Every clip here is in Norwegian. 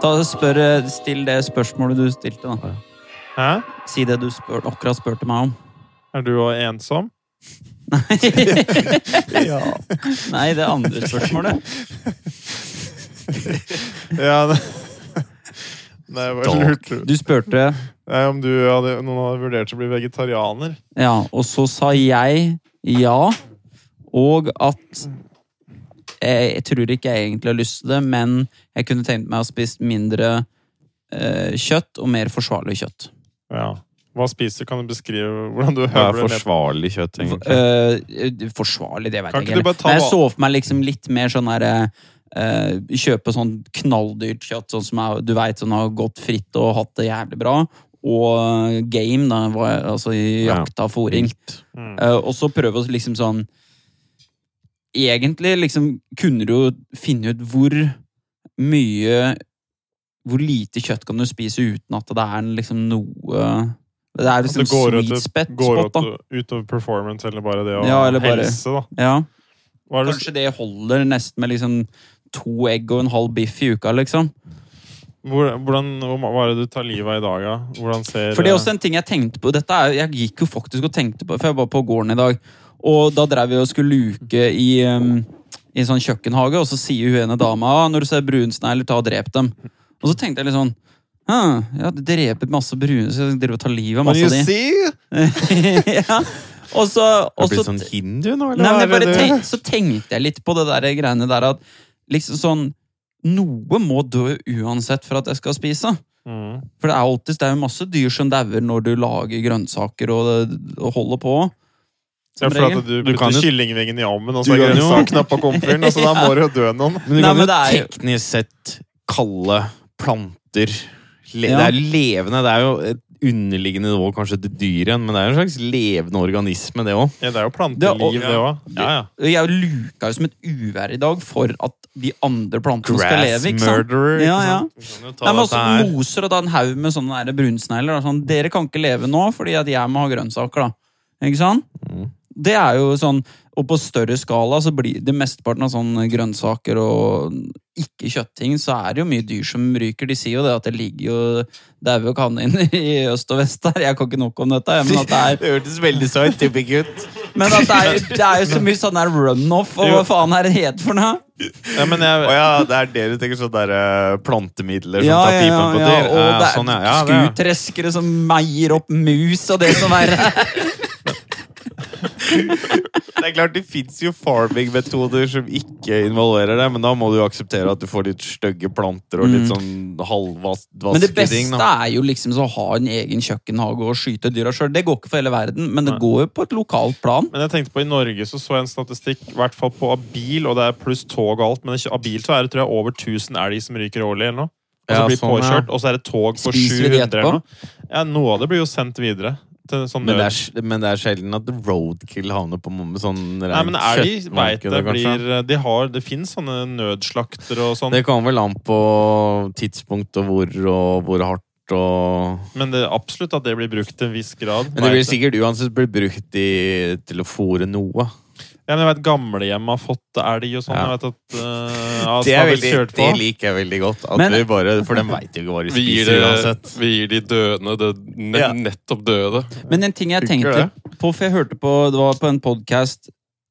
Ta, spør, eh, still det spørsmålet du stilte, da. Hæ? Si det du spør, akkurat spurte meg om. Er du òg ensom? Ja. Nei, det andre spørsmålet. Ja, det... Nei, jeg bare Dog. lurte Du spurte Nei, om du hadde, noen hadde vurdert å bli vegetarianer. Ja, og så sa jeg ja, og at eh, jeg, jeg tror ikke jeg egentlig har lyst til det, men jeg kunne tenkt meg å spise mindre eh, kjøtt og mer forsvarlig kjøtt. Ja. Hva spiser du? Kan du beskrive hvordan du Hva er høvler ned? forsvarlig kjøtt, egentlig? Eh, forsvarlig, det vet Kan jeg ikke du ikke. bare ta Men jeg hva- så for meg liksom litt mer sånn der eh, Kjøpe sånn knalldyrt kjøtt, sånn som er, du veit sånn har gått fritt og hatt det jævlig bra. Og eh, game, da, hva- altså i Ja. jakt av fôring. Mm. Eh, og så prøve å liksom sånn Egentlig liksom kunne du jo finne ut hvor mye Hvor lite kjøtt kan du spise uten at det er liksom noe Det er At liksom det går, sweet ut, spot, går spot, da. ut, utover performance, eller bare det å Ja, eller bare- helse, da. Ja. Hva er det, Kanskje det holder nesten med liksom to egg og en halv biff i uka, liksom. hvor, hvordan, hvor ma- hva er det du tar livet av i dag, da? Hvordan ser For det er også en ting jeg tenkte på. Dette er, jeg gikk jo faktisk og tenkte på, for jeg var på gården i dag. Og da drev vi og skulle luke i, um, i en sånn kjøkkenhage, og så sier hun ene dama «Ah, når du ser brunsnegler, ta og drep dem. Og så tenkte jeg litt sånn «Hm, ja, det dreper masse brune, så jeg driver og tar eh, livet av masse av de. see? ja. Og så, Har og du blitt så sånn hindu nå, eller? Nei, men jeg hva er bare det du- tenk, så tenkte jeg litt på det der greiene der at liksom sånn Noe må dø uansett for at jeg skal spise. mm. For det er alltid det er jo masse dyr som dauer når du lager grønnsaker og, og holder på. Ja, Som for regel. at du Du kan putter jo- kyllingvingen i ovnen, og Du så er kan jo- grønnsakene på komfyren, og så da må det jo dø noen. Men Nei, du kan men det jo er jo- teknisk sett kalle planter le, Ja. Det er levende. Det er jo et underliggende nivå kanskje til dyret, men det er jo en slags levende organisme, det òg. Ja, det er jo Det er planteliv, også- det òg. Ja, ja. Jeg luka jo som et uvær i dag for at de andre plantene skal Grass leve. ikke sant? murderer. Ja, ja. Nei, men også Nei, moser og da en haug med sånne der brunsnegler. da, Sånn, dere kan ikke leve nå fordi at jeg må ha grønnsaker, da. Ikke sant? Det er jo sånn Og på større skala så blir det mesteparten av sånne grønnsaker og ikke kjøttting, så er det jo mye dyr som ryker. De sier jo det at det ligger jo daue kaniner i øst og vest der. Jeg kan ikke nok om dette, jeg, men at det er det hørtes veldig scientific ut. Men at det er, det er jo så mye sånn der runoff, og hva faen er det det heter for noe? ja, men jeg, Å ja, det er det du tenker sånn derre plantemidler som Ja, tar ja, ja, sånn pipen på ja, dyr? og Ja, det er sånn, ja. Ja, det er- skuttreskere som meier opp mus og det som er Det er klart, det fins jo farming-metoder som ikke involverer det, men da må du jo akseptere at du får litt stygge planter og litt sånn Mm. Men det halvvaske beste ting. da. er jo liksom så å ha en egen kjøkkenhage og skyte dyra sjøl. Det går ikke for hele verden, men det går jo på et lokalt plan. Men jeg tenkte på i Norge så så jeg en statistikk i hvert fall på abil, og det er pluss tog og alt, men ikke- abil så er det tror jeg over 1000 elg som ryker årlig eller noe. Og så Ja, blir sånn, ja. påkjørt, og så er det tog på Spiser vi de 700 eller etterpå? noe. Ja, noe av det blir jo sendt videre. Til sånn Men det, er, nød- sj- men det er sjelden at roadkill havner på med sånn Nei, men elg vet kjøttmarked, det kanskje. blir eh, De har, det finnes sånne nødslakter og sånn, Det kommer vel an på tidspunkt og hvor og hvor hardt og men det er absolutt at det blir brukt til en viss grad. Men det vet vil jeg. sikkert uansett bli brukt i, til å fôre noe. Ja, men jeg vet gamlehjem har fått elg og sånn. Ja. Jeg vet at eh, ja, Det, som har er blitt veldig, kjørt på. det liker jeg veldig godt. At Men- vi bare, for de veit jo ikke hva de Vi gir, spiser det, uansett. vi gir de døende det ne Ja. nettopp døde. Men en ting jeg tenkte på, for jeg hørte på Det var på en podkast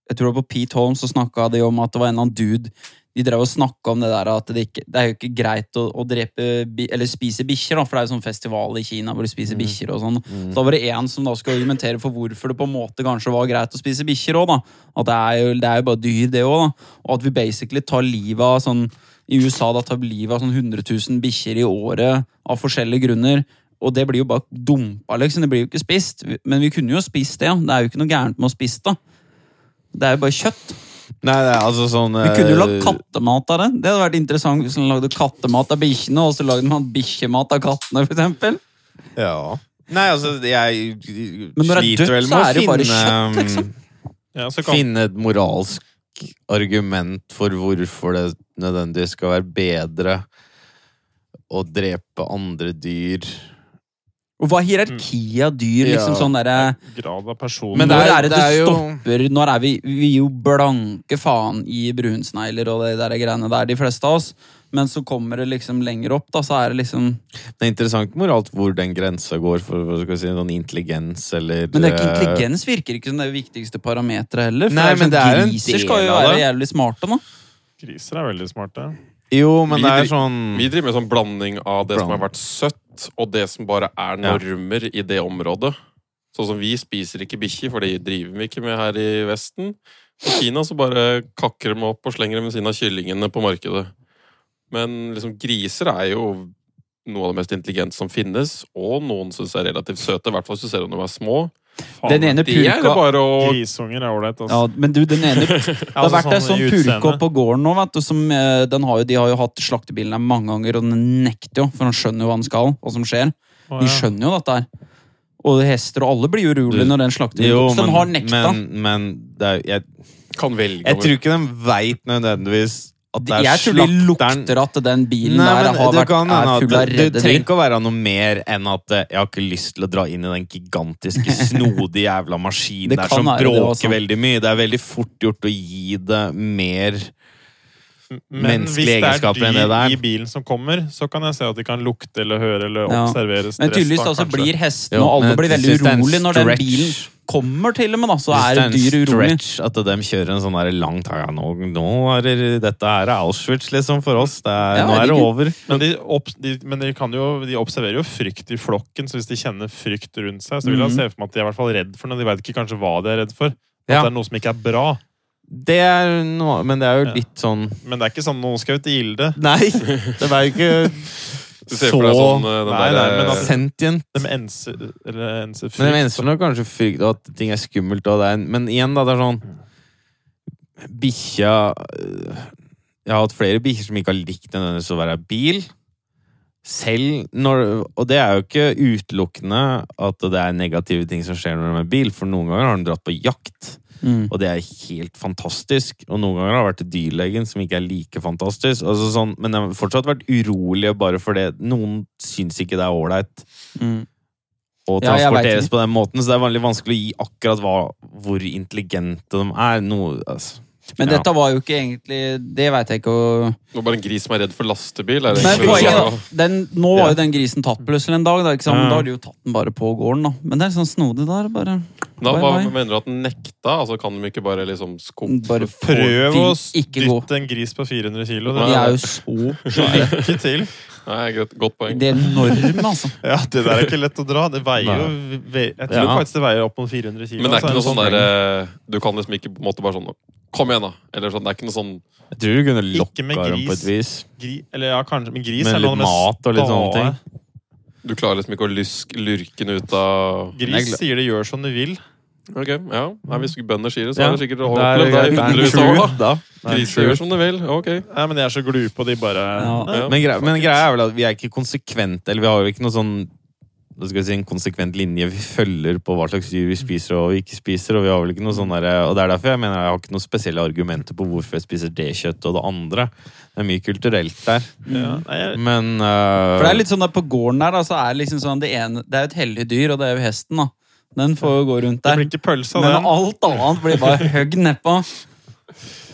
Jeg tror det var på Pete Holmes, så snakka de om at det var en eller annen dude De drev og snakka om det der at det, ikke, det er jo ikke greit å, å drepe bi- Eller spise bikkjer, da, for det er jo sånn festival i Kina hvor de spiser bikkjer og sånn. Så da var det en som da skulle argumentere for hvorfor det på en måte kanskje var greit å spise bikkjer òg, da. At det er, jo, det er jo bare dyr, det òg, da. Og at vi basically tar livet av sånn I USA da tar vi livet av sånn 100 000 bikkjer i året av forskjellige grunner. Og det blir jo bare dumpa, liksom. Det blir jo ikke spist. Men vi kunne jo spist det, ja. Det er jo ikke noe gærent med å spise det. Det er jo bare kjøtt. Nei, det er altså sånn Vi kunne jo lagd eh, kattemat av det. Det hadde vært interessant hvis man lagde kattemat av bikkjene, og så lagde man bikkjemat av kattene, for eksempel. Ja. Nei, altså, jeg Men når det er sliter dødt, vel så med å er det jo bare finne, mm, kjøtt, liksom. Ja, så kan, finne et moralsk argument for hvorfor det nødvendigvis skal være bedre å drepe andre dyr. Og hva er hierarkiet av dyr, liksom Ja. sånn derre grad av person Men det Når er- er det det det er jo- stopper? Når er vi Vi er jo blanke faen i brunsnegler og de der greiene der, de fleste av oss. Men så kommer det liksom lenger opp, da, så er det liksom Det er interessant moralt hvor den grensa går for hva skal vi si, sånn intelligens eller Men det er ikke eh, intelligens virker ikke som det viktigste parameteret heller. For det Nei, er men sånn, det er en griser del skal jo av være det. jævlig smarte, nå. Griser er veldig smarte. Jo, men Vi det er dri- sånn Vi driver med sånn blanding av det som Bland- har vært søtt, og det som bare Ja. er normer i det området. Sånn som vi spiser ikke bikkjer, for det driver vi ikke med her i Vesten. I Kina så bare kakker de opp og slenger dem ved siden av kyllingene på markedet. Men liksom griser er jo noe av det mest intelligente som finnes, og noen syns er relativt søte, i hvert fall hvis du ser om de er små. Faen, Den ene De er det purka bare å Grisunger er ålreit, ja, altså. Men du, den ene Det har vært en sånn purke på gården nå, vet du, som eh, den har jo, de har jo hatt slaktebilen der mange ganger, og den nekter jo, for han skjønner jo hva han skal, hva som skjer. De skjønner jo dette her. Og hester og alle blir jo urolige Du- når den slaktebilen Jo, Så den har men, nekta. men, men det er, jeg, kan velge jeg tror ikke de veit nødvendigvis at det De- er jeg tror de slakteren lukter at den bilen Nei, der men har det vært, kan hende er at full av det- redde Det trenger dyr. ikke å være noe mer enn at eh, jeg har ikke lyst til å dra inn i den gigantiske, snodige jævla maskinen Det der kan som være det også. bråker veldig mye. Det er veldig fort gjort å gi det mer menneskelige egenskaper enn Men hvis det det er der. dyr i bilen som kommer, så kan jeg se at de kan lukte eller høre eller Ja. observere stress. Men tydeligvis da, altså kanskje. blir hestene Jo, og alle men blir jeg veldig synes det er en urolig når den stretch. bilen kommer, til og med, da, så Hvis er det dyr er en urolig. stretch at de kjører en sånn der lang tag ja, nå, nå er det, Dette her er Auschwitz, liksom, for oss. Det er, Ja, nå jeg er det liker. over. Men, de, opp, de, men de, kan jo, de observerer jo frykt i flokken, så hvis de kjenner frykt rundt seg, så vil jeg Mhm. se for meg at de er i hvert fall redd for noe. De veit ikke kanskje hva de er redd for. At Ja. det er noe som ikke er bra. Det er noe, men det er jo litt sånn Men det er ikke sånn 'nå skal jeg ut i ilde'. Nei! Det er jo Eh. ikke Du ser for deg så sånn eh, den Nei, nei, men derre altså- sentient. De enser, eller enser Men jeg frykt. mener nok kanskje frykt og at ting er skummelt. Og det er, en- men igjen, da, det er sånn Bikkja øh, Jeg har hatt flere bikkjer som ikke har likt nødvendigvis å være i bil. Selv når Og det er jo ikke utelukkende at det er negative ting som skjer når de er i bil, for noen ganger har de dratt på jakt, Mm. og det er helt fantastisk. Og noen ganger har det vært til dyrlegen, som ikke er like fantastisk. Altså sånn, men de har fortsatt vært urolige bare fordi noen syns ikke det er ålreit Mm. og Ja, jeg vet transporteres ikke. på den måten, så det er veldig vanskelig å gi akkurat hva, hvor intelligente de er. Noe, altså. Men Ja. dette var jo ikke egentlig Det veit jeg ikke å Nå er bare en gris som er redd for lastebil. Er det Nei, egentlig det poenget du da sa? den, Nå var jo den grisen tatt plutselig en dag. Da, ikke sant? Men da har de jo tatt den bare på gården. Da. Men det er sånn snodig der. Bare, Da, Bye, hva bye. mener du at den nekta? Altså, kan de ikke bare liksom skumpe bare Prøv vil å ikke gå. dytte en gris på 400 kilo. De Det er jo så svære. er ikke til. Nei, greit. Godt poeng. De er enorme, altså. Ja, det der er ikke lett å dra. Det veier jo ve Jeg tror Ja. faktisk det veier opp mot 400 kilo. Men det er så ikke noe sånn sånn- der eh, Du kan liksom ikke på en måte bare sånn Kom igjen, da! Eller sånn. Det er ikke noe sånn Jeg tror du kunne Ikke lokka med dem på gris. et vis. gri, Eller ja, kanskje Men gris Med er noe litt av det mest mat og litt sånne stae. ting. Du klarer liksom ikke å luske lurken ut av Jeg Gris gl- sier det gjør som du vil. Ok, ja. Nei, Hvis bønder sier det, så Ja. er det sikkert å Det er- opplevd det i det er hundrevis av år. truth, da. da. Det er Griser truth. sånn, gjør som de vil. Ok. Nei, men de er så glupe, og de bare Ja. Nei. Ja. Men, greia, men greia er vel at vi er ikke konsekvente, eller vi har jo ikke noe sånn hva skal vi si, en konsekvent linje vi følger på hva slags dyr vi spiser og ikke spiser. Og vi har vel ikke noe sånn derre- og det er derfor jeg mener jeg har ikke noen spesielle argumenter på hvorfor jeg spiser det kjøttet og det andre. Det er mye kulturelt der. Ja. Nei, jeg- Men eh, For det er litt sånn der på gården der, da, så er det liksom sånn det, ene, det er jo et hellig dyr, og det er jo hesten, da. Den får jo gå rundt det blir der. ikke pølse av Men den. alt annet blir bare høgg nedpå.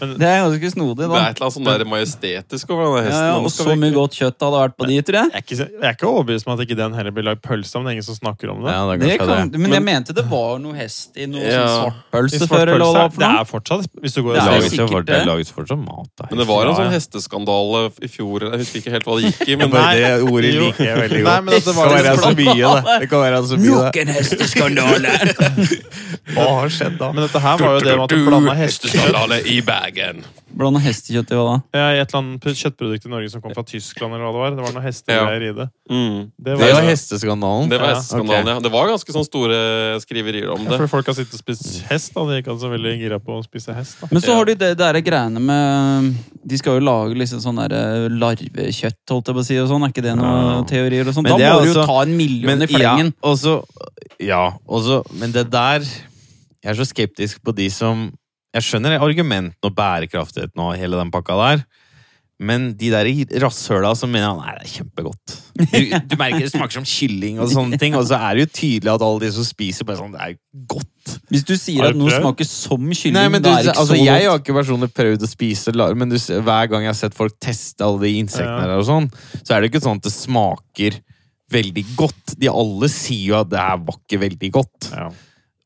Men- Det er ganske snodig, Det er da. et eller annet sånn der majestetisk over den Ja, hesten. ja, Den og skal så vi- mye godt kjøtt det hadde vært på de, tror jeg. Jeg er, ikke, jeg er ikke overbevist om at ikke den heller blir lagd pølse av, men det er ingen som snakker om det. ja, det er Det kanskje kan, det. men, jeg mente det var noe hest i noe Ja. sånn I svartpølse svart før, eller hva det pølse var er- for noe. det er fortsatt Hvis du går Det er og Det jo lages ser jo sikkert for- det. det lages fortsatt mat der. Men det var en Ja, sånn ja. hesteskandale i fjor. Jeg husker ikke helt hva det gikk i. men Nei. Bare det ordet liker jeg veldig godt. Nei, men at det var kan være liksom- så mye, altså, det. Det kan være så mye, det. en hesteskandale! Hva har skjedd da? Men dette her var jo det med at du blanda hestekjøtt Hesteskandale i bagen. Blanda hestekjøtt i hva da? ja, i et eller annet kjøttprodukt i Norge som kom fra Tyskland, eller hva det var. Det var noe hestegreier i det. Mm. Det Det var, var hesteskandalen. Det var Ja, hesteskandalen, ok. ja. Det var ganske sånn store skriverier om Ja, det. for folk har sittet og spist hest, da. De er ikke så veldig gira på å spise hest. da. Men så har de det der greiene med De skal jo lage liksom sånn der eh, larvekjøtt, holdt jeg på å si, og sånn. Er ikke det noen Ja. teorier og sånn? Men Da det er må du jo altså- ta en million i flengen. Ja, og så- ja, og så- men det der Jeg er så skeptisk på de som Jeg skjønner argumentene og bærekraftigheten og hele den pakka der, Men de der rasshøla som mener at, nei, det er kjempegodt. Du, du merker det smaker som kylling og sånne ting, og så er det jo tydelig at alle de som spiser, bare sånn Det er jo godt. Hvis du sier Har at du noe prøvd? smaker som kylling, Nei, men du, da er det ikke altså, så godt. jeg har ikke personlig prøvd å spise larv, men du, ser- hver gang jeg har sett folk teste alle de insektene Ja. der, og sånn, så er det ikke sånn at det smaker veldig godt. De alle sier jo at det her var ikke veldig godt, Ja.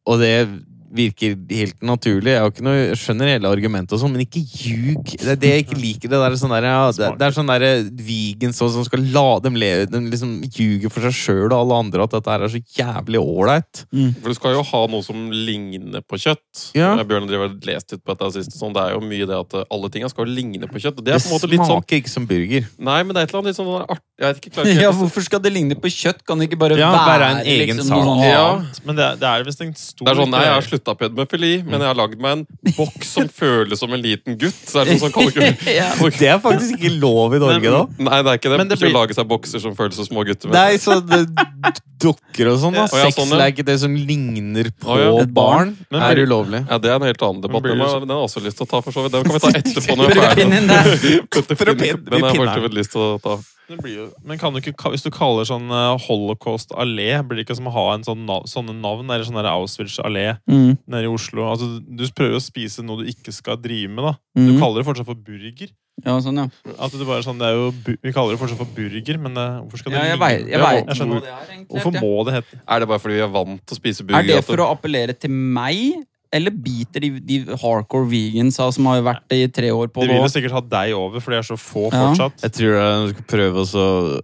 og det virker helt naturlig. Jeg, har ikke noe, jeg skjønner hele argumentet, og sånn, men ikke ljug. Det er det jeg ikke liker. Det, der, sånn der, ja, det, det er sånn der vegan sånn som skal la dem leve De liksom ljuger for seg sjøl og alle andre at dette her er så jævlig ålreit. For du skal jo ha noe som ligner på kjøtt. Ja. Jeg, Bjørn driver og lest litt på dette sist. og Sånn. Det er jo mye det at eh, alle tinga skal ligne på kjøtt. og Det Det er på en måte litt sånn smaker ikke som burger. Nei, men det er et eller annet litt sånn art... Jeg vet ikke, klarer Ja, ikke helt å si- hvorfor skal det ligne på kjøtt? Kan det ikke bare Ja, være, bare en egen liksom, sak. noe sånn Ja. annet? Men det, er- det er visst en stor Det er sånn, nei, Jeg har slutta på edmofili, men jeg har lagd meg en boks som føles som en liten gutt. Så er det sånn, kan du ikke... Ja. Det er faktisk ikke lov i Norge, da. Nei, det er ikke det. Men det Ikke blir- å lage seg bokser som føles som små gutter. men- Nei, så det dukker og sånn, da. Å, ja, Sex sånn, ja. er ikke det som ligner på Å, ja. et barn. Men er blir- ulovlig. Ja, Det er en helt annen debatt. Men blir Den det har så- den har jeg også lyst til å ta. for så vidt. Den kan vi ta etterpå. når vi Putte er ferdig. pinnen der. Putte For å pinnen- pin- Den har jeg pinne fortsatt lyst til å ta. Det blir jo, men kan du ikke, ka- hvis du kaller sånn eh, Holocaust allé, blir det ikke som å ha en sånn nav, sånne navn? Eller sånn der Auschwitz allé Mm. nede i Oslo? Altså, du prøver jo å spise noe du ikke skal drive med, da. Du Mhm. Mm. kaller det fortsatt for burger. ja, sånn, ja. At det bare er sånn, det er jo, bu- vi kaller det fortsatt for burger, men eh, hvorfor skal ja det jeg ligne- vei- jeg Ja, veit jeg ikke skjønner. hva det er, egentlig. Hvorfor må det hete Er det bare fordi vi er vant til å spise burger? Er det for å appellere til meg, eller biter de, de hardcore vegansa som har vært det i tre år på De det? vil jo også? sikkert ha deg over, for de er så få Ja. fortsatt. Jeg tror jeg skal prøve å så-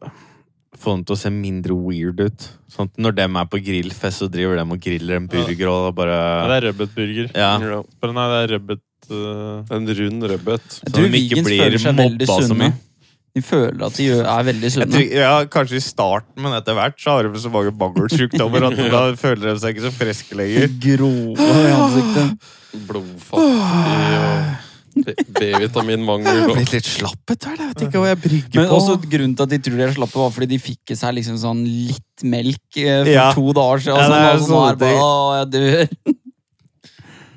få dem til å se mindre weird ut. Sånn at når dem er på grillfest, så driver dem og griller en burger og da Ja, bare det er rødbetburger. Ja. Ja. Bare Nei, det er rødbet eh, En rund rødbet. Jeg Så tror de ikke vegans blir føler seg veldig mobba så sunne. mye. De føler at de gjør- er veldig Jeg sunne. tror, ja, Kanskje i starten, men etter hvert så har de så mange mangelsjukdommer at da føler de seg ikke så friske lenger. Grove i ansiktet. Blodfattig og B-vitaminmangel. Jeg har og- blitt litt slapp etter hvert. Jeg vet ikke hva jeg brygger Men på. også grunnen til at de tror de er slappe, var fordi de fikk i seg liksom sånn litt melk eh, for Ja. to dager siden. Ja, Altså, det er ja, sånn, sånne er bare, Åh, jeg dør.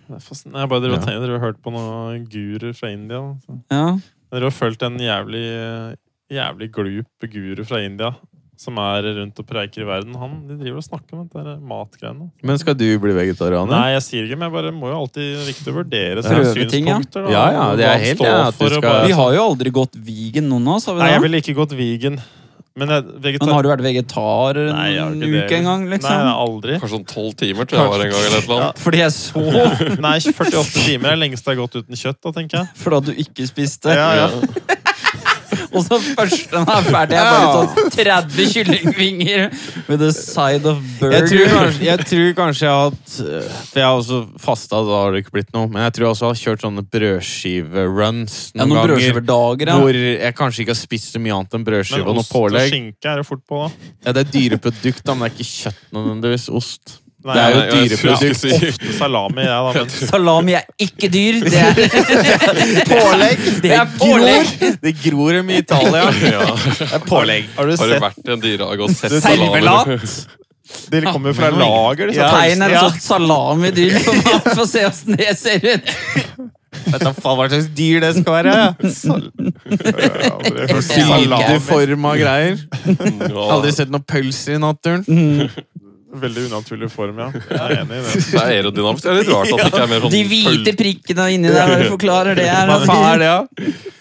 det er fast- Nei, Jeg bare drev og Ja. tenkte, drev og hørte på noen guruer fra India. Så. Ja. Dere har fulgt en jævlig, jævlig glup guru fra India som er rundt og preiker i verden. Han de driver og snakker om dette her matgreiene. Men skal du bli vegetarianer? Nei, jeg sier ikke, men jeg bare må jo alltid viktig å vurdere sine Prøve ting, ja. synspunkter. da, Ja, ja, og det hva er han helt står enig at du for, og skal- Vi bare, har jo aldri gått vegan, noen av oss. Har vi Nei, jeg det? ville ikke gått vegan. Men jeg, vegetar... Men har du vært vegetar en Nei, jeg har ikke det. uke en gang, Nei, liksom? nei, aldri. Kanskje sånn tolv timer, tror jeg det var en gang. eller et eller annet. Fordi jeg så Nei, 48 timer er lengst det har gått uten kjøtt, da, tenker jeg. for at du ikke spiste. Ja, ja. Og så først den er ferdig, jeg bare sånn 30 kyllingvinger with a side of burger. Jeg tror, kanskje, jeg tror kanskje jeg har hatt øh, For jeg har også fasta, da har det ikke blitt noe. Men jeg tror jeg også har kjørt sånne brødskiveruns ja, noen, noen ganger. brødskiverdager, ja. Hvor jeg kanskje ikke har spist så mye annet enn brødskive Men og noe ost og pålegg. skinke er det fort på, da. Ja, det er dyreprodukt, da, men det er ikke kjøtt nødvendigvis. Ost. Nei, Det er jeg- jo Nei, jeg skulle dyreprodukt. si- Ofte salami, jeg, da. Men Salami er ikke dyr. Det er, Pålegg! det er pålegg. Det gror dem i Italia. Ja. Det er sånn- pålegg. har du Har du sett vært i en dyrehage og sett Servelat! salami? De kommer jo fra lager, disse Ja. Tegn en pølsene. sånn salamidyr for meg. Få se åssen det ser ut. Vet da faen hva slags dyr det skal være. Sånn Ja, aldri hørt om salami. Sylteforma greier. Ja, Aldri sett noen pølser i naturen. Veldig unaturlig form, ja. Jeg er enig i det. Det er aerodynamisk. Det er litt rart at det ikke er mer sånn De hvite prikkene inni der, hva forklarer det altså her? Hva faen er det, da?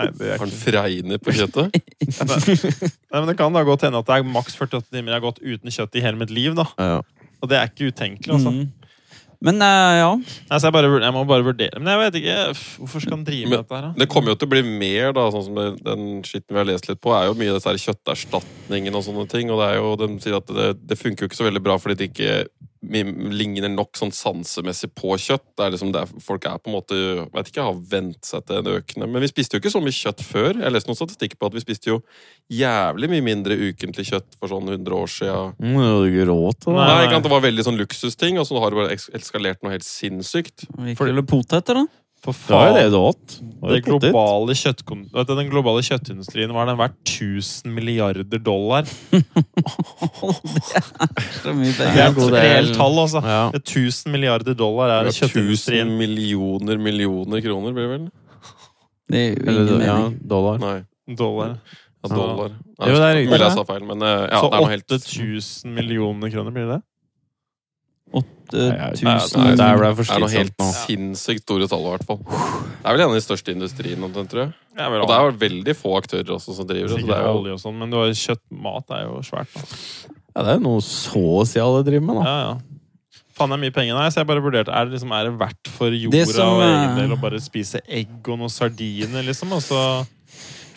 Nei, det er Har ikke. den fregner på kjøttet? Nei, men det kan da godt hende at det er maks 48 timer jeg har gått uten kjøtt i hele mitt liv. da. Ja. Og det er ikke utenkelig. altså. Mm. Men eh, ja. Nei, så jeg, bare, vur- jeg må bare vurdere. Men jeg vet ikke, pff, hvorfor skal han drive med Men- dette her? da? Det kommer jo til å bli mer, da, sånn som det- den skitten vi har lest litt på, er jo mye av disse her kjøtterstatningen og sånne ting, og det er jo, de sier at det, det funker jo ikke så veldig bra fordi det ikke mim- ligner nok sånn sansemessig på kjøtt. Det er liksom der folk er på en måte, jeg vet ikke, har vent seg til en økende. Men vi spiste jo ikke så mye kjøtt før. Jeg leste noen statistikk på at vi spiste jo jævlig mye mindre ukentlig kjøtt for sånn 100 år siden. Mm, det er jo ikke råd til det. Nei, Nei, nei. ikke sant? Det var veldig sånn luksusting, og så har det bare eks- eskalert noe helt sinnssykt. Eller poteter, da. For Det var jo det faen, du åt. Var det jo potet. globale kjøttkon- vet du, den globale kjøttindustrien var den verdt 1000 milliarder dollar. Så mye Det penger. er god et del. reelt tall, altså. Ja. Det er 1000 milliarder dollar er Det det var kjøttindustrien. 1000 millioner millioner kroner, blir det vel? Det gir jo Eller ingen ja, mening. dollar. Nei. Dollar. Ja, Ja. dollar. Nei, Jo, det er riktig. Mulig jeg sa feil, men eh, ja, det er så noe helt 8000 millioner kroner blir det? Eh, Nei, jeg- Tusen nei, Det er vel for det er noe slitsomt helt nå. sinnssykt store tall, i hvert fall. Det er vel en av de største industriene, omtrent, tror jeg. Ja, Og det er veldig få aktører også som driver det. Så Sikkert det er jo olje og sånn, men du har kjøtt, mat er jo svært. Da. Ja, det er noe så å si alle driver med, da. Ja, ja. Faen, det er mye penger. Nei, så jeg bare vurderte er det liksom, er det verdt for jorda Det som, og egen eh, del å bare spise egg og noen sardiner, liksom? Og så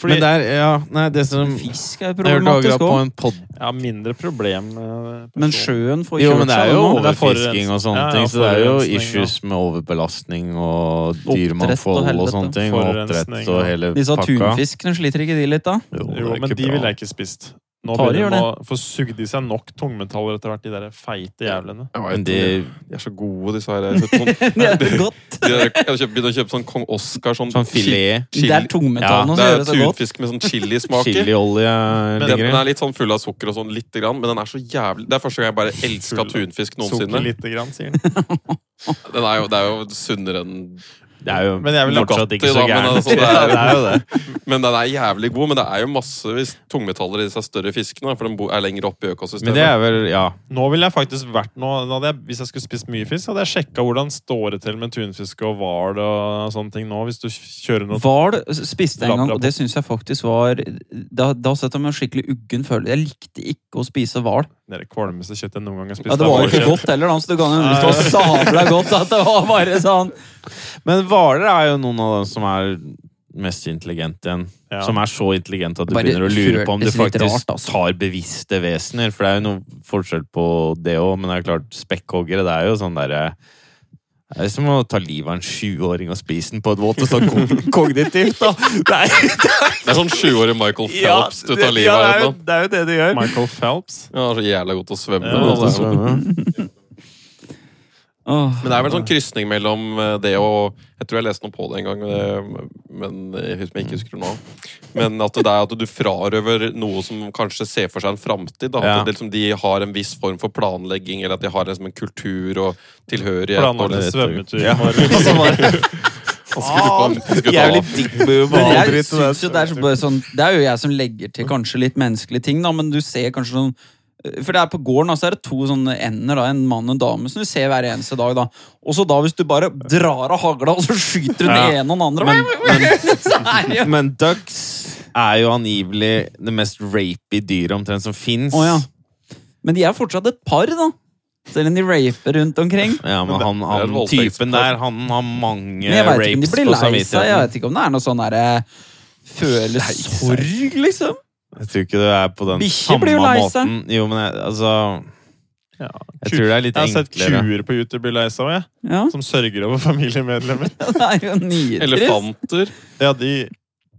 Fordi Men det er Ja, nei, det som Fisk er jo Jeg hørte akkurat problematisk på òg. en pod... jeg har mindre problem eh, med Men sjøen får Jo, kjørt men det seg er jo nå. Det er overfisking og sånne Ja, ja, ting, så det er jo forurensning, issues med overbelastning og og dyremangfold og, helvete. sånne ting. Og oppdrett Forurensning, og ja. hele Disse pakka. tunfiskene sliter ikke de litt, da? det Jo, er men ikke de bra. ville jeg ikke spist. Nå Tare begynner de gjør å få sugd i seg nok tungmetaller etter hvert, de der feite jævlene. Jeg vet Men ikke, det De er så gode, disse her. Jeg har kjøpt sånn- Det er godt. de der- jeg har kjøpt- begynt å kjøpe sånn Kong Oscar sånn, Sånn filet, Chili. Det er tungmetallene Ja, som Det gjør er det så godt. tunfisk med sånn chilismaker. chiliolje Den, ligger den i. er litt sånn full av sukker og sånn, lite grann, men den er så jævlig Det er første gang jeg bare elska Full av tunfisk Sukker noensinne. lite grann, sier den. Den er jo, det er jo sunnere enn Det er jo Men jeg vil ha fortsatt Nugatti, ikke så da, men gærent. altså, det er- Ja, det er jo det. Men den er jævlig god, men det er jo massevis tungmetaller i disse større fiskene, for den bo- er lenger oppe i Men økosystemet. det er vel Ja. Nå ville jeg faktisk vært nå, da hadde jeg, Hvis jeg skulle spist mye fisk, hadde jeg sjekka hvordan står det til med tunfiske og hval og sånne ting nå, hvis du kjører noe Hval spiste jeg en gang, Labrador. og det syns jeg faktisk var Da, da satte jeg meg skikkelig uggen følelse. Jeg likte ikke å spise hval. Det er det kvalmeste kjøttet jeg noen gang har spist. Ja, det var jo er ikke hvalkjøtt. godt heller, da, så du kan jo stå og sabla godt at det var bare sånn. Men hvaler er jo noen av dem som er mest intelligente igjen. Ja. Som er så intelligente at du Bare begynner å lure føles på om du litt faktisk rart, altså. tar bevisste vesener. For det er jo noe forskjell på det òg, men det er klart, spekkhoggere, det er jo sånn derre det er som å ta livet av en sjuåring og spise den på et våt og sånn kog- kognitivt, da. Det er, Det er sånn sjuårig Michael ja, Phelps du tar livet ja, av. det, er jo, Ja, det er jo det du gjør. Michael Phelps. han er så jævla god til å svømme. Ja, altså. Åh. Men det er vel en sånn krysning mellom eh, det og Jeg tror jeg leste noe på det en gang, eh, men jeg husker jeg ikke husker det nå. Men at det er at du frarøver noe som kanskje ser for seg en framtid. da. Ja. At det, liksom, de har en viss form for planlegging, eller at de har liksom, en kultur og tilhørighet. og Planlagte det- svømmetur i Ja. morgen. Som er Han skulle ta- han skulle ta Ah, Jævlig av. digg med Men jeg hvalbryt og synes jo det er så bare sånn Det er jo jeg som legger til kanskje litt menneskelige ting, da, men du ser kanskje noen for det er På gården da, så er det to sånne ender, da, en mann og en dame, som du ser hver eneste dag. da. Og så da, hvis du bare drar av hagla, og så skyter du den Ja. ene og den andre Men- Så er det jo Men ducks er jo angivelig det mest rapey dyret omtrent som fins. Å, ja. Men de er fortsatt et par, da. Selv om de raper rundt omkring. Ja, men han, det er et han voldtekts- typen der, han har mange Men jeg vet ikke om de rapes blir på lei seg. Jeg samvittigheten. vet ikke om det er noe sånn derre Føle sorg, liksom. Jeg tror ikke du er på den Bikkjer samme blir jo lei seg. måten. Jo, men jeg, altså Ja. Jeg tror det er litt Jeg har sett enklere. kuer på YouTube bli lei seg òg, jeg. Ja, Som sørger over familiemedlemmer. Det er jo nydelig. Elefanter. Ja, de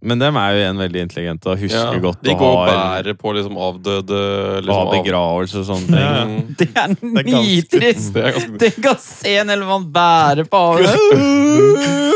Men dem er jo igjen veldig intelligente og husker Ja. godt De og går og har, bærer på liksom avdøde liksom, har av- begravelse og sånne ting. Ja. Mm. Det er er ganske- nitrist! Det er ganske Tenk å se en elefant bære på havet!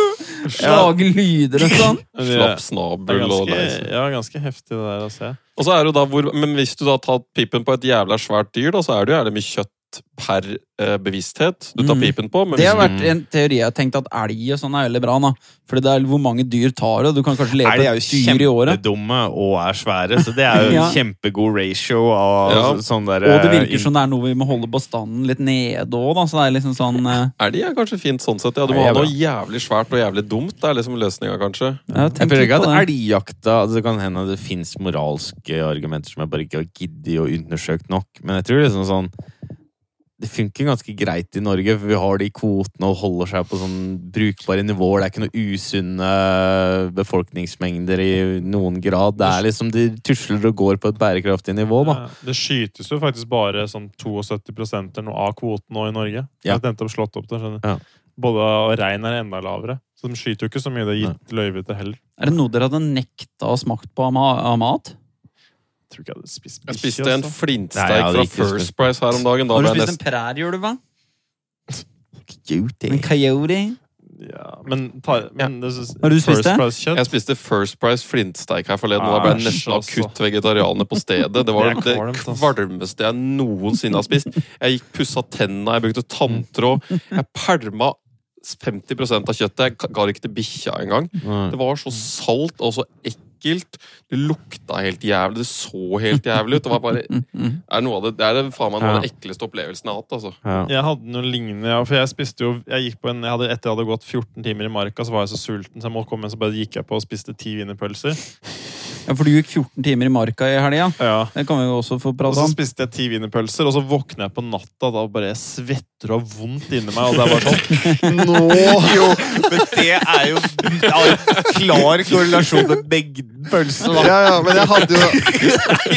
Lage lyder og sånn. slapp Det er snabel og ganske, lei seg. ja, ganske heftig det der altså, å se. Og så er det jo da hvor, men hvis du da har tatt pipen på et jævla svært dyr, da, så er det jo jævlig mye kjøtt per eh, bevissthet du tar Mm. pipen på. Men Det hvis, har vært en teori jeg har tenkt at elg og sånn er veldig bra. Da. Fordi det er hvor mange dyr tar det. og Du kan kanskje leve Elg på er et jo dyr i året. kjempedumme og er svære, så det er jo en Ja. kjempegod ratio av Ja. sånn der Og det virker som det er noe vi må holde bestanden litt nede òg, da. Så det er liksom sånn eh, elg er kanskje fint sånn sett. Ja, du Elg må er ha bra. noe jævlig svært og jævlig dumt. Det er liksom løsninga, kanskje. Jeg har Jeg tenkt føler litt ikke på at det. elgjakta altså Det kan hende at det fins moralske argumenter som jeg bare ikke har giddet å undersøkt nok, men jeg tror liksom sånn det funker ganske greit i Norge, for vi har de kvotene og holder seg på sånn brukbare nivåer. Det er ikke noen usunne befolkningsmengder i noen grad. Det er liksom de tusler og går på et bærekraftig nivå, da. Ja, Det skytes jo faktisk bare sånn 72 eller noe av kvoten nå i Norge. Ja. Det endte opp slått opp der, skjønner du. Ja. Både og rein er enda lavere. Så de skyter jo ikke så mye det er gitt løyve til heller. Er det noe dere hadde nekta å smakt på av ma- av mat? Jeg tror ikke jeg hadde spist Jeg bikkje, spiste en altså. flintsteik Nei, jeg hadde fra ikke First spist- Price her om dagen. Da Har du ble jeg spist en nesten prærieulv, hva? Cutie. En coyote? Ja, men, tar, men det synes- Har du spist First det? Price kjøtt? jeg spiste First Price flintsteik her forleden, og da ble jeg Æsj, nesten altså. akutt vegetarianer på stedet. Det var Det er det kvalmt, ass. kvalmeste jeg noensinne har spist. Jeg gikk pussa tenna, jeg brukte tanntråd. Jeg pælma 50 av kjøttet Jeg ga det ikke til bikkja engang. Nei. Det var så salt og så ekkelt. Det lukta helt jævlig. Det så helt jævlig ut. Det var bare Mm, mm. er noe av det, det er det, faen meg noe av den ekleste opplevelsen jeg har hatt. altså. Ja. Jeg hadde noe lignende, ja, for jeg spiste jo jeg gikk på en, jeg hadde, Etter jeg hadde gått 14 timer i marka, så var jeg så sulten, så jeg måtte komme hjem, så bare gikk jeg på og spiste ti wienerpølser. Ja, for du gikk 14 timer i marka i helga. Ja. Det kan vi jo også få Og prate så om. spiste jeg ti wienerpølser, og så våkner jeg på natta, da bare jeg svetter og har vondt inni meg, og det er bare sånn Nå! Jo, men det er jo det er en klar korrelasjon med begge pølsene. Ja, ja, men jeg hadde jo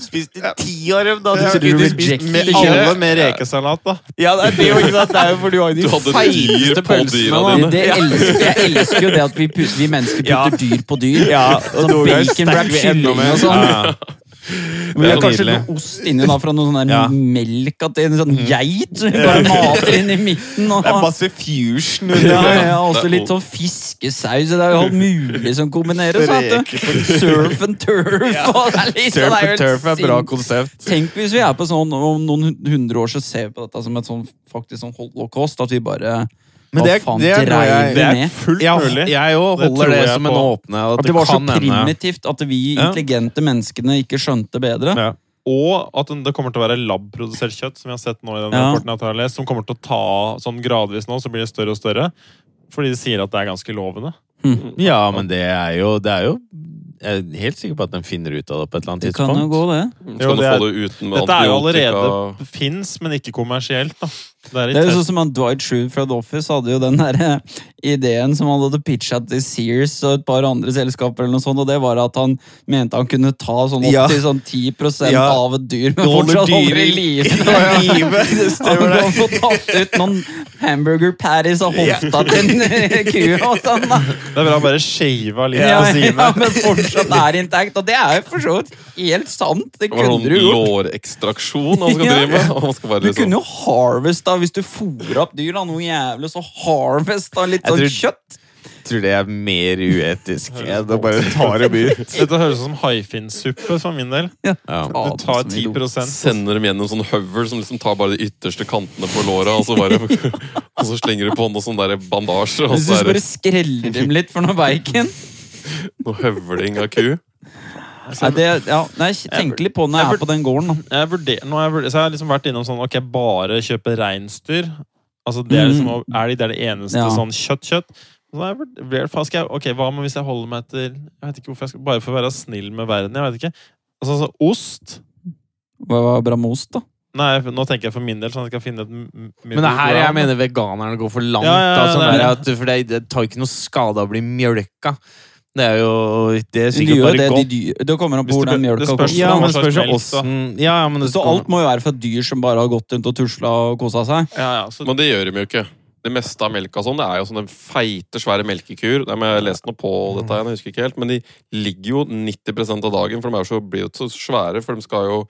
Spiste ti av dem, da. Jeg tror du kunne spist rejected med ikke alle. Alle med rekesalat, da. Ja, det er det jo ikke sant. Det er jo for du har jo Du de hadde dyr feiteste på pølsene. dyra Det, da. det elsker, jeg elsker jo det at vi, pus- vi mennesker Ja. putter dyr på dyr. Ja, Sånn og noen ganger bacon wrap stekker vi enda kylling mer. og sånn. Ja, ja. Vi har Det er kanskje nydelig. noe ost inni da fra noe sånn der Ja. Mhm. melk at det er en sånn geit som bare mater inn i midten. Og, Det er masse fusion. under ja, det. ja, også litt sånn fiskesaus. Det er jo alt mulig som kombineres. Vet du. Surf and turf. Og det er liksom, Turf det er jo and helt turf er bra sinnssykt. konsept. Tenk hvis vi er på sånn om noen hun- hundre år så ser vi på dette som et sånn faktisk sånn holocaust. At vi bare Men det er- Hva faen det er noe jeg- dreier Det vi er med? fullt Jeg, mulig. jeg òg Det tror holder det, jeg som på. en åpner. At, At det var så kan hende. primitivt at vi Ja. intelligente menneskene ikke skjønte bedre. Ja. Og at det kommer til å være labprodusert kjøtt, som vi har sett nå i den Ja. rapporten jeg har lest, som kommer til å ta sånn gradvis nå, så blir det større og større. Fordi de sier at det er ganske lovende. ja, men det er jo Det er jo Jeg er helt sikker på at den finner ut av det på et eller annet Det kan jo tidspunkt. gå, det. Skal Jo, du det få er- det uten med Dette er jo antibiotika? allerede fins, men ikke kommersielt. da. Det er i Det er jo test. sånn som at Dwight Schrute fra The Office hadde jo den der eh, ideen som han hadde pitcha til Sears og et par andre selskaper, eller noe sånt, og det var at han mente han kunne ta sånn Ja. opptil sånn 10 Ja. av et dyr, men Holder fortsatt holder i dyret i- live. i live, det Han stemmer det. kan få tatt ut noen hamburger patties av hofta til en eh, ku og sånn, da. Det er bra å bare shave av litt Ja, på sidene. ja, men fortsatt er intakt, og det er jo for så vidt helt sant. Det Det var kunne sånn du gjort. lårekstraksjon han skal Ja. drive med. og Han skal bare Du liksom, kunne jo sånn- harvesta, hvis du fôrer opp dyr da, noe jævlig, så harvesta litt Jeg sånn tror- kjøtt. Jeg tror det er mer uetisk enn å bare ta dem ut. Dette høres ut som haifinnsuppe for min del. Ja. Du Faen, tar som vi 10 lo. sender dem gjennom sånn høvel som liksom tar bare de ytterste kantene på låra, og så bare og så slenger du på noe sånn der bandasje, og Jeg så syns er bare det skreller dem litt for noe bacon. noe høvling av ku. Nei, det, ja, nei, jeg tenker litt på når jeg er på den gården. da. Jeg vurder, nå har jeg, vurder, så jeg har liksom vært innom sånn Ok, bare kjøpe reinsdyr. Altså, det Mm. er, liksom, er det, det er det eneste Ja. sånn kjøtt-kjøtt. Så har jeg vurd- vurder- faen, skal jeg- Ok, hva med hvis jeg holder meg til Jeg vet ikke hvorfor jeg skal Bare for å være snill med verden, jeg vet ikke. Altså, altså ost Hva var bramost, da? Nei, nå tenker jeg for min del sånn at jeg skal finne et m- m- Men det er her middelprogram. jeg mener veganerne går for langt. Ja, ja, ja, da, sånn det er der, at, for det, det tar jo ikke noe skade av å bli mjølka. Det er jo det er De sikkert gjør bare det, de godt. dyr, det kommer an på Hvis hvor det den bør- det mjølka spørs- kommer de- ja, fra. men Hva slags spørs jo melk, da? åssen ja, ja, men det Så skal- alt må jo være fra dyr som bare har gått rundt og tusla og kosa seg. ja, ja, så, Men det gjør de jo ikke. Det meste av melka sånn, det er jo sånne feite, svære melkekur. Nei, men jeg leste noe på Mm. dette, her, jeg husker ikke helt, men de ligger jo 90 av dagen, for de er jo så, blir jo så svære. For de skal jo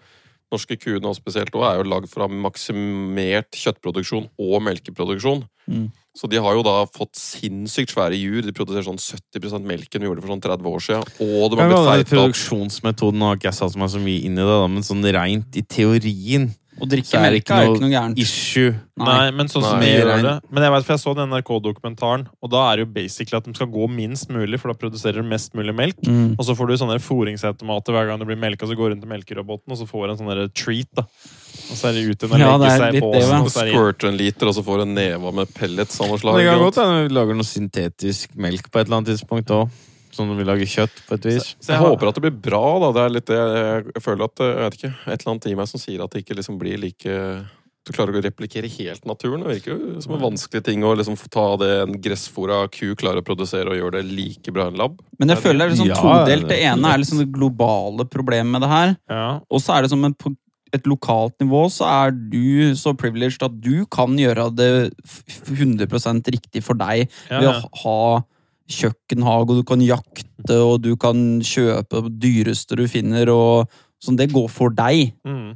Norske kuene og spesielt også, er jo lagd fra maksimert kjøttproduksjon og melkeproduksjon. Mm. Så de har jo da fått sinnssykt svære jur. De produserer sånn 70 melk enn de gjorde for sånn 30 år siden. Og de Ja, men har blitt den feitet opp. Produksjonsmetoden har ikke jeg satt meg så mye inn i, det, da, men sånn reint i teorien Å Så drikke er det melk ikke er jo noe- ikke noe gærent. Issue. Nei. Nei, men sånn som Nei. vi gjør Rein. det Men jeg vet, for jeg så den NRK-dokumentaren, og da er det jo basically at de skal gå minst mulig, for da produserer de mest mulig melk. Mm. Og så får du sånne fôringsautomater hver gang du blir melka, så går du rundt til melkeroboten, og så får du en sånn der treat, da. Og så er det ut igjen og Ja, legge det er seg i litt det, posen, ja. og så er det inn. Squirter en liter, og så får du en neve med pellets av noe Det slag. kan ikke godt sant? hende vi lager noe syntetisk melk på et eller annet tidspunkt òg. Sånn når vi lager kjøtt, på et vis. Så jeg Jeg har, håper at det blir bra, da. Det er litt det jeg- jeg føler at eh, Jeg vet ikke. Et eller annet i meg som sier at det ikke liksom blir like Du klarer ikke å replikere helt naturen. Det virker jo som en vanskelig ting å liksom få ta det en gressfora ku klarer å produsere, og gjøre det like bra i en lab. Men jeg føler det er litt sånn Ja, todelt. Det det- ene er liksom det globale problemet med det her. ja. Og så er det som en, på et lokalt nivå så er du så privileged at du kan gjøre det f- 100 riktig for deg Ja, ved ja. å ha kjøkkenhage, og du kan jakte, og du kan kjøpe det dyreste du finner, og sånn. Det går for deg. Mm.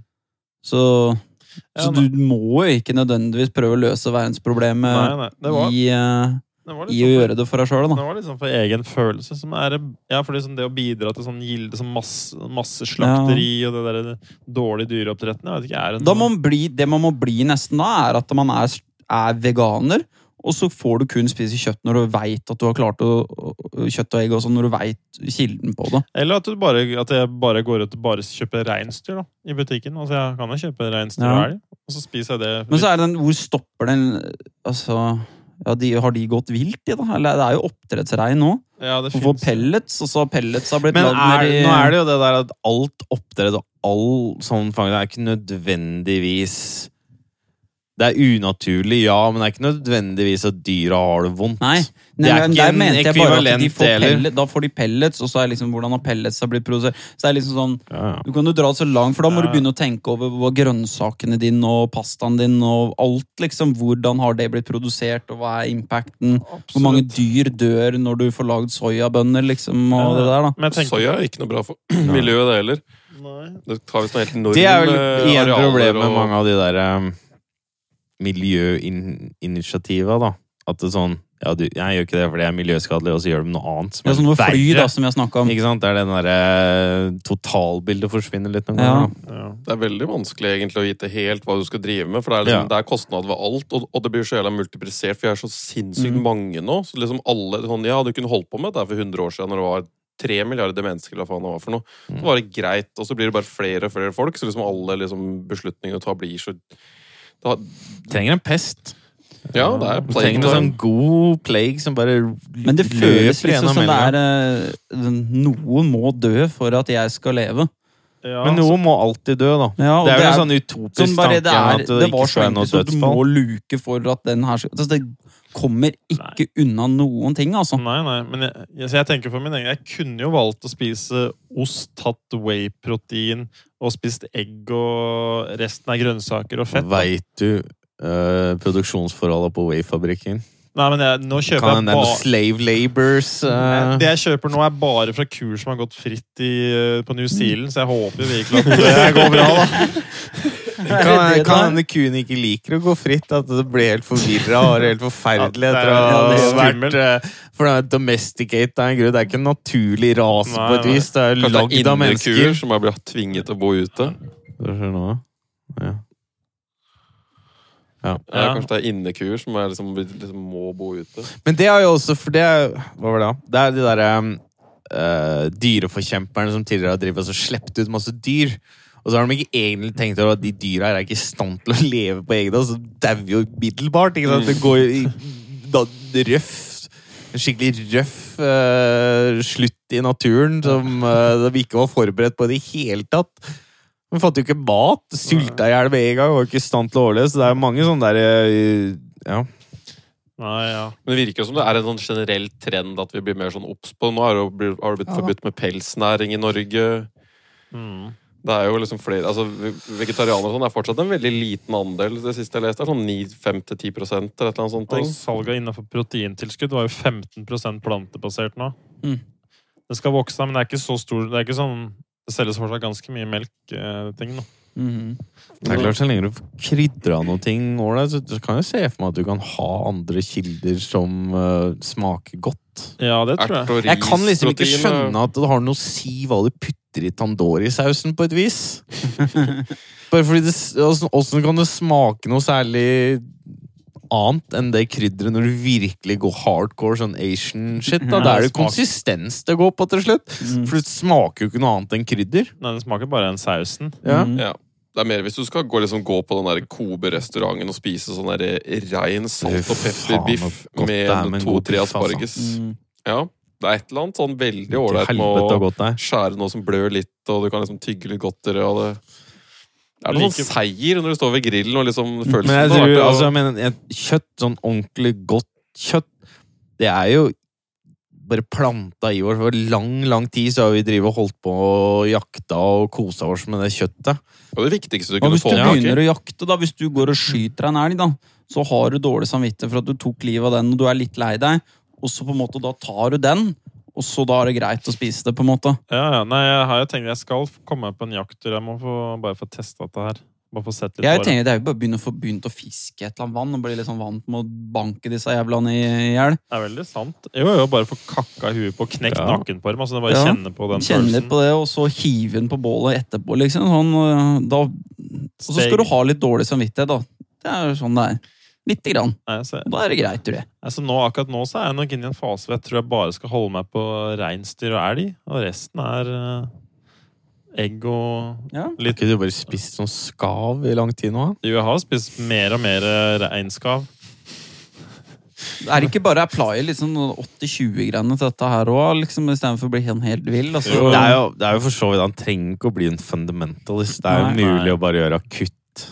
Så, Ja, så nei. du må jo ikke nødvendigvis prøve å løse Nei, verdensproblemet nei. Det var, i, eh, det var i å litt sånn- gjøre det for deg sjøl, da. Det var liksom for egen følelse. Som er, ja, for liksom det å bidra til sånn gilde som masse, masse slakteri og det der dårlige dyreoppdretten jeg vet ikke, er en da må man bli, det man må bli nesten da, er at man er, er veganer, Og så får du kun spise kjøtt når du veit at du har klart å å- Kjøtt og egg og sånn, når du veit kilden på det. Eller at, du bare, at jeg bare går ut og bare kjøper reinsdyr da, i butikken. Altså, Jeg kan jo kjøpe reinsdyr og Ja. elg, og så spiser jeg det. Men så er det den Hvor stopper den Altså ja, de, Har de gått vilt, de, da? Eller det er jo oppdrettsrein nå. ja, det Hun får finnes. pellets, og så har pellets har blitt Men lagd er, ned i nå er det jo det der at alt oppdrett og all sånn fangst er ikke nødvendigvis Det er unaturlig, ja, men det er ikke nødvendigvis at dyra har det vondt. Nei, Det er men ikke der en mente jeg bare at de ekvivalent, får det heller. pellet, Da får de pellets, og så er liksom hvordan har pellets har blitt produsert. Så det er liksom sånn, Ja, ja. Du kan jo dra det så langt, for da må Ja. du begynne å tenke over hva grønnsakene dine og pastaen din og alt. liksom, Hvordan har det blitt produsert, og hva er impacten? Hvor mange Absolutt. dyr dør når du får lagd soyabønner, liksom, og det der, da. Men jeg tenker, Soya er ikke noe bra for miljøet, det heller. Nei. Det tar visst noe helt enormt Det er vel eh, igjen arealer problemet med og- mange av de der eh, miljøinitiativa, da. At det er sånn Ja, du, jeg gjør ikke det fordi jeg er miljøskadelig, og så gjør de noe annet. som Det er sånn med fly, verre. da, som vi har snakka om. Ikke sant? Det er den derre eh, totalbildet forsvinner litt noen Ja. ganger. da. Ja. Det er veldig vanskelig egentlig å vite helt hva du skal drive med. For det er, Ja. liksom, det er kostnad ved alt, og, og det blir så jævla multiplisert, for vi er så sinnssykt Mm. mange nå. Så liksom alle sånn, Ja, du kunne holdt på med dette for 100 år siden når det var tre milliarder mennesker, eller hva faen det var for noe. Mm. Så var det greit, og så blir det bare flere og flere folk, så liksom alle liksom, beslutningene du tar, blir så det har, Trenger en pest. Ja, det er Du trenger en sånn plague-time. god plague som bare Men det føles litt sånn som det hele. er eh, Noen må dø for at jeg skal leve. Ja, Men noen må alltid dø, da. Ja, og det er vel en sånn sånn utopisk Sånn bare, det, tanke er, at det, det ikke var så skal være enkelt, noe så du må dødsfall. luke for at den her skal altså, Det kommer ikke unna noen ting, altså. Nei, nei, men jeg, jeg, så jeg tenker for min egen Jeg kunne jo valgt å spise ost, tatt whey-protein og spist egg og resten er grønnsaker og fett. da. Veit du uh, produksjonsforholda på Wayfabrikken? Nei, men jeg, nå kjøper Kan jeg hende det er noen bare slave labors eh, Det jeg kjøper nå, er bare fra kur som har gått fritt i, eh, på New Zealand, så jeg håper virkelig at det går bra, da. Er Kan det det kan der? hende kuen ikke liker å gå fritt, at det blir helt forvirra og helt forferdelig Ja, det er- etter å ja, ha det er vært eh, For det er domesticate av en grunn. Det er ikke en naturlig rase Nei, på et nei. vis. Det er Kanskje det lagd er av innekuer mennesker. som har blitt tvinget til å bo ute. Det skjer nå, ja. Ja. Ja. Kanskje det er innekuer som er liksom, liksom må bo ute. Men det har jo også For det er Hva var det, da? Det er de derre eh, dyreforkjemperne som tidligere har drevet og sluppet ut masse dyr. Og så har de ikke egentlig tenkt over at de dyra her er ikke i stand til å leve på egen hånd, så dauer jo umiddelbart. ikke sant? Det går jo i da, røff en Skikkelig røff eh, slutt i naturen som eh, de ikke var forberedt på i det hele tatt. De fant jo ikke mat. Sulta i hjel med en gang, var ikke i stand til å overleve. Så det er jo mange sånne derre Ja. Nei, ja. Men det virker jo som det er en sånn generell trend at vi blir mer sånn obs på. Nå er det jo blir- har det Ja blitt da. forbudt med pelsnæring i Norge. Mm. Det er jo liksom flere, altså ve- Vegetarianere og sånn er fortsatt en veldig liten andel. Det siste jeg leste, er sånn 9-5-10 prosent, eller et eller annet sånt. Og ting. salget innenfor proteintilskudd var jo 15 plantebasert nå. Mm. Det skal vokse, men det er ikke så stor Det er ikke sånn Det selges fortsatt ganske mye melk-ting nå. Mm. Mhm. Det er klart, Så lenge du får krydra noe ting ålreit, så så kan jeg se for meg at du kan ha andre kilder som eh, smaker godt. Ja, det tror jeg. Ert og ris, Jeg kan liksom ikke protein, skjønne at det har noe å si hva du putter i tandoori-sausen, på et vis. Bare fordi det s- åssen- Åssen kan det smake noe særlig annet enn det krydderet når du virkelig går hardcore sånn Asian shit? Da Da er det smak- konsistens det går på til slutt. Mm. For det smaker jo ikke noe annet enn krydder. Nei, den smaker bare den sausen. Ja. Mhm. Ja. Det er mer hvis du skal gå, liksom, gå på den der Kobe-restauranten og spise sånn der rein salt og Fy faen, pepperbiff hvor godt det er med med en god to-tre biff, altså. asparges. Mhm. Ja, det er et eller annet sånn veldig Til ålreit med helvete å hvor godt det er. skjære noe som blør litt, og du kan liksom tygge litt godtere. Og det det er noe Like- sånn seier når du står ved grillen og liksom følelsen Men jeg av at tror, det- altså, jeg mener, et kjøtt, sånn ordentlig godt kjøtt, det er jo bare planta i oss. For lang, lang tid så har vi drivet og holdt på og jakta og kosa oss med det kjøttet. Det var det altså- Og viktigste du kunne hvis du få tak i. begynner å jakte, da, hvis du går og skyter en elg, da, så har du dårlig samvittighet for at du tok livet av den, og du er litt lei deg, og så på en måte da tar du den, og så da er det greit å spise det, på en måte. Ja, ja. Nei, jeg har jo tenkt Jeg skal f- komme meg på en jakttur. Jeg må få, bare få testa dette her. Bare få sett litt Jeg på det. tenker det er jo bare å begynne å få begynt å fiske et eller annet vann, og bli litt sånn vant med å banke disse jævlene i i hjel. Det er veldig sant. Jo, jo, bare få kakka huet på, knekt Ja. nakken på dem. Altså, det bare Ja. kjenne på den Kjenne følelsen. på det, og så hive den på bålet etterpå, liksom. Sånn, og da, og så skal du ha litt dårlig samvittighet, da. Det er jo sånn det er. Lite grann. Nei, så, Da er det greit, tror jeg. altså nå, akkurat nå så er jeg nok inne i en fase hvor jeg tror jeg bare skal holde meg på reinsdyr og elg. Og resten er eh, egg og Ja. Har ikke du bare spist sånn skav i lang tid nå? Jo, jeg har spist mer og mer eh, reinskav. Er det ikke bare apply liksom 80-20-greiene til dette her òg, liksom, istedenfor å bli helt, helt vill? Altså, Det er, jo, det er jo for så vidt Han trenger ikke å bli en fundamentalist. Det er jo Nei, mulig nei. å bare gjøre akutt.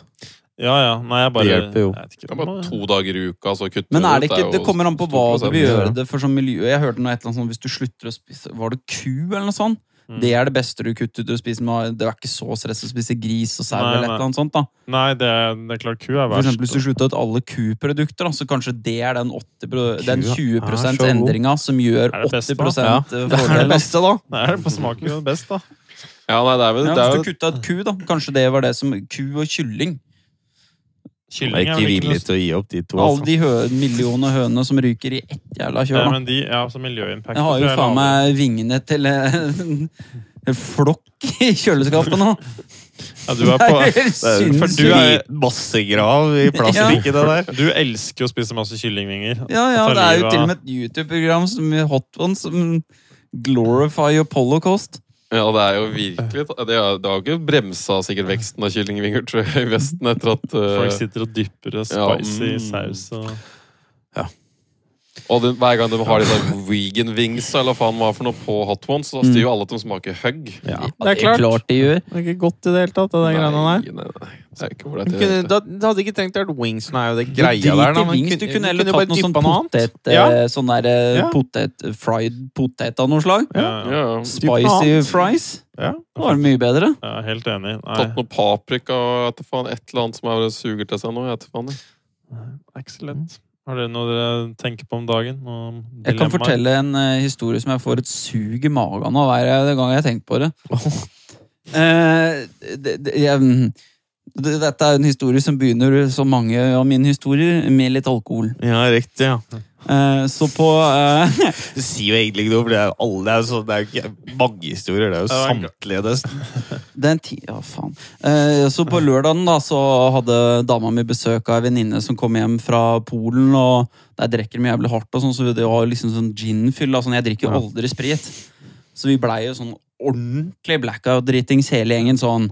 Ja, ja. Nei, jeg bare Det hjelper jo. Jeg vet Det ikke, er bare må- to dager i uka, så kutter Men du er ut. det ikke, jo det kommer an på hva du 2%. vil gjøre det for sånn miljø. Jeg hørte noe et eller annet sånn, hvis du slutter å spise Var det ku eller noe sånt? Mm. Det er det beste du kutter ut å spise. Men det er ikke så stress å spise gris og sau Nei, eller et nei. eller annet sånt. da. Nei, det er, det er klart ku er For verst. eksempel hvis du slutter ut alle kuprodukter, da, så kanskje det er den, 80, pro- den Kua er 20 så god. endringa som gjør eh, Er det beste, 80 da? Ja. fordel. da. da. Nei, det på smaker jo best, da. Ja, nei, det er vel, Ja, det er hvis vel du kutta ut ku, da. Kanskje det var det som Ku og kylling. Jeg Kylling er vel ikke ikke noe villig til å gi opp de to. Alle Altså. de hø millioner hønene som ryker i ett jævla Ja, kjør. da. men de, ja, så miljøimpact Jeg har jo tror jeg faen er lavere. meg vingene til eh, en flokk i kjøleskapet nå. ja, du, er på, Det er jo jo for du er- massegrav i plastikk i det der. du elsker jo å spise masse kyllingvinger. Ja, ja, Ta det er jo livet til av- og med et YouTube-program som Hot Ones som glorify your holocaust. Ja, det er jo virkelig Det har, det har ikke bremsa sikkert veksten av kyllingvinger tror jeg, i Vesten etter at Folk eh, sitter og dypper det Ja, spicy mm. saus og Og den- hver gang de har de der vegan wings eller hva faen hva for noe på hot ones, Mm. så sier jo alle at de smaker hugg. Ja, Ja, de gjør. Det er ikke godt i det hele tatt, det der greiene der. Nei, nei, nei. Det er ikke ålreit. i Du det kunne, hele tatt. da, du hadde ikke trengt å ha wings, nå er jo det Du greia der. driter da, i men Wings. Du kunne heller bare tatt noe sånn dyppet annet. potet, eh, Ja. sånn der eh, Ja. potet, fried potet av noe slag. ja, ja. ja, ja. Spicy annet. fries. ja. Det var mye bedre. Jeg er helt enig. Nei, Tatt noe paprika og vet du faen, et eller annet som er suger til seg nå. Jeg vet faen. jeg. excellent. Har dere noe dere tenker på om dagen? Noen Jeg kan dilemmaer? fortelle en eh, historie som jeg får et sug i magen av hver gang jeg tenker på det. Eh, det, det jeg, mm, det, dette er en historie som begynner, som mange av mine historier, med litt alkohol. Ja, riktig. ja. Eh, så på eh, Du sier jo egentlig ikke noe, for det er jo alle det er jo så, det er jo ikke mange historier. Det er jo Ja, det samtlige nesten. den ti... Ja, faen. Eh, så på lørdagen da, så hadde dama mi besøk av ei venninne som kom hjem fra Polen, og der drikker de jævlig hardt, og sånn, så det var liksom sånn ginfyll. da, Sånn, jeg drikker jo aldri sprit. Så vi blei jo sånn ordentlig blackout-dritings hele gjengen. Sånn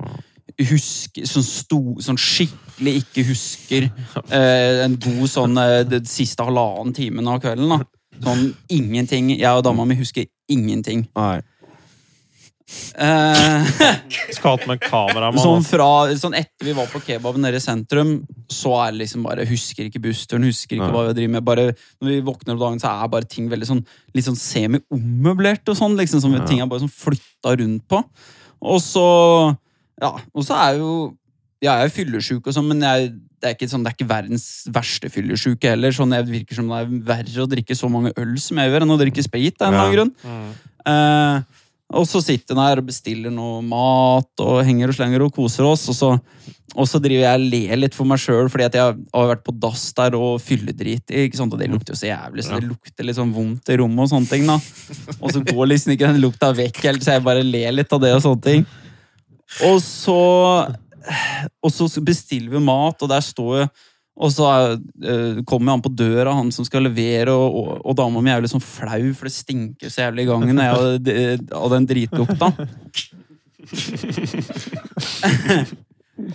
husker, sånn, sto, sånn skikkelig ikke husker eh, en god sånn eh, den siste halvannen timen av kvelden. da. Sånn ingenting. Jeg og dama mi husker ingenting. Nei. Eh, Skal hatt med kameramann. Sånn, altså. fra, sånn etter vi var på kebaben nede i sentrum, så er det liksom bare Husker ikke bussturen, husker ikke Nei. hva vi driver med. Bare, når vi våkner om dagen, så er bare ting veldig sånn litt sånn semi-ommøblert og sånn. liksom, sånn, Ting er bare sånn flytta rundt på. Og så Ja, og så er jo Jeg er jo fyllesyk og sånn, men jeg, det, er ikke sånn, det er ikke verdens verste fyllesyke heller. Sånn, jeg virker som det er verre å drikke så mange øl som jeg gjør, enn å drikke sprit. av en eller annen Ja. grunn. Eh, og så sitter hun her og bestiller noe mat og henger og slenger og koser oss. Og så, og så driver jeg og ler litt for meg sjøl fordi at jeg har vært på dass der og fylledrit. Ikke sant? Og det lukter jo så jævlig, så det lukter litt sånn vondt i rommet og sånne ting. da. Og så går liksom ikke den lukta vekk helt, så jeg bare ler litt av det og sånne ting. Og så, og så bestiller vi mat, og der står jo og så eh, kommer han på døra, han som skal levere, og, og, og dama mi er jo litt sånn flau, for det stinker så jævlig i gangen jeg, av, det- eh, av den dritlukta.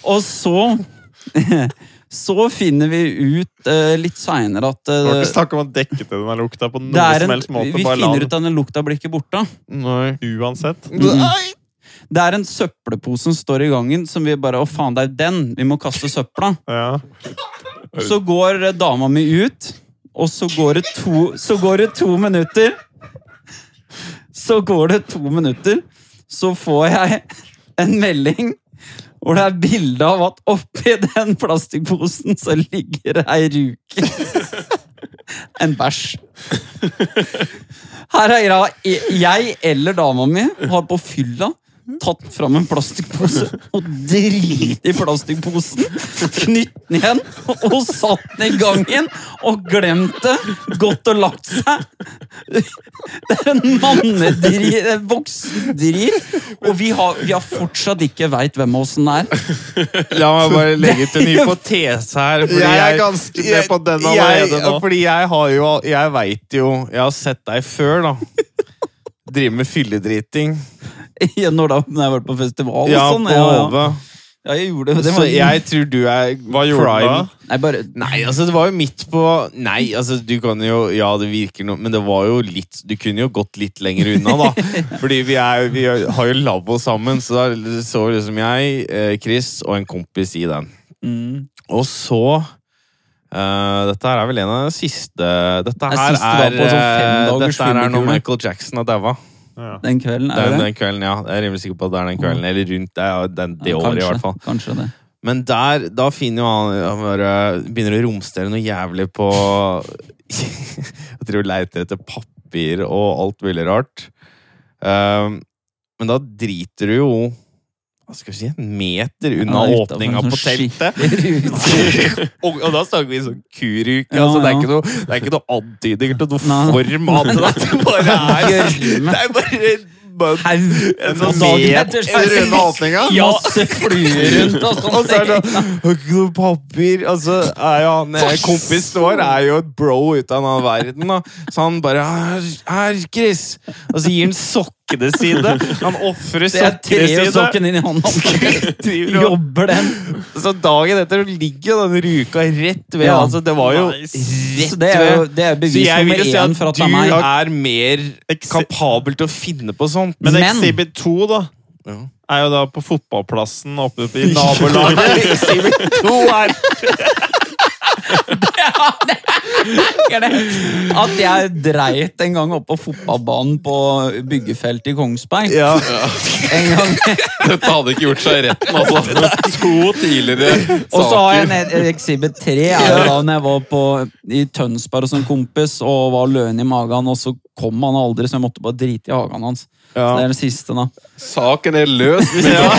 og så Så finner vi ut eh, litt seinere at Det var eh, ikke snakk om å dekke til den her lukta på det noen er som en, helst måte. vi bare la finner den ut at den lukta blir ikke borte. Nei. uansett. Det er en søppelpose som står i gangen, som vi bare Å, faen, det er den! Vi må kaste søpla. Ja. Så går eh, dama mi ut, og så går det to, så går det to minutter. Så går det to minutter, så får jeg en melding hvor det er bilde av at oppi den plastikkposen så ligger det ei ruke. En bæsj. Her er greia. Jeg eller dama mi har på fylla tatt fram en plastpose og driti i plastposen, knytt den igjen og satt den i gangen og glemt det, gått og lagt seg. Det er en mannedrit, en voksendrit, og vi har, vi har fortsatt ikke veit hvem av oss den er. La meg bare legge ut en hypotese her. fordi Jeg er ganske med på den allerede jeg, nå. Fordi jeg har jo Jeg veit jo Jeg har sett deg før, da. Drive med fylledriting. Når da når jeg har vært på festival og Ja, sånn. på Ja, ja. Hove. ja, jeg gjorde det. det Så var, jeg tror du er Hva gjorde du da? Nei, bare Nei, altså det var jo midt på Nei, altså du kan jo Ja, det virker noe Men det var jo litt Du kunne jo gått litt lenger unna da Fordi vi, er, vi har jo lavvo sammen Så da så liksom jeg, eh, Chris og en kompis i den mm, Og så eh, Dette her er vel en av de siste Dette er her siste da er, på sånn eh, femdagers Dette her er flyvekule. når Michael Jackson har daua Ja. Den kvelden, er den, det det? den kvelden, ja Jeg er rimelig sikker på at det er den kvelden Eller rundt det, ja, den, det Ja, året i kanskje, hvert fall Kanskje det. men der, da finner jo han, han bare, begynner å romstere noe jævlig på Jeg tror leiter etter papir og alt mulig rart. Ehm, men da driter du jo hva skal vi si, en meter unna Ja, utenfor åpninga en på sånn teltet. skikkelig rute. og, og da snakker vi sånn kuruke. Ja, altså, det, er ja. ikke noe, det er ikke noe antydninger til noe Nei. form av det. der. Det bare er, Gjørme. det er bare, bare Haug. en Og sånn dagen meter etter så er det unna åpninga. Ja. masse fluer rundt og sånn. Og så er det Har ikke noe papir Altså, er jo han eh, Kompisen vår er jo et bro ut av en annen verden, da. Så han bare Her, her Chris! Og så gir han sokkene sine. Han ofrer Så jeg sokkene trer jo sine. sokken inn i hånda. Driver og- Jobber den. Så dagen etter ligger jo den ruka rett ved. Ja. Altså, det var jo Nice. Så det er jo rett ved. det er Så bevis jeg vil nummer jo si én at for at du det er meg. er mer Ex- kapabel til å finne på sånt. Men Men- Exhibit 2, da, Ja. er jo da på fotballplassen oppe i nabolaget. to er husker det. At jeg dreit en gang oppe på fotballbanen på byggefeltet i Kongsberg. ja. En gang. Dette hadde ikke gjort seg i retten, altså. To tidligere saker. Og så har jeg en en Exhibit 3. Er jo da når jeg var på, i Tønsberg hos en kompis og var løen i magen, og så kom han aldri, så jeg måtte bare drite i hagen hans. Så det er det siste, da. Saken er løs! Ja.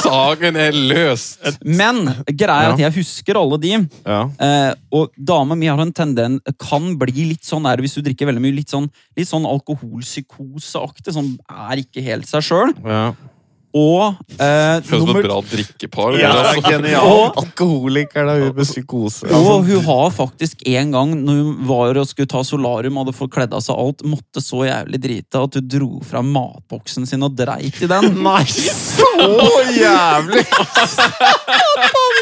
Saken er løs! Men greia er at jeg husker alle de. Ja. Eh, og dama mi har en tenden kan bli litt sånn der hvis du drikker veldig mye. Litt sånn, litt sånn alkoholpsykoseaktig. Sånn er ikke helt seg sjøl. Ja. Og eh, Høres ut som nummer et bra drikkepar. Ja, det er altså. genialt. Alkoholiker, da. Hun med psykose. Og hun har faktisk en gang når hun var og skulle ta solarium, hadde fått kledd av seg alt, måtte så jævlig drite at hun dro fra matboksen sin og dreit i den. Nei, så jævlig!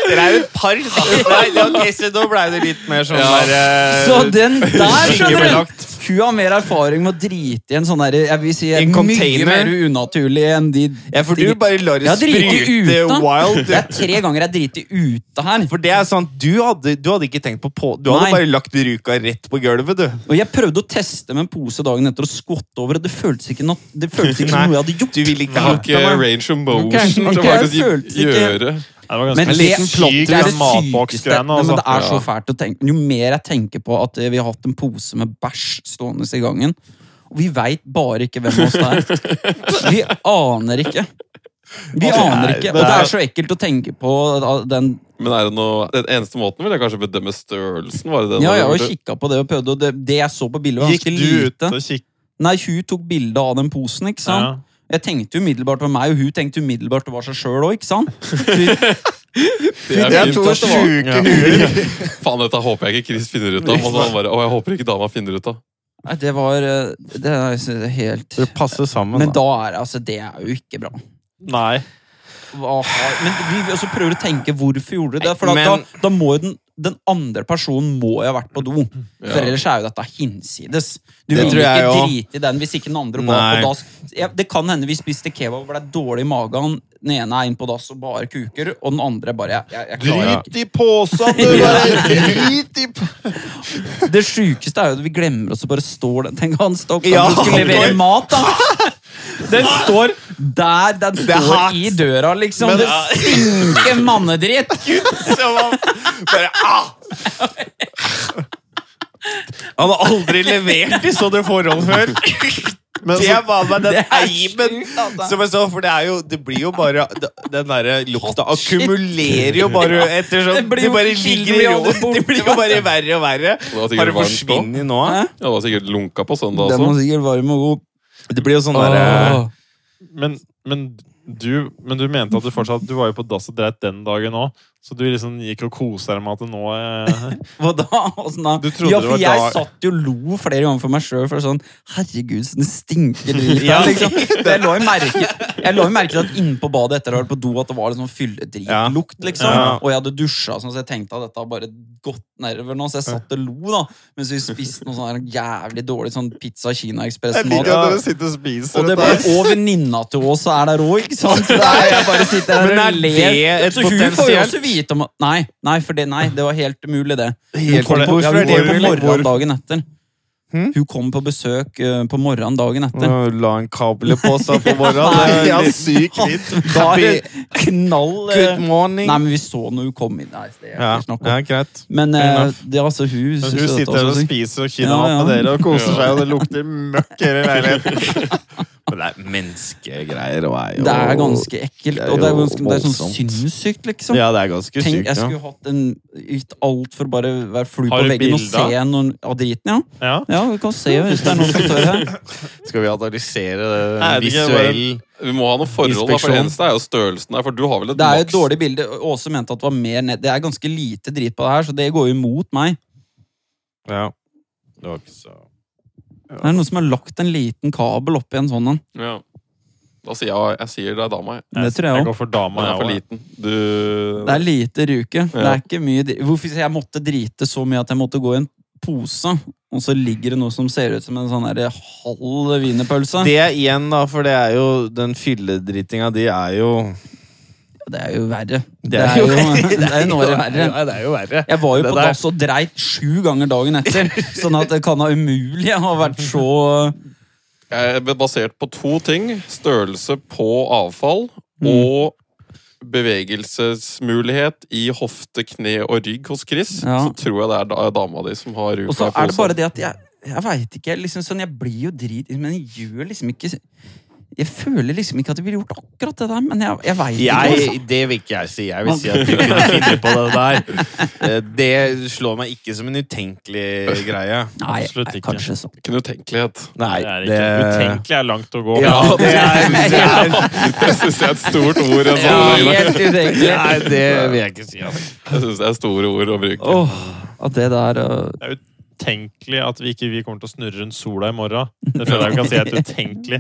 Dere er jo et par, da. Nei, ok, så nå ble det litt mer sånn Ja. der, eh, Så den der, skjønner du! skingebelagt. Hun har mer erfaring med å drite i en sånn derre Jeg vil si En mye container. mer unaturlig enn de Ja, for du bare lar det Jeg driter sprute ute. Det wild. du. er tre ganger jeg driter ute her. For det er sant, du hadde, du hadde ikke tenkt på på... Du Nei. hadde bare lagt ruka rett på gulvet, du. Og jeg prøvde å teste med en pose dagen etter og skvatte over det. Det føltes ikke, nat- det føltes ikke Nei. som noe jeg hadde gjort. Du ville ikke Jeg ha har ikke range of motion Ok, til ok, å jeg faktisk følte ikke- gjøre Det var Men ganske det, en liten plott i det er det sykeste matboksgreiene, Nei, men Det altså. er så fælt å tenke Jo mer jeg tenker på at eh, vi har hatt en pose med bæsj stående i gangen Og vi veit bare ikke hvem av oss det er. Vi aner ikke. Vi Det er- aner ikke. Og det er så ekkelt å tenke på da- den Men er det noe Den eneste måten ville jeg kanskje bedømme størrelsen, var det den? Ja, jeg har du- jo kikka på det og prøvd, og det, det jeg så på bildet, var Gikk ganske du ut lite. og kikket? Nei, hun tok bilde av den posen, ikke sant? Ja. Jeg tenkte umiddelbart det var meg, og hun tenkte umiddelbart det var seg sjøl òg, ikke sant? Hun- Det er Det er fint to at det var- sjuke Faen, dette håper jeg ikke Chris finner ut av. Og så han bare, å, jeg håper ikke dama finner ut av. Nei, det var eh, Det er altså helt Dere passer sammen, Men da er det- altså, det er jo ikke bra. Nei. Hva har- Men vi også prøver å tenke hvorfor gjorde du det? For da, Nei, men- da, da må jo den, den andre personen må jo ha vært på do. Ja. For ellers er jo dette hinsides. Du Det vil tror jeg ikke jo. drite i den hvis ikke den andre var Nei. på dass. Ja, Det kan hende vi spiste kebab og ble dårlig i magen. Den ene er inn på dass og bare kuker, og den andre bare jeg, jeg, jeg klarer det. Drit i posen, du! Ja. bare. Drit i p- Det sjukeste er jo at vi glemmer oss og bare står der. Tenk han står opp, Ja, han skulle levere han- mat, da! Den står der, den er hardt. står i døra, liksom. Men- det stinker mannedritt! Så man bare ah! Han har aldri levert i sånne forhold før. Men Det så, var med den Det er eimen sjukt, altså. som jeg så, for det er jo Det blir jo bare Den derre lukta akkumulerer jo bare ettersom Det blir det jo- bare kilden ligger i blir aldri ro. borte, Det blir jo bare verre og verre. Det var Har sikkert det varmt da. forsvunnet nå? Hæ? Ja, det var sikkert lunka på søndag Den også. må sikkert varme og god. Det blir jo sånn derre Åh. men, men, du, men du mente at du fortsatt Du var jo på dass og dreit den dagen òg, så du liksom gikk og kosa deg med at det nå eh, Hva da? Åssen da? Du trodde ja, det for var jeg dag- satt jo og lo flere ganger for meg sjøl. For sånn, herregud, så det stinker drit Ja. her. Liksom. For Jeg lå i merke Jeg lå i merke til at inne på badet etter å ha vært på do, at det var liksom fylledritlukt. Liksom. Ja. Og jeg hadde dusja, sånn, så jeg tenkte at dette har bare gått nedover nå. Så jeg satt og lo da mens vi spiste noe sånn her jævlig dårlig sånn pizza Kina Ekspress-mat. Ja. sitter og spiser Og, det bare- og venninna til Ås er der òg, ikke sant? Så det er, jeg bare sitter her Men er og ler. det et Så hun får jo potensielt- også vite om at Nei, nei, for det, nei, det var helt umulig, det. Hun Helt kom på, umulig. ja, hun Hvorfor er kom det på umulig? morgenen dagen etter. Hm? Hun kom på besøk eh, på morgenen dagen etter. eh, La en kable på seg på morgenen. Nei, Det er ja, litt sykt. Da er det knall eh, Good morning. Nei, men vi så når hun kom inn. Nei, det er ikke Ja, snakk om. ja, greit. Men Fair eh, enough. det er altså hun Men synes Hun dette sitter også der og syk. spiser og Ja, kinamat ja. med dere og koser seg, og det lukter møkk i hele leiligheten. Men det er menneskegreier og er jo Det er ganske ekkelt, Det er og det er, jo ganske, det er sånn voldsomt. sinnssykt, liksom. Ja, det er ganske Tenk, jeg sykt. Ja. skulle hatt en, gitt alt for bare å være flue på Har du veggen og bilder? se noen av driten, ja. Ja. Ja, vi kan se hvis det er noen som tør her. Skal vi analysere det Nei, det kan jeg visuell Vi må ha noe forhold, da, for Inspeksjon. det eneste er jo størrelsen der. For du har vel et Det er jo maks et dårlig bilde. Åse mente at det var mer ned. Det er ganske lite drit på det her, så det går jo imot meg. Ja. Det var ikke så Det er noen som har lagt en liten kabel oppi en sånn en. ja. Da sier jeg, jeg sier det er dama, jeg. Det tror jeg òg. går for dama, Man er jeg for også. liten. Du Det er lite ruke. Det Ja. er ikke mye dri- Hvorfor sier jeg måtte drite så mye at jeg måtte gå i en pose, og så ligger det noe som ser ut som en sånn derre halv wienerpølse? Det igjen, da, for det er jo den fylledritinga di er jo Det er jo verre. Det er jo, det er jo noe verre. Ja, det er jo verre. Jeg var jo Det på der- dass og dreit sju ganger dagen etter, sånn at det kan ha umulig ha vært så Jeg er basert på to ting. Størrelse på avfall Mm. og bevegelsesmulighet i hofte, kne og rygg hos Chris. Ja. Så tror jeg det er da- dama di som har Og så ruka er det bare seg. det at jeg Jeg veit ikke. Jeg, liksom, sånn, jeg blir jo drit... Men jeg gjør liksom ikke Jeg føler liksom ikke at jeg ville gjort akkurat det der, men jeg, jeg veit ikke. altså. Jeg, det vil ikke jeg si. Jeg vil si at du kunne finne på det der. Eh, Det slår meg ikke som en utenkelig greie. Nei, absolutt nei, ikke. kanskje sånn. Ikke en utenkelighet. Nei, Det er det ikke utenkelig er langt å gå. Ja, det er, det er, Det syns jeg er et stort ord. i en Ja, sammenheng. helt utenkelig. Nei, det vil jeg ikke si. Altså. Jeg syns det er store ord å bruke. Åh, at det der øh, Det er utenkelig at vi ikke vi kommer til å snurre rundt sola i morgen. Det føler jeg vi kan si er et utenkelig,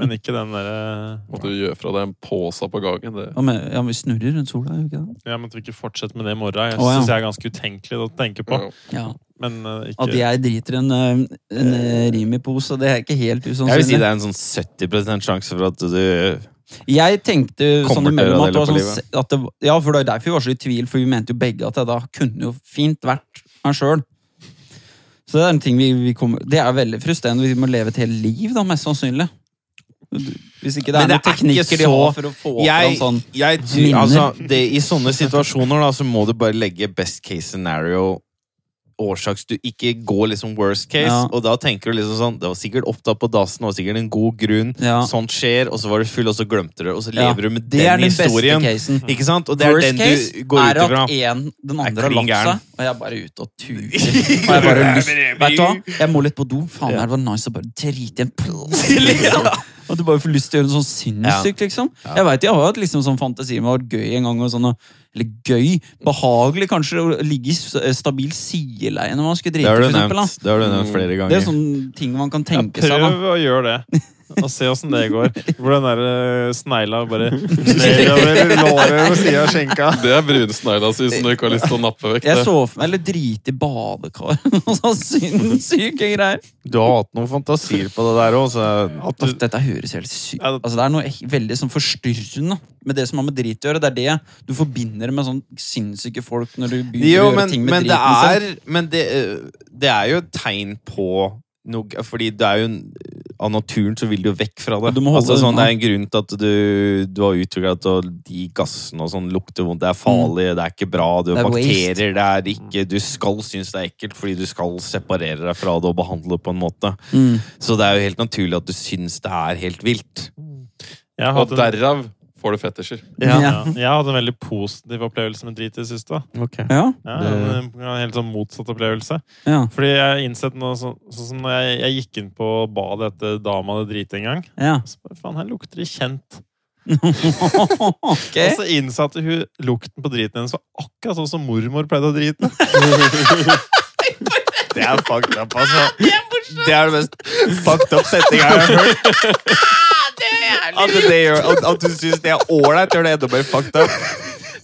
men ikke den eh, derre At du gjør fra deg en påse på gangen. Det. ja, men, ja, men vi snurrer rundt sola, gjør vi ikke det? Ja, men at vi ikke fortsetter med det i morgen. Jeg Å, ja. syns jeg er ganske utenkelig å tenke på. Ja. Ja. Men eh, At ikke jeg driter i en, øh, en øh, Rimi-pose, det er ikke helt usannsynlig. Jeg vil si det er en sånn 70 sjanse for at du Jeg tenkte sånn Kommer til å imellom at gjøre det var det i sånn løpet Men er det noen er ikke teknikker de så- har for å få jeg, fram sånn jeg, tror- minner. altså, det, I sånne situasjoner da, så må du bare legge best case scenario årsaks du ikke går liksom worst case, Ja. og da tenker du liksom sånn Det var sikkert opptatt på dassen, det var sikkert en god grunn, Ja. sånt skjer, og så var du full, og så glemte du det, og så Ja. lever du med Det er den den beste historien. casen. Ikke sant? Og det er Worst den case du går er ut at ifra. en, den Er andre har klin lagt gæren. seg, og jeg er bare ute og turer. Og jeg har bare lyst Vet du hva? Jeg må litt på do. Faen, det var nice å bare drite i en pølse, liksom. At du bare får lyst til å gjøre noe sånn sinnssykt, liksom. Jeg vet, jeg har hatt liksom sånn fantasi med å ha vært gøy en gang, og sånn, og- eller gøy, behagelig kanskje, å ligge i s- eh, stabil sideleie når man skulle drite, Det har for du eksempel. Da. nevnt, det har du nevnt flere Det er sånn- ganger. sånne ting man kan tenke seg, da. Prøv å gjøre det. Og se åssen det går. Hvor den der eh, snegla bare nedover låret ved sida av skjenka. Det er brunsnegla si som du ikke har lyst til å nappe vekk. Jeg Det. så for meg, eller drite i badekar, og sånn sinnssyke greier. Du har hatt noen fantasier på det der òg, så At du, At Altså, dette høres helt sykt Ja, det- altså, Det er noe ek- veldig sånn forstyrrende med det som har med drit å gjøre. Det er det du forbinder med sånn sinnssyke folk når du begynner Jo, å gjøre men, ting med men, eh, det driten liksom. sin. er, men det, øh, det er jo et tegn på noe Fordi det er jo en- av naturen så vil du jo vekk fra det. Du må holde altså, det sånn, unna. det er en grunn til at du, du har utvikla at å- de gassene og sånn lukter vondt. Det er farlig, det er ikke bra, du Mm. Det har er waste. Mm. bakterier, det er ikke Du skal synes det er ekkelt fordi du skal separere deg fra det og behandle det på en måte. Mm. Så det er jo helt naturlig at du syns det er helt vilt. Jeg har Og hatt en, derav får du fetisjer. ja. Ja. Jeg har hatt en veldig positiv opplevelse med drit i det siste. da. Ja, Ja, en, Det- en helt sånn motsatt opplevelse. ja, Fordi jeg har innsett noe sånn, sånn som når jeg, jeg gikk inn på badet etter dama hadde driti en gang. ja. Så bare, faen, her lukter det kjent. ok. Og så innsatte hun lukten på driten hennes var akkurat sånn som mormor pleide å drite. Det er fucked up, altså. Det er den mest fucked up setninga jeg har hørt. At, det gjør, at, at du syns det er ålreit, gjør det enda mer fucked up.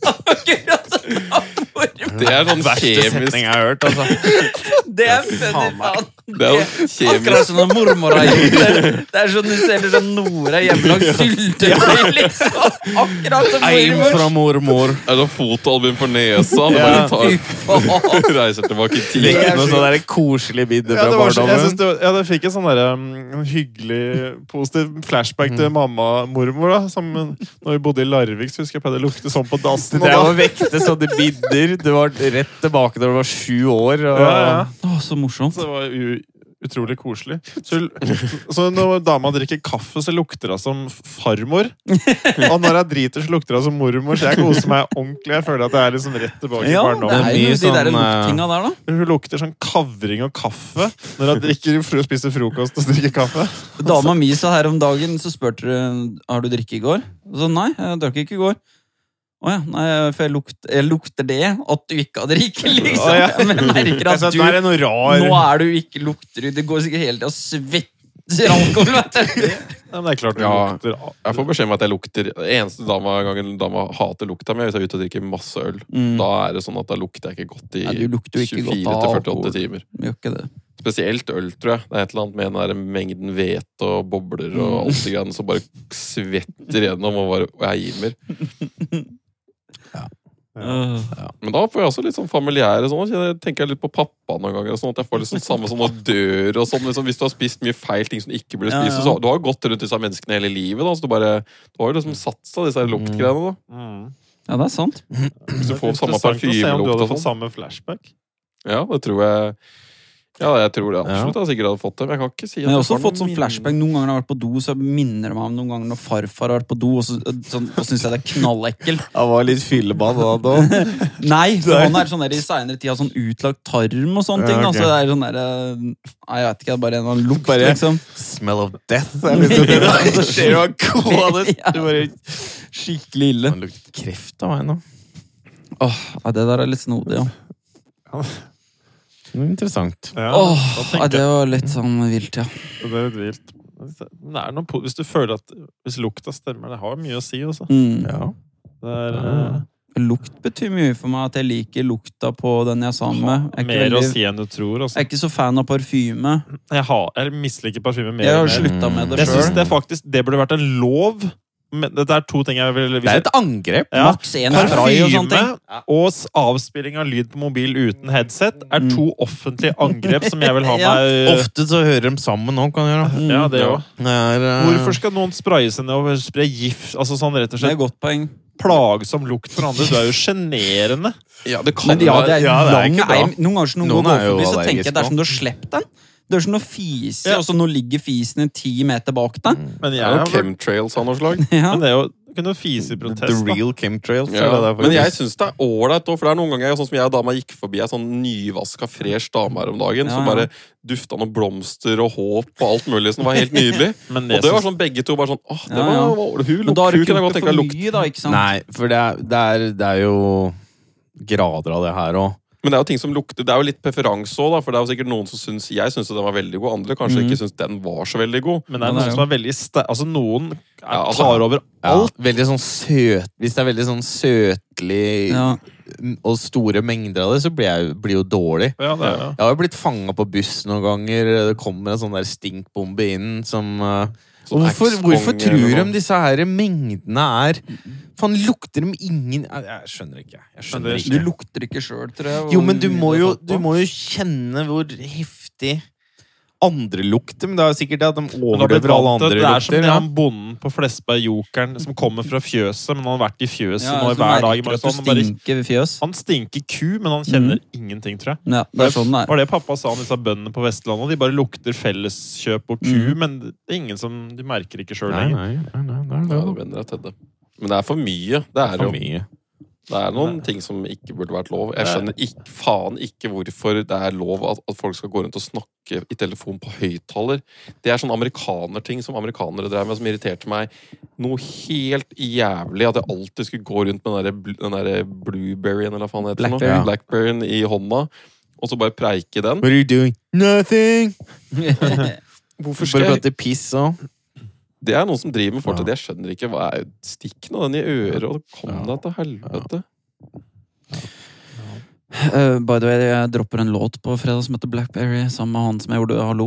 Akkurat som at mormor- Det er sånn kjemisk setninga jeg har hørt, altså. Det er funny, Faen meg. faen. Det er jo Akkurat kjemisk som når mormor har gjort det. Det er sånn du ser det sånn Nora hjemmelagd syltetøy, liksom. Akkurat som Aim mormor. fra mormor. Det er sånn fotoalbum for nesa. Du Ja. bare Fy tar, faen. reiser tilbake i tid. Legg noe sånn der koselig minne Ja, fra det var så, jeg synes barndommen. det, var- ja, det fikk en sånn der, um, hyggelig, positiv flashback Mm. til mamma mormor. da som, Når vi bodde i Larvik, så husker jeg pleide å lukte sånn på dassen. Det å Og da, vekte sånne minner Du var rett tilbake da du var sju år. Og... ja, ja. Å, så morsomt. Så det var u utrolig koselig. Så, så når dama drikker kaffe, så lukter hun som farmor. Og når jeg driter, så lukter hun som mormor. Så jeg koser meg ordentlig. Jeg føler at jeg er liksom rett tilbake i Ja, det barndommen. er mye jo de der sånn, eh, luktinga der, da. Hun lukter sånn kavring og kaffe når hun drikker, fro- spiser frokost og drikker kaffe. Dama mi sa her om dagen, så spurte hun har du drikket i går. Og så nei, jeg drakk ikke i går. Å ja, nei, for jeg lukter, jeg lukter det at du ikke har drikket, liksom. Å ja. Men jeg merker Jeg at sa, du Altså, nå er det noe rar Nå er du ikke lukter du. Det går sikkert hele tida og svetter alkohol, vet du. Nei, men det er klart hun Ja. lukter Jeg får beskjed om at jeg lukter Eneste dama, gangen dama hater lukta mi, er hvis jeg er ute og drikker masse øl. Mm. Da er det sånn at da lukter jeg ikke godt i Nei, du lukter jo ikke godt av 24-48 alkohol. timer. Vi gjør ikke det. Spesielt øl, tror jeg. Det er et eller annet med den der mengden hvete og bobler og Mm. alt det greiene som bare svetter gjennom og bare og jeg gir Men da får jeg også litt sånn familiære sånn. Jeg tenker jeg litt på pappa noen ganger. og Sånn, at jeg får liksom samme som når dør og sånn. Liksom, hvis du har spist mye feil ting som ikke burde Ja, spist, ja. så du har jo gått rundt disse menneskene hele livet. Da, så du, bare, du har jo liksom satsa disse her luktgreiene. Da. Mm. Ja, det er sant. Hvis du Det er får interessant å se om samme du parfymelukt hadde og fått sånn. samme flashback. Ja, det tror jeg Ja, jeg tror det absolutt. Jeg har sikkert hadde fått det. Men jeg kan ikke si at Men jeg har får også noen fått sånn minner. flashback Noen ganger når jeg har vært på do, så minner det meg om noen ganger når farfar har vært på do, og så sånn, og syns jeg det er knallekkelt. Han var litt fyllemann da. da. Nei, for han er sånn der i seinere tid har sånn utlagt tarm og sånne ting. Ja, da, ok. Så det er sånn der, eh, Nei, jeg vet ikke, det er bare en eller annen lukt, Bare- liksom. Smell of death. Er liksom det der. Det skjer jo av kålet. Ja. Du bare Skikkelig ille. Han lukter kreft av meg nå. Åh, nei, det der er litt snodig, ja. Det var Interessant. Ja, Åh, da nei, tenker det var litt sånn vilt, ja. jeg- det er litt vilt. Men Det er noe, po- hvis du føler at Hvis lukta stemmer, det har mye å si, altså. Mm. Ja. Det er, Ja. eh, Lukt betyr mye for meg, at jeg liker lukta på den jeg er sammen med. Jeg er ikke, Mer å veldig, si enn du tror. Altså. jeg er ikke så fan av parfyme. Jeg, har, jeg misliker parfyme mer Jeg og har mer. slutta med det Jeg synes sjøl. det, er faktisk, det burde vært en lov. Men det er to ting jeg vil Det er et angrep. Ja. Maks én spray og sånne Parfyme ting. og s- avspilling av lyd på mobil uten headset er Mm. to offentlige angrep som jeg vil ha Ja. Mm. meg Ofte så hører de sammen òg, kan du gjøre. ja, Eh, det Ja. også. Det er, eh, Hvorfor skal noen spraye seg ned og spre gift? Altså sånn rett og Det er slett et godt poeng. Plagsom lukt for andre. Det er jo sjenerende. Ja, det kan Men ja, det være er Ja, det er lang ikke bra. eim. Noen ganger så noen, Noen går er jo forbi, så tenker allergiske jeg det er også. som du har slept den. Det er som du fiser, Ja. og så nå ligger fisen en ti meter bak deg. Mm. Men Det er jo jeg, chemtrails av noe slag. Ja. men det er jo du kunne jo fise i protest. The da. real chemtrails. Ja, er det der, men jeg faktisk. syns det er ålreit òg, for det er noen ganger jeg- sånn som jeg og dama gikk forbi ei sånn nyvaska, fresh dame her om dagen som Ja, ja. bare dufta noe blomster og håp og alt mulig som var helt nydelig. Men Og det var sånn begge to bare sånn Åh, det Ja, ja. var, var hun Men da har du lukter hun ikke kunne jeg godt gjort det tenke for meg lukt. mye, da, ikke sant? Nei, for det er, det er, det er jo grader av det her òg. Men det er jo ting som lukter Det er jo litt preferanse òg, da, for det er jo sikkert noen som syns Jeg syns jo den var veldig god, andre kanskje Mhm. ikke syns den var så veldig god. Men det Ja, er det er noen som er veldig sterke Altså, noen er, Ja, altså- tar over alt. Alt veldig sånn søt Hvis det er veldig sånn søtlig Ja. og store mengder av det, så blir jeg jo- blir jo dårlig. Ja, det er, ja. Jeg har jo blitt fanga på buss noen ganger. Det kommer en sånn der stinkbombe inn som eh, Sånn hvorfor, Axe-konge hvorfor tror eller de noe. disse her mengdene er Faen, lukter de ingen Jeg jeg skjønner ikke. Jeg skjønner Du ikke. lukter ikke sjøl, tror jeg. Jo, hvor men du mye må har jo, tatt du på. må jo kjenne hvor heftig andre lukter, men det er jo sikkert at de Men da blir overdøver vant alle til- andre det er som lukter. med Ja. han bonden på Flesberg Jokeren som kommer fra fjøset, men han har vært i fjøset Ja, så nå hver dag. i merker mange du at sånn, det han bare- stinker ved fjøs. Han stinker ku, men han kjenner ingenting, tror jeg. Ja, det er sånn det er. var det pappa sa om disse bøndene på Vestlandet? De bare lukter felleskjøp og ku, men det er ingen som de merker ikke sjøl Nei, lenger. nei, nei, nei, nei, Ja, nei, det brenner av Tedde. Men det er for mye. Det er, For jo, mye. det er noen ting som ikke burde vært lov. Jeg skjønner ikke, faen ikke hvorfor det er lov at, at folk skal gå rundt og snakke i telefon på høyttaler. Det er sånn amerikanerting som amerikanere drev med, som irriterte meg noe helt jævlig. At jeg alltid skulle gå rundt med den der, bl- den der blueberryen eller hva faen det heter. for noe. Blackberry. Blackberryen i hånda. Og så bare preike i den. What are you doing? Nothing! Hvorfor Bare prate piss og Det er noen som driver med Ja. fortid. Jeg skjønner ikke. hva er Stikk nå den i øret, og kom Ja. deg til helvete. Eh, by the way, jeg dropper en låt på fredag som heter Blackberry, sammen med han som jeg gjorde Hallo.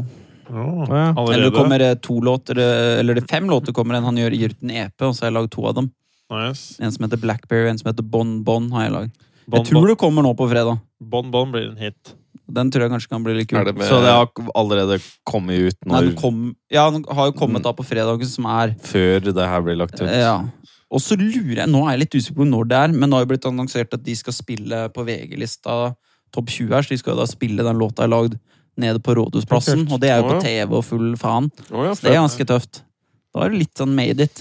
Ja. Eller det Allerede. kommer eh, to låter, eh, eller det er fem låter kommer en. Han gjør gjør ut en EP, og så har jeg lagd to av dem. Nice. En som heter Blackberry, en som heter Bon Bon. har jeg lagd. Bon, Jeg tror det kommer nå på fredag. bon, bon Bon blir en hit. Den tror jeg kanskje kan bli litt kul. Er det med Så det har allerede kommet ut Nei, når, den kom, ja, den har jo Mm. kommet da på fredagen, som er eh, før det her ble lagt ut? Ja. Og så lurer jeg, Nå er jeg litt usikker på når det er, men nå har jo blitt annonsert at de skal spille på VG-lista topp 20 her, så de skal jo da spille den låta jeg har lagd, nede på Rådhusplassen. Og det er jo på Å, TV og full faen. Å ja, Så det er ganske tøft. Da er det litt sånn made it.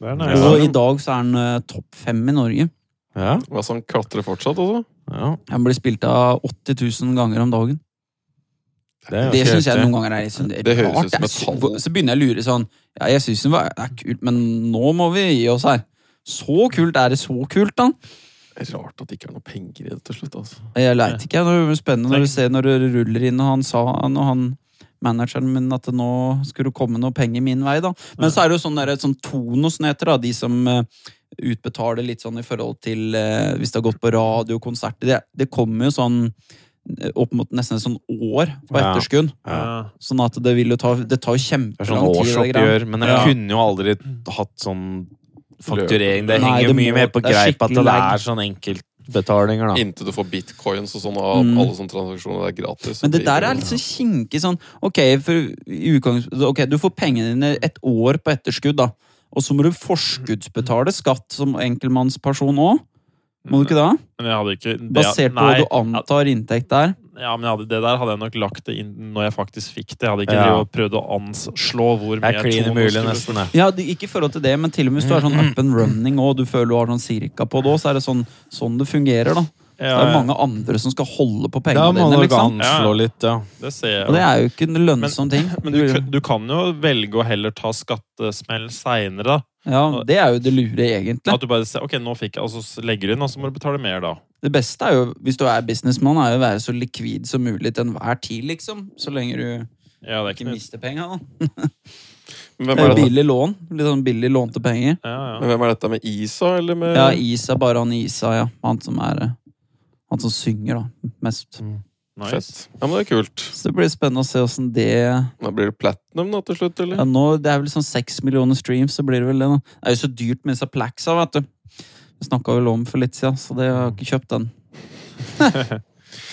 Det er Ja. Og i dag så er den eh, topp fem i Norge. Ja, Hva så han sånn klatrer fortsatt, altså? ja. Den blir spilt av 80 000 ganger om dagen. er Det ikke syns jeg helt- noen ganger er litt sånn det er Det høres rart. ut som Det er et tall. så- Så begynner jeg å lure sånn Ja, jeg syns den var det er kult, men nå må vi gi oss her. Så kult er det så kult, da. Rart at det ikke er noe penger i det til slutt. altså. Jeg leit ikke. jeg. Det var spennende når du ser når du ruller inn, og han sa når han manageren min at det nå skulle komme noe penger min vei, da. Men så er det jo sånn der, et sånn tonos som det heter, da. De som eh, utbetaler litt sånn i forhold til eh, hvis det har gått på radio, konserter. Det, det kommer jo sånn eh, opp mot nesten et sånn år på Ja. etterskudd. Ja. Sånn at det vil jo ta Det tar jo Det er sånn kjempelang tid. det greia. årsoppgjør, men jeg Ja. kunne jo aldri hatt sånn fakturering. Det Nei, henger det mye må- mer på det er greip at skikkelig det lag. er sånn enkeltbetalinger, da. Inntil du får bitcoins og sånn, og Mm. alle sånne transaksjoner er gratis. så Men det blir der jo- er litt sånn kinkig sånn Ok, for i utgangs- ok, du får pengene dine et år på etterskudd, da. Og så må du forskuddsbetale skatt som enkeltmannsperson òg. Må du ikke det? Men jeg hadde ikke det, Basert på hva du antar inntekt der. Ja, men jeg hadde, det der hadde jeg nok lagt det inn når jeg faktisk fikk det. Jeg hadde ikke Ja. drevet og prøvd å anslå hvor Det mye er klin tror man umulig, skulle- nesten. det. Ja, det- Ikke i forhold til det, men til og med hvis du er sånn up and running og du føler du har sånn cirka på det òg, så er det sånn, sånn det fungerer, da. Det Ja, er ja, mange andre som skal holde på Da pengene må dine, man liksom. anslå litt, ja. det ser jeg. Og det jo. er jo ikke en lønnsom ting. Men du, kan- du kan jo velge å heller ta skattesmell seinere, da. Ja, Det er jo det lure, egentlig. At du bare ser, ok, nå fikk jeg, og så legger du inn, og så må du betale mer da. Det beste er jo, hvis du er businessmann, er jo å være så likvid som mulig til enhver tid, liksom. Så lenge du Ja, det er ikke ikke noe. mister penga, da. Men Det Hvem er er, jo det, billig lån. Litt sånn billig lånte penger. Ja, ja. men hvem er dette med Isa, eller med Ja, Isa, bare han Isa, ja. Han som er eh, Han som synger, da. Mest. Nice. Fett. Ja, men det er kult. Så det blir spennende å se åssen det ja, Da blir det platinum da til slutt, eller? nå, Det er vel sånn seks millioner streams, så blir det vel det, da. Det er jo så dyrt med disse plaxa, vet du. Vi snakka vel om for litt siden, så det jeg har ikke kjøpt den.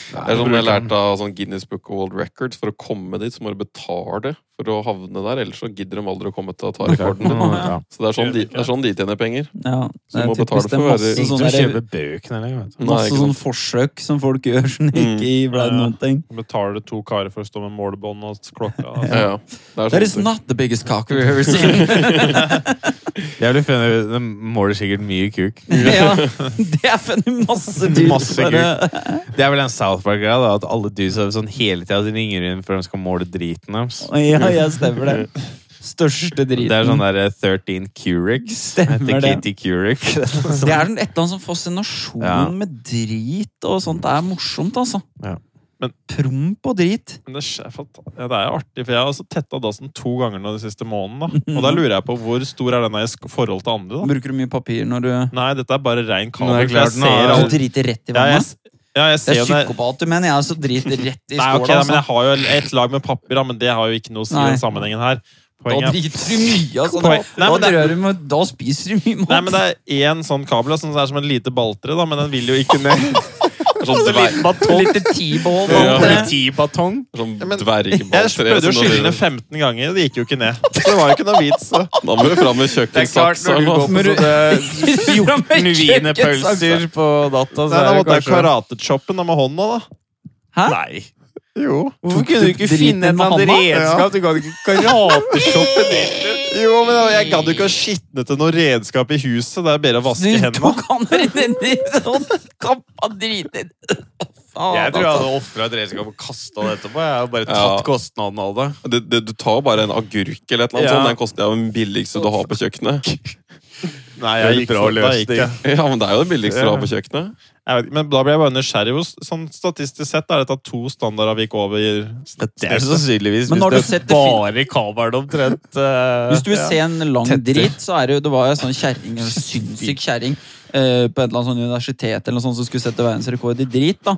Det er sånn jeg lærte av sånn Guinness Book of World Records. For å komme dit, så må du betale for å havne der. Ellers så gidder de aldri å komme til å ta rekorden din. Ja. Så det er sånn de, det er sånn de tjener penger. Ja, Så du må det er betale typisk, det er for å være- masse Ikke Du sånne der- kjøper bøkene, eller? Vet du. Nei, Masse sånn ikke sånne sant? Mm. forsøk som folk gjør som ikke ble Ja, ja. noen ting. Betaler to karer for å stå med målbånd og klokka. Altså. Ja, ja. Det er That sånn is not the biggest cock we've ever seen. Jeg vil finne, de måler sikkert mye kuk. ja, det er funnet masse dyr. Masse Bare- Det er vel en South Park-greia, da, at alle dudes er sånn hele tida de ringer inn for de skal måle driten deres. Ja, jeg stemmer det. Største driten. Det er sånn der eh, 13 Curics. Stemmer Etter det. Katie Couric. Det er sånn et eller annet sånn fascinasjon Ja. med drit og sånt. Det er morsomt, altså. Ja. Men- Promp og drit. Men det, skjer, fant- ja, det er jo artig, for jeg har altså tetta dassen to ganger nå de siste månedene. Da. Og da lurer jeg på hvor stor er denne i sk- forhold til andre, da? Bruker du mye papir når du Nei, dette er bare rein kabel. Nå er det for jeg klart, nå er ser Du det- alt- driter rett i ja, jeg, vannet? s- ja, jeg Det ser er jo det. psykopat du mener. Jeg også driter rett i Nei, ok, skåla. da, men jeg altså. har jo et lag med papir, da, men det har jo ikke noe å si i Nei. den sammenhengen Da her. Poenget er driter du mye, altså. Poeng- Nei, Da, men da, det- drør du med, da spiser du mye mat. Nei, men det er én sånn kabel da, som er som en lite baltre, da, men den vil jo ikke ned. Det er Sånn dverg... Litt T-ball. på en Ja. måte. Politibatong? Sånn Ja, men- Jeg dvergballtre. prøvde å som skylle da- ned 15 ganger, det gikk jo ikke ned. Så det var jo ikke noe vits. så. Da må du fram med Det er klart, kjøkkensaksa. når du går altså. på sånne 14 wienerpølser Kjøkkensaksa. på data, Nei, så da er det måtte jeg kanskje karatechoppe den med hånda, da. Hæ? Nei. Jo. Hvorfor kunne du ikke Driten finne et med eller annet handa? redskap? Du kan ikke karateshoppe det. Jo, men jeg- jeg gadd jo ikke å skitne til noe redskap i huset. Det er bedre å vaske Du hendene. tok han rett inn i sånn kappa driter. Faen, Jeg tror jeg altså. hadde ofra et redskap og kasta det etterpå. Jeg har bare Ja. tatt kostnaden av det. Det, det, du tar jo bare en agurk eller et eller annet Ja. sånt. Den koster jo den billigste du har på kjøkkenet. Nei, Det er bra for- da gikk løsning. jeg. Ja, men det er jo det billigste du har på kjøkkenet. Jeg vet, ikke, men da ble jeg bare nysgjerrig. Hvor s- Sånn statistisk sett er dette to standardavvik over Det er sannsynligvis Men hvis har det du sett det bare kabelen omtrent eh, Hvis du vil ja. se en lang Tetter. drit, så er det jo Det var jo en sånn kjerring, en sinnssyk kjerring, eh, på et eller annet sånn universitet eller noe sånt som skulle sette verdensrekord i drit, da.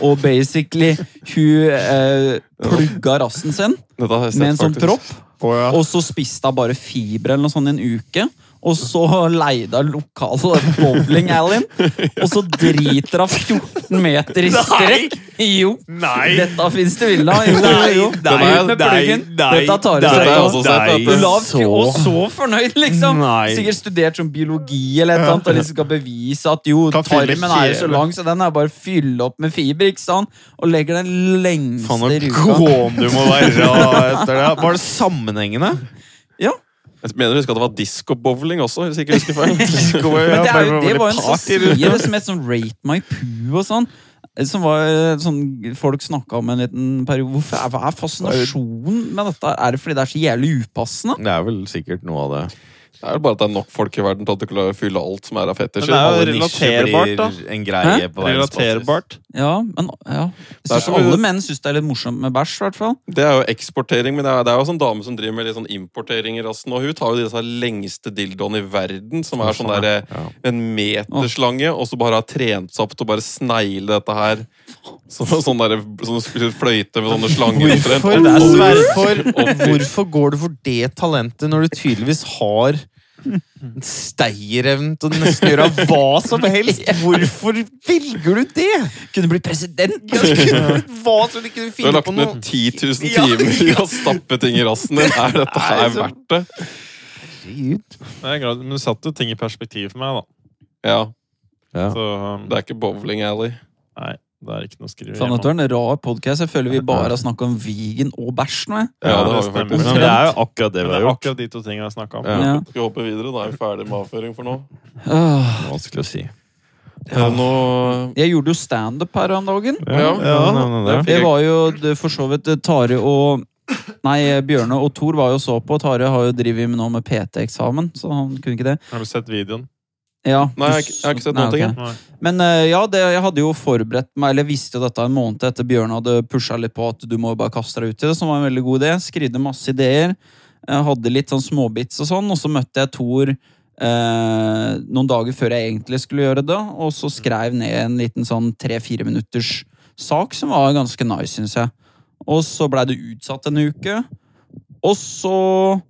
Og basically, hun eh, plugga rassen sin Dette har jeg sett, med en sånn faktisk. propp, Og og så spiste hun bare fiber eller noe sånt i en uke. Og så leide hun lokale bowling-alleyen, og så driter hun 14 meter i strekk! Jo! Nei! Dette fins det villa. Jo, Nei, jo, jo. nei, Ut med nei, pluggen. nei, Dette tar du seg nei, altså Dette har jeg av. også sett, nei, dette. Du la ikke- og så- så fornøyd, liksom! Nei. Sikkert studert som biologi eller et eller annet, og liksom skal bevise at jo, Kan fylle tarmen er jo så fiber. lang, så den er bare å fylle opp med fiber, ikke sant? Og legger den Faen, så lengste ruka. gåen du må være etter det. Var det sammenhengende? Ja. Jeg mener du husker at det var disco-bowling også, hvis jeg ikke husker feil. Men det, er, jo- det Bare var jo en sånn party. side som het sånn Rate My Poo og sånn. Som var eh, sånn Folk snakka om en liten periode. Hvorfor er, hva er fascinasjonen med dette? Er det fordi det er så jævlig upassende? Det er vel sikkert noe av det. Det er jo bare at det er nok folk i verden til at du klarer å fylle alt som er av fetisjer. Men det er jo Alle nisjer relaterbart, da. blir En greie Hæ? på verdensbasis. Relaterbart. Ja, men ja. Jeg Det er synes som- alle menn syns det er litt morsomt med bæsj, i hvert fall. Det er jo eksportering, men det er, det er jo sånn dame som driver med litt sånn importering i rassen. Og hun tar jo disse lengste dildoene i verden, som er sånn der eh, Ja. en meterslange, og så bare har trent seg opp til å bare snegle dette her. Som en sånn der, som spiller fløyte med sånne slanger. omtrent. Hvorfor, Og- og- hvorfor, hvorfor går du for det talentet når du tydeligvis har en Stayerevne til å nesten gjøre hva som helst? Hvorfor velger du det? Kunne blitt president! Ja, du kunne- Hva som du kunne Du har finne lagt på ned noe 10 000 Ja, timer i å stappe ting i rassen din. Er dette her verdt det? Herregud. Men jeg er glad- Men du satte jo ting i perspektiv for meg, Ja, da. Så um, Det er ikke bowling alley. nei, det er ikke noe å skrive Sånn Faen, hjem dette om. var en rar podkast. Jeg føler vi bare har snakka om vegan og bæsj nå. jeg. Ja, Ja, det har vi det faktisk. stemmer. Men det er jo akkurat Men det er akkurat de to tingene jeg snakka om. Ja. Ja. Skal vi hoppe videre? Da er vi ferdig med avføring for nå. Åh. Vanskelig å si. Eh, Nå Jeg gjorde jo standup her om dagen. Ja. Ja. Det var jo det- for så vidt Tare og Nei, Bjørne og Thor var jo så på. Tare har jo drevet med nå med PT-eksamen, så han kunne ikke det. Har du sett videoen? Ja, Nei, jeg har ikke- jeg har ikke sett noen ting, ok. jeg. Nei. Men eh, ja, det, jeg hadde jo forberedt meg, eller visste jo dette en måned etter Bjørn hadde pusha litt på at du må jo bare kaste deg ut i det, som var en veldig god idé. Skridde masse ideer. Jeg hadde litt sånn småbits og sånn, og så møtte jeg Thor eh, noen dager før jeg egentlig skulle gjøre det, og så skrev ned en liten sånn tre-fire minutters sak som var ganske nice, syns jeg. Og så blei det utsatt en uke, og så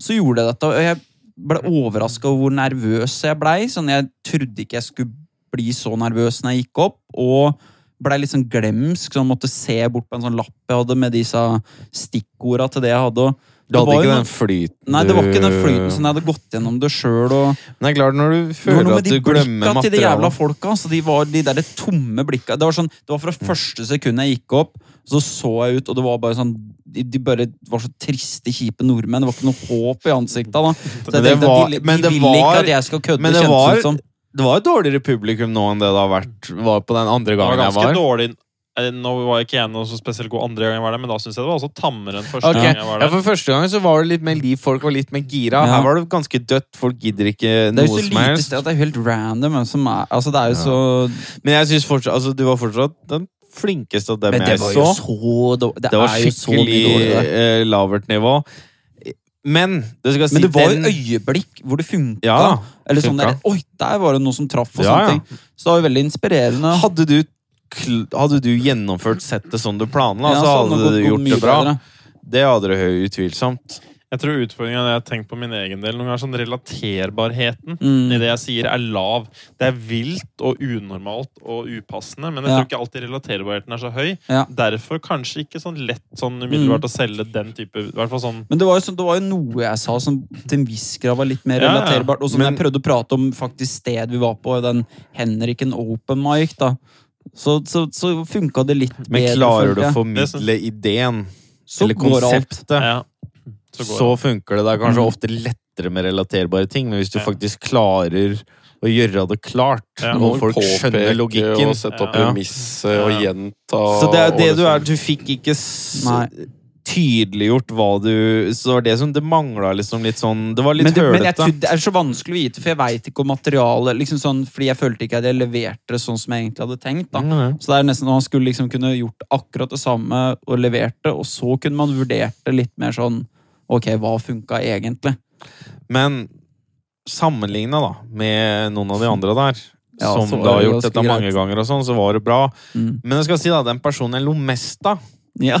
så gjorde jeg dette, og jeg ble overraska over hvor nervøs jeg blei. Sånn, jeg trodde ikke jeg skulle bli så nervøs når jeg gikk opp, og blei litt sånn glemsk, så jeg måtte se bort på en sånn lapp jeg hadde med disse stikkorda til det jeg hadde. Og Du hadde Det var ikke jo den flyten nei, det var ikke den du- flyten som jeg hadde gått gjennom det sjøl. Og... Nei, klart når du Det var føler noe at med de du glemmer blikka til de jævla materialet. folka. Altså, de var de der tomme blikka. Det var, sånn, det var fra første sekund jeg gikk opp, så så jeg ut, og det var bare sånn De, de bare var så triste, kjipe nordmenn. Det var ikke noe håp i ansikta. da. Så jeg Men det tenkte var- at de, men de det vil var- ikke at jeg skal kødde, men det kjentes var- det ut som. Det var jo dårligere publikum nå enn det det har vært var på den andre Det var gangen jeg ganske var. dårlig Eh, Nå var ikke jeg noe så spesielt god andre gang jeg var der, men da syns jeg det var også tammere enn første Ok, gang jeg var ja, der. For første gang så var det litt mer liv, folk var litt mer Ja. gira. Her var det ganske dødt, folk gidder Det er jo ikke noe så som lite helst. sted at det er helt random hvem som er Altså, det er jo Ja. så Men jeg synes fortsatt, altså, du var fortsatt den flinkeste av dem Men det jeg var så. jo så dårlig. Det, Det var er jo så mye skikkelig dårlig der. eh, lavert nivå. Men det skal jeg si Men det var jo den- øyeblikk hvor det funka. ja, eller sånn der, funka. Oi, der var det noe som traff, og Ja, ja. sånne ting. Så det var jo veldig inspirerende. hadde, du, kl- hadde du gjennomført settet som du planla, Ja, så sånn, hadde og gått- du gått gjort mye det bra. bedre. Det hadde du høy utvilsomt. Jeg tror utfordringen jeg har tenkt på min egen del noen ganger, sånn relaterbarheten Mm. i det jeg sier, er lav. Det er vilt og unormalt og upassende, men jeg Ja. tror ikke alltid relaterbarheten er så høy. Ja. Derfor kanskje ikke sånn lett sånn Mm. umiddelbart å selge den type I hvert fall sånn Men det var, jo sånn, det var jo noe jeg sa som til en viss grad var litt mer Ja, ja. relaterbart. Og som Men- jeg prøvde å prate om faktisk sted vi var på, den Henriken Open Mic, da. Så, så, så funka det litt Men bedre. klarer du å følte jeg. formidle ideen Så eller går alt. konseptet, Ja. så, går funker det. Det er kanskje Mm. ofte lettere med relaterbare ting, men hvis du Ja. faktisk klarer å gjøre det klart, Ja. Du må og folk påpeke skjønner logikken Og sette opp Ja. premisset og Ja. gjenta. Så det er og det du er. liksom- Du fikk ikke s Nei. tydeliggjort hva du Så det var det som det mangla liksom litt sånn Det var litt Men, det, men jeg hølete. tror det er så vanskelig å vite, for jeg veit ikke om materialet liksom sånn, Fordi jeg følte ikke at jeg leverte det sånn som jeg egentlig hadde tenkt. da. Så det er nesten Han skulle liksom kunne gjort akkurat det samme og levert det, og så kunne man vurdert det litt mer sånn Ok, hva funka egentlig? Men sammenligna da med noen av de andre der, Ja, så som var da har det gjort ganske dette mange greit. ganger og sånn, så var det bra. Mm. Men jeg skal si da, den personen jeg lo mest av, Ja.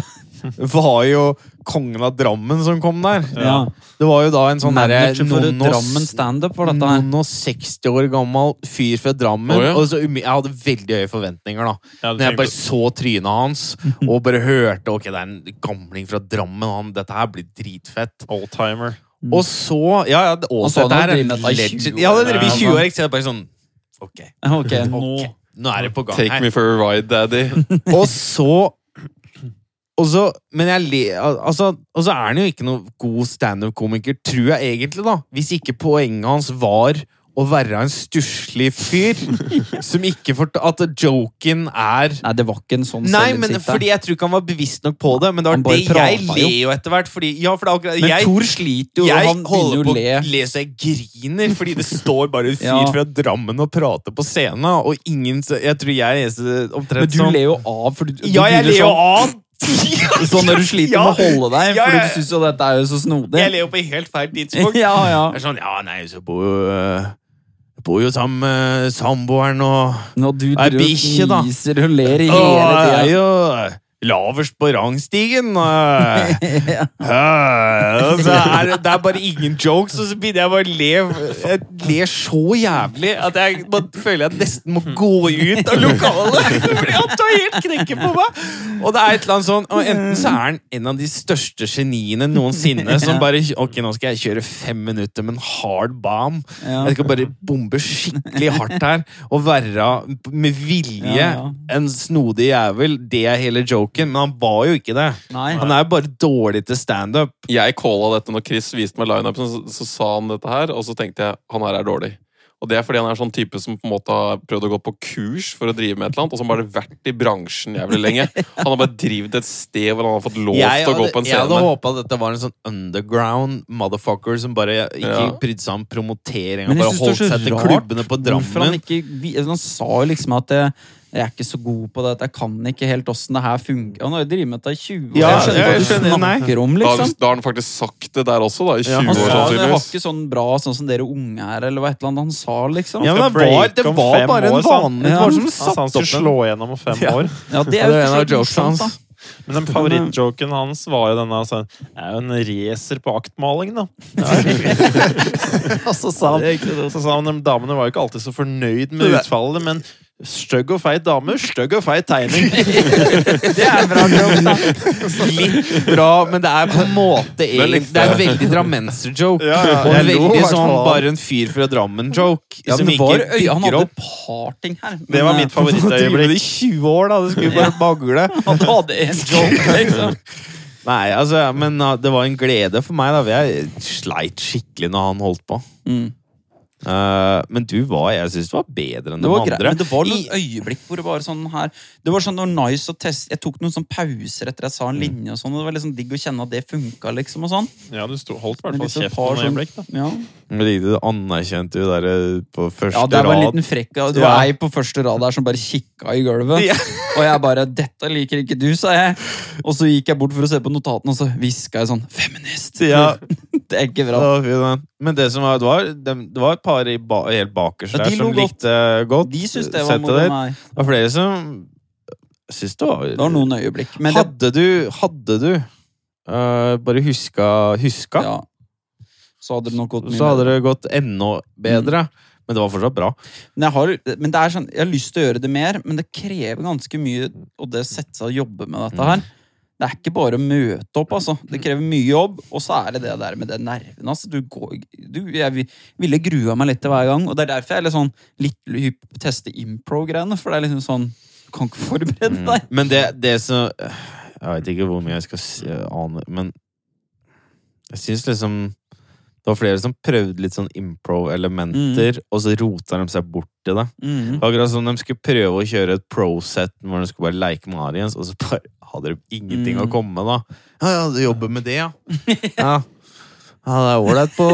var jo kongen av Drammen som kom der. ja. Det var jo da en sånn derre Manager for noen og- Drammen standup for dette her. noen og 60 år gammel fyr fra Drammen. Å, ja. Og så, umi- jeg hadde veldig høye forventninger, da. Ja, du Når jeg bare tenkte- så trynet hans og bare hørte Ok, det er en gamling fra Drammen, han, dette her blir dritfett. Oldtimer. Og så Ja, ja, det- Mm. og Han sa han så hadde dette her er drevet med dette i 20 legend. år. Ja, det drevet i Ja, 20 år, men- ikke sant? Bare sånn Ok, Ok, nå ok, nå er det på gang Take her. me for a ride, daddy. Og så og så, men jeg le, al- altså, og så er han jo ikke noen god standup-komiker, tror jeg egentlig, da. Hvis ikke poenget hans var å være en stusslig fyr som ikke fortalte At joken er Nei, det var ikke en sånn Nei, men selvinnsikt der. fordi jeg tror ikke han var bevisst nok på det. Men det var Han bare det jeg prata jo. ler jo etter hvert. Fordi, ja, for det er akkurat Men jeg, Thor sliter jo, og jeg han begynner holder jo på å le. å le så jeg griner, fordi det står bare en fyr Ja. fra Drammen og prater på scenen, og ingen så- Jeg tror jeg er eneste Men omtrent du som ler jo av, for du, du sånn. Ja, jeg begynner ler jo sånn- av! Sånn når du sliter Ja. med å holde deg, Ja, fordi jeg- du syns jo dette er jo så snodig. Jeg ler jo på helt feil tidspunkt. ja, ja. Det er sånn Ja, nei, så bor jo eh, Bor jo sammen med samboeren og Når du Nei, driver bikkje, da. og fniser og ler hele Åh, jeg er tida. jo laverst på rangstigen. eh. Ja. Ja, altså, er, det- det er bare ingen jokes, og så begynner jeg bare å le. Jeg ler så jævlig at jeg bare føler jeg nesten må gå ut av lokalet. Fordi han tar helt knekken på meg. Og det er et eller annet sånn og Enten så er han en av de største geniene noensinne som bare Ok, nå skal jeg kjøre fem minutter med en hard bomb. Ja. Jeg skal bare bombe skikkelig hardt her og være med vilje Ja, ja. en snodig jævel. Det er hele joken, men han var jo ikke det. Nei. Han er jo bare dårlig til standup. Jeg calla dette når Chris viste meg lineupen, så, så sa han dette her, og så tenkte jeg han her er dårlig. Og det er fordi han er sånn type som på en måte har prøvd å gå på kurs for å drive med et eller annet, og som bare har vært i bransken jævlig lenge. Han har bare drevet et sted hvor han har fått lov til å gå på en jeg hadde scene. håpa at dette var en sånn underground motherfucker som bare ikke Ja. brydde seg om promotering. Men Og jeg synes bare det holdt er så seg til rart klubbene på Hvorfor han Drammen. ikke vi- Han sa jo liksom at jeg, jeg er ikke så god på dette, jeg kan ikke helt åssen det her funker. Han har jo drevet med dette i 20 år. Ja, jeg skjønner jeg ikke hva skjønner, du nei. snakker om, Da, har liksom. du- da har han faktisk sagt det der også, da, i 20 Ja, han Han altså, år sa det var sannsynligvis. ikke sånn bra sånn som dere unge er, eller hva et eller annet han sa, liksom. Ja, Ja, men det break var, det om var fem bare en år, sa han. vanlig Det var som Han satt sa han opp skulle en slå gjennom om fem Ja. år. det Ja, er det jo er en av for så vidt jokesene morsomt, da. hans. Men den favorittjoken hans var jo denne sånn Jeg er jo en racer på aktmaling, da. og så sa Det er han ikke det. så sa han de damene var jo ikke alltid så fornøyd med utfallet, men stygg og feit dame, stygg og feit tegning. Det er bra joke, da. Litt bra, men det er på en måte egentlig Det er en veldig drammenser-joke. Ja, ja, og en jeg lo veldig i hvert sånn fall. bare en fyr fra Drammen-joke. Ja, som men det var, ikke øy, han bygger hadde opp. et par ting her. men, Det var mitt eh, Drive med det favorittøyeblikk. i 20 år, da. Det skulle bare magle. Han hadde en joke, liksom. Nei, altså, men uh, det var en glede for meg. da Jeg sleit skikkelig når han holdt på. Mm. Uh, men du var Jeg syns du var bedre enn Det de var greit, andre. men det var noen I- øyeblikk hvor det var sånn her Det var sånn det var nice å teste Jeg tok noen sånn pauser etter jeg sa Mm. en linje og sånn, og det var liksom digg å kjenne at det funka, liksom, og sånn. Ja, du sto, holdt i Men hvert fall liksom kjeft par noen sånn- øyeblikk, da. Ja, Men Riktig, du anerkjente jo der uh, på første ja der var en rad. liten frekk og Det var Ja. ei på første rad der som bare kikka i gulvet. Ja. Og jeg bare 'Dette liker ikke du', sa jeg. Og så gikk jeg bort for å se på notatene, og så hviska jeg sånn 'Feminist'! Ja, Det er ikke det bra. var fint, da. Men det som var, det var, dem- det var et par i ba, helt bakerst Ja, der de som lo godt. likte eh, godt. De syntes det var settet moro. der. nei. Det var flere som syntes det var, Det var noen øyeblikk. Men det, hadde, du, hadde du eh, bare huska, huska Ja. Så hadde det nok gått mye så hadde det gått enda bedre. Men det var fortsatt bra. Men, jeg har, men det er sånn, jeg har lyst til å gjøre det mer, men det krever ganske mye og det å sette seg og jobbe med dette her. Det er ikke bare å møte opp, altså. Det krever mye jobb, og så er det det der med den nerven. Altså. Du går, du, jeg vi- ville grua meg litt til hver gang, og det er derfor jeg er litt sånn litt hypp på å teste impro-greiene, for det er liksom sånn Du kan ikke Mm. forberede deg. Men det, det som Jeg vet ikke hvor mye jeg skal si, ane, men jeg syns liksom Det var flere som prøvde litt sånn impro-elementer, og så rota de seg bort i det. Mhm. Akkurat som de skulle prøve å kjøre et pro-set hvor de skulle bare leke med aliens, og så bare hadde de ingenting å Mm. komme med, da. Ja, ja, du jobber med det, ja. ja. Ja, det er ålreit på,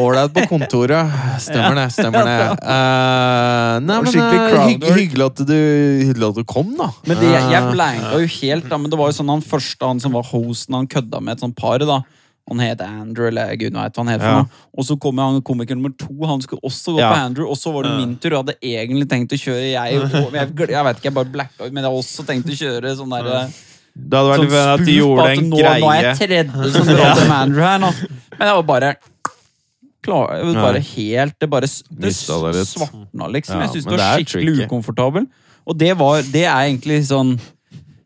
ålreit på kontoret. Stemmer det. stemmer det. Eh, nei, Og men skikkelig eh, crowd hygg, work. hyggelig, at du, hyggelig at du kom, da. Men det, jeg, jeg Eh, blanka jo helt, da. Men det var jo sånn han første han som var hosten, han kødda med et sånt par. da han het Andrew, eller gud vet hva han het. for Ja. noe. Og så kom han komiker nummer to, han skulle også gå Ja. på Andrew. Og så var det min tur, og jeg hadde egentlig tenkt å kjøre jeg. Og, men jeg, gl- jeg vet ikke, jeg bare blacka ut, men jeg hadde også tenkt å kjøre sånn der Det hadde vært sånn litt bedre at de spoof på gjorde at en nå, greie. Nå er jeg tredje som drar til Andrew her nå. Men jeg var bare klar, jeg var bare helt Det bare s- det Mistet det litt. svartna, liksom. Ja, jeg syns det men var det er skikkelig tricky. ukomfortabel. Og det var Det er egentlig sånn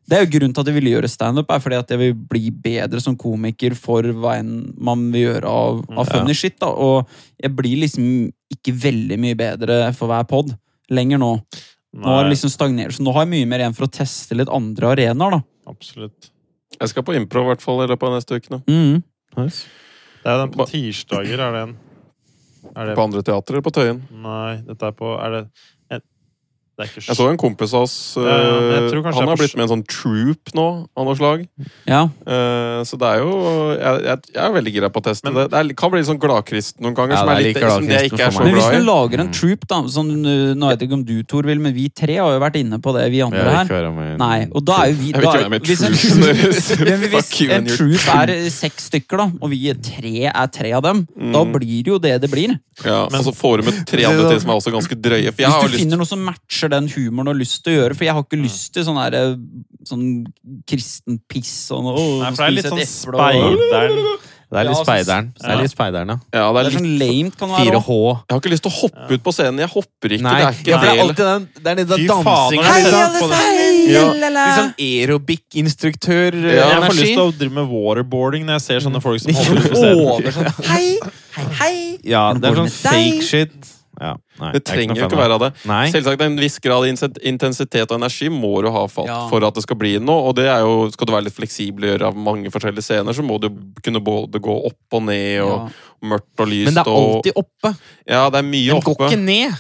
det er jo grunnen til at jeg ville gjøre standup, er fordi at jeg vil bli bedre som komiker for hva enn man vil gjøre av, av funny shit. da. Og jeg blir liksom ikke veldig mye bedre for hver pod lenger nå. Nå har det liksom stagnert, så nå har jeg mye mer igjen for å teste litt andre arenaer. da. Absolutt. Jeg skal på impro i hvert fall i løpet av neste uke. nå. Mhm. Det er den på tirsdager, er den. Er det På andre teater eller på Tøyen. Nei, dette er på Er det jeg, Det er ikke Jeg så en kompis av oss Ja, ja, men jeg tror kanskje jeg eh, Han er har på blitt med i en sånn troop nå, av noe slag. Ja. Eh, så det er jo jeg, jeg, jeg er veldig gira på å teste det. Det er, kan bli litt sånn gladkrist noen ganger, Ja, som det er er litt, litt som jeg ikke er gladkristen så for Men hvis glad du i. lager en troop, da sånn, uh, Nå vet jeg ikke om du, Tor, vil, men vi tre har jo vært inne på det, vi andre her. Nei, og da er jo vi Jeg vil da- ikke være med i hvis en- troopen deres. Ja, men Hvis Fuck you en and your troop er eh, seks stykker, da, og vi tre er tre av dem, da Mm. blir det jo det det blir. Ja, og så får du med tre andre til som er også ganske drøye. For jeg har Hvis du lyst Mm. finner noe som matcher den humoren du har lyst til å gjøre, for jeg har ikke lyst til sånn der, eh, sånn kristen piss og noe å Nei, for det er litt spise sånn et eple og- speideren. Det er litt Ja, så- speideren. Det er Ja. litt speideren, ja. ja, det er Det er litt, sånn lamet kan det være. 4H. også. Jeg har ikke lyst til å hoppe ut på scenen. Jeg hopper ikke. Nei, Det ja, er for ikke det er del. alltid den, det er den Fy dansinga. faen, når jeg Litt ser sånn- på det- Litt sånn aerobic-instruktør. eh, Jeg Ja, får energi. lyst til å drive med waterboarding når jeg ser sånne folk som hopper ut på Over scenen. sånn Hei, hei, hei! Ja, det er sånn Med deg. fake shit. Ja, nei, Det jeg er trenger noe jo ikke fan av være av det. Nei. Selvsagt En viss grad av insen- intensitet og energi må du ha fatt Ja. for at det skal bli noe. Og det er jo, Skal du være litt fleksibel og gjøre av mange forskjellige scener, så må du kunne både gå opp og ned, og mørkt og lyst. Men det er alltid oppe. og, ja, det er mye Den går oppe. ikke ned.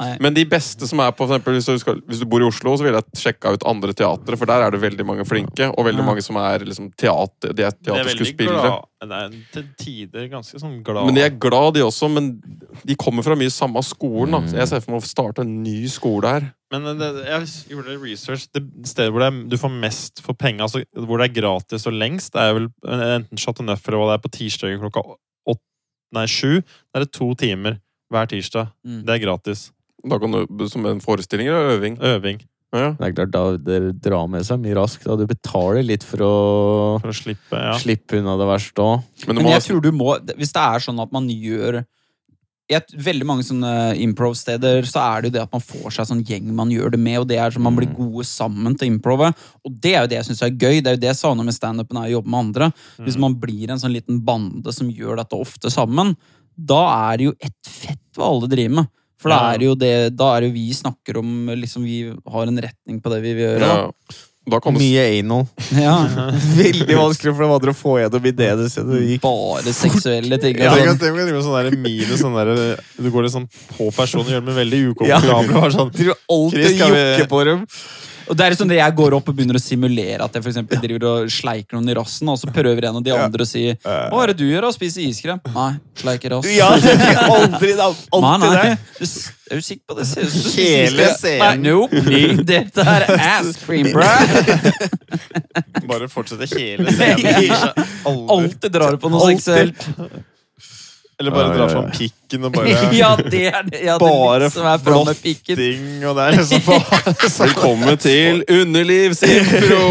Nei. Men de beste som er på, for eksempel, hvis, du skal, hvis du bor i Oslo, så ville jeg sjekka ut andre teatre, for der er det veldig mange flinke, og veldig Ja. mange som er liksom, teater, de er Det er veldig teaterskuespillere. glad Det er til tider ganske sånn glad. Men de er glad, de også, men de kommer fra mye samme skolen. Da. Så jeg ser for meg å starte en ny skole her. Men det, jeg gjorde litt research. Det stedet hvor det er, du får mest for penga, altså hvor det er gratis og lengst, det er vel enten Chateau Neuf eller hva det er på tirsdager klokka åt- nei, sju. Da er det to timer hver tirsdag. Mm. Det er gratis. Da kan du, som en forestilling eller øving. Øving. Ja. Det er klart, da dere drar med seg mye raskt. Da du betaler litt for å For å slippe. Ja. slippe unna det verste òg. Men du Men må jeg tror du må Hvis det er sånn at man gjør jeg, Veldig mange sånne improv-steder så er det jo det at man får seg sånn gjeng man gjør det med, og det er sånn man blir gode sammen til improve. Og det er jo det jeg syns er gøy. Det er jo det jeg savner med standupen, er å jobbe med andre. Hvis man blir en sånn liten bande som gjør dette ofte sammen, da er det jo ett fett hva alle driver med. For da Ja. er det jo det Da er det jo vi snakker om liksom Vi har en retning på det vi vil gjøre. ja. Da kan du Mye anal. da. Ja. Veldig vanskelig for de andre å få gjennom ideene sine. Det gikk Bare seksuelle ting. Ja, og tenk sånn. at det med sånn der mine sånn der, Du går litt sånn på personen og gjør meg veldig ukomfortabel. og bare Sånn, Driver alltid Chris, og skal vi- jokker på dem. Og det er sånn at Jeg går opp og begynner å simulere at jeg for eksempel driver og sleiker noen i rassen, og så prøver en av de andre å si 'Hva er det du gjør? da? Spiser iskrem?' Nei, sleiker rass. Ja, det er aldri, det er Nei, alltid nei. det. Du s- Er du sikker på det? Ser ut som du spiser Hele iskrem. scenen. Nei, nope. Nei, Dette er ass cream, bro. bare fortsette hele scenen. Aldri. Alltid drar du på noe Alltid. seksuelt. Eller bare dra fram pikken og bare Ja, det er det. Ja, det er Bare det som er bra med pikken. flotting og det er liksom bare Velkommen til Underlivsimpro!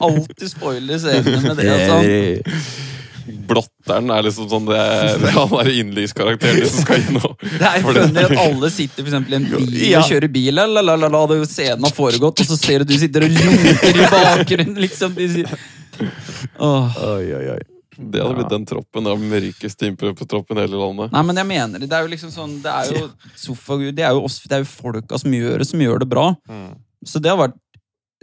alltid spoiler scenene med det. Altså. Det- Blotteren er liksom sånn det, det er Han er innlivskarakteren som skal inn og Det er for det- funny at alle sitter for eksempel, i en bil Ja. og kjører bil, la, la, la, la, la, og scenen har foregått, og så ser du at du sitter og runker i bakgrunnen. liksom. De sier... Åh. Oi, oi, oi. Det hadde blitt den troppen. Den mørkeste improv-troppen i hele landet. Nei, men jeg mener det. Det er jo liksom sånn, det er jo sofagud, det er jo oss, det er jo folka som gjør det, som gjør det bra. Så det har vært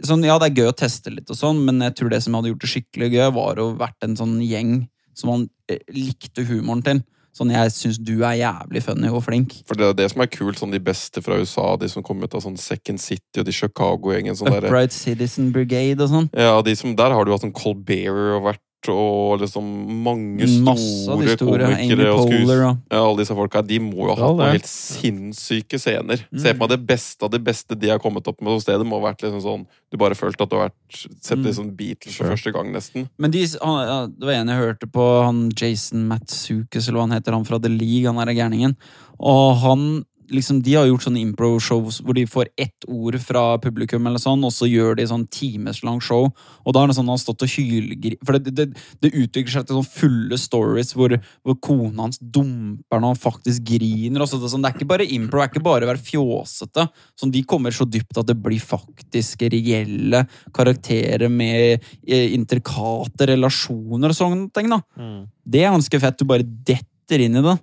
sånn, ja, det er gøy å teste litt og sånn, men jeg tror det som hadde gjort det skikkelig gøy, var å vært en sånn gjeng som man eh, likte humoren til. Sånn, jeg syns du er jævlig funny og flink. For det er det som er kult. sånn De beste fra USA, de som kom ut av sånn Second City og de Chicago-gjengen. sånn derre- Upright Citizen Brigade og sånn. Ja, de som, der har du hatt sånn Colbert og vært og liksom mange Masse av store, de store. Amy komikere og Poehler skuespillere. og Ja, alle disse folka, de må jo ha Ja, hatt noen det. helt sinnssyke scener. Se Mm. på meg det beste av det beste de har kommet opp med på stedet. Må ha vært liksom sånn Du bare følte at du har vært sett Mm. liksom Beatles for Sure. første gang, nesten. Men de, han, ja, det var en jeg hørte på, han Jason Matsukas, eller hva han heter, han fra The League, han der gærningen. Og han, liksom, de har gjort sånne impro-shows hvor de får ett ord fra publikum, eller sånn, og så gjør de sånn timeslang show. Og da er det sånn han har stått og hylgri... For det, det, det utvikler seg til sånn fulle stories hvor, hvor kona hans dumper når han faktisk griner. og så det, er sånn, det er ikke bare impro, det er ikke bare å være fjåsete. Sånn, de kommer så dypt at det blir faktisk reelle karakterer med eh, intrikate relasjoner og sånne ting. da. Mm. Det er ganske fett. Du bare detter inn i det.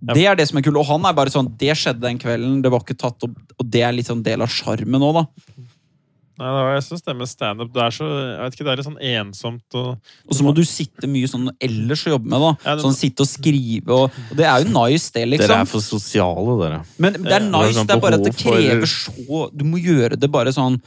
Det er det som er kult. Og han er bare sånn Det skjedde den kvelden, det var ikke tatt opp, og det er litt sånn del av sjarmen òg, da. Nei, det var, jeg syns det med standup det er så, jeg vet ikke, det er litt sånn ensomt og Og så må du sitte mye sånn ellers og jobbe med, da. Ja, det- Sånn sitte og skrive og, og Det er jo nice, det, liksom. Dere er for sosiale, dere. Men det er Ja, det er nice, sånn det er bare at det behov for- krever så Du må gjøre det bare sånn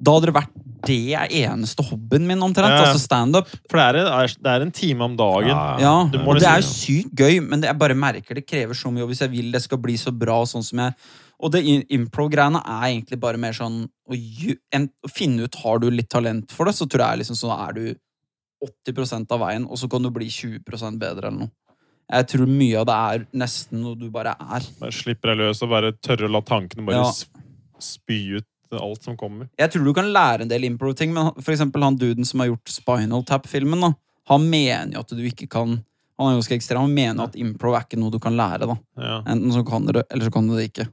Da hadde det vært Det er eneste hobbyen min, omtrent. Ja, ja. Altså standup. For det er, det er en time om dagen. Ja, Du må og det liksom- er jo sykt gøy, men det, jeg bare merker det krever så mye. Og hvis jeg vil det skal bli så bra, sånn som jeg Og det in- impro-greiene er egentlig bare mer sånn å, gj- en, å finne ut har du litt talent for det, så tror jeg liksom sånn er du 80 av veien, og så kan du bli 20 bedre eller noe. Jeg tror mye av det er nesten noe du bare er. Bare slipper deg løs og bare tørre å la tankene bare Ja. s- spy ut alt som kommer. Jeg tror du kan lære en del impro-ting, men han- for eksempel han duden som har gjort Spinal Tap-filmen, da, han mener jo at du ikke kan Han er ganske ekstrem, han mener at impro er ikke noe du kan lære, da. Ja. Enten så kan du det, eller så kan du det ikke.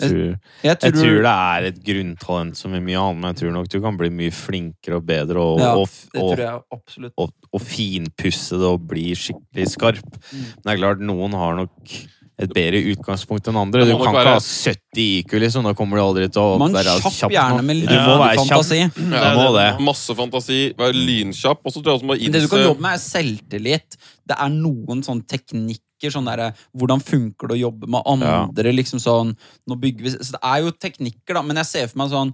Jeg- Tror. Jeg tror, Jeg tror det er et grunntalent som i mye annet, men jeg tror nok du kan bli mye flinkere og bedre og, Ja, og, det tror og, jeg absolutt. og, og finpusse det og bli skikkelig skarp. Mm. Men det er klart, noen har nok et bedre utgangspunkt enn andre. Du Det må kan nok ikke være- ha 70 IQ, liksom. Da kommer du aldri til å Man være kjapp kjapp gjerne nok. med Du må være kjapp. fantasi. Du må det. Masse fantasi, være lynkjapp, og så tror jeg også må Det du kan jobbe innse med, er selvtillit. Det er noen sånne teknikker. Sånn derre, hvordan funker det å jobbe med andre? Liksom sånn, nå bygger vi Så det er jo teknikker, da, men jeg ser for meg sånn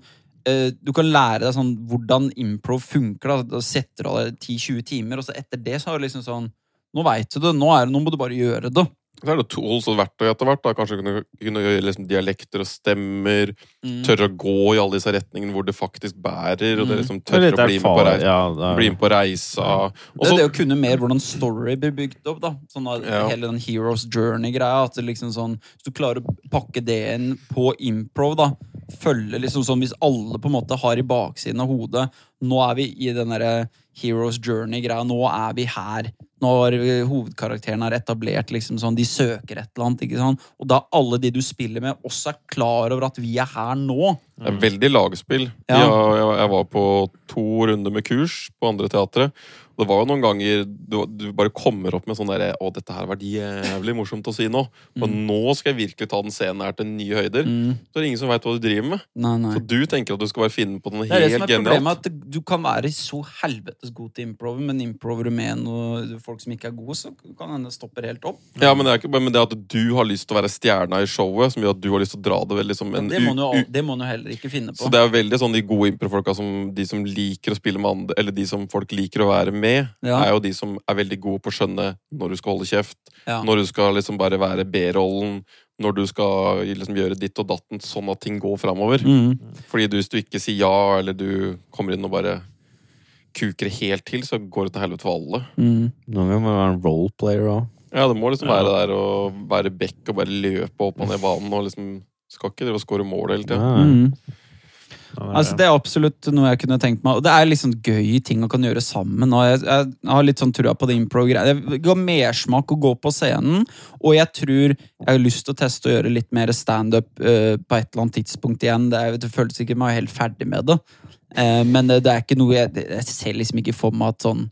eh, du kan lære deg sånn hvordan impro funker. Da, da setter du av deg 10-20 timer, og så etter det så er det liksom sånn Nå veit du det, nå, er det, nå må du bare gjøre det. Så er det tools og verktøy etter hvert. da Kanskje kunne, kunne gjøre liksom dialekter og stemmer. Mm. Tørre å gå i alle disse retningene hvor det faktisk bærer. Og det Mm. liksom Det er tørre litt å bli med på erfaren- reis- ja, det er- bli med på reisa. Og Det så er det å kunne mer hvordan story blir bygd opp. da Sånn at Ja. Hele den Heroes Journey-greia. At det liksom sånn Hvis du klarer å pakke det inn på improv, da Følge liksom sånn Hvis alle på en måte har i baksiden av hodet Nå er vi i den derre Heroes Journey-greia. Nå er vi her. Nå har vi- hovedkarakteren er etablert. liksom sånn De søker et eller annet. ikke sant Og da alle de du spiller med, også er klar over at vi er her nå. Det er veldig lagspill. Ja. Jeg, jeg, jeg var på to runder med kurs på andre teatre. Og det var jo noen ganger du, du bare kommer opp med sånn derre Å, dette her har vært jævlig morsomt å si nå. Og nå skal jeg virkelig ta den scenen her til nye høyder. Mm. Så er det ingen som veit hva du driver med. Nei, nei. Så du tenker at du skal bare finne på den Det er det som helt er problemet, genialt. at det- du kan være så helvetes god til improver, men improver med noe, folk som ikke er gode, så kan hende stopper helt opp. Ja, men det er ikke bare men det at du har lyst til å være stjerna i showet, som gjør at du har lyst til å dra det vel liksom en det, må u- du, u- al- det må du heller ikke finne på. Så det er jo veldig sånn de gode improfolka som de som liker å spille med andre, eller de som folk liker å være med, Ja. er jo de som er veldig gode på å skjønne når du skal holde kjeft, Ja. når du skal liksom bare være B-rollen, når du skal liksom gjøre ditt og datten sånn at ting går framover. Mm. Fordi du, hvis du ikke sier ja, eller du kommer inn og bare kuker helt til, så går det til helvete for alle. Mm. Noen ganger må du være en roleplayer òg. Ja, det må liksom Ja. være der og være bekk og bare løpe opp og ned banen og liksom Skal ikke drive og score mål hele tida. Ja. Mm. Altså, det er absolutt noe jeg kunne tenkt meg. Og det er liksom gøy ting å kan gjøre sammen. Og jeg, jeg har litt sånn trua på det impro-greiet. Det ga mersmak å gå på scenen, og jeg tror jeg har lyst til å teste å gjøre litt mer standup uh, på et eller annet tidspunkt igjen. Det, er, det føles ikke meg helt ferdig med det. Eh, men det, det er ikke noe jeg, det- jeg ser liksom ikke for meg at sånn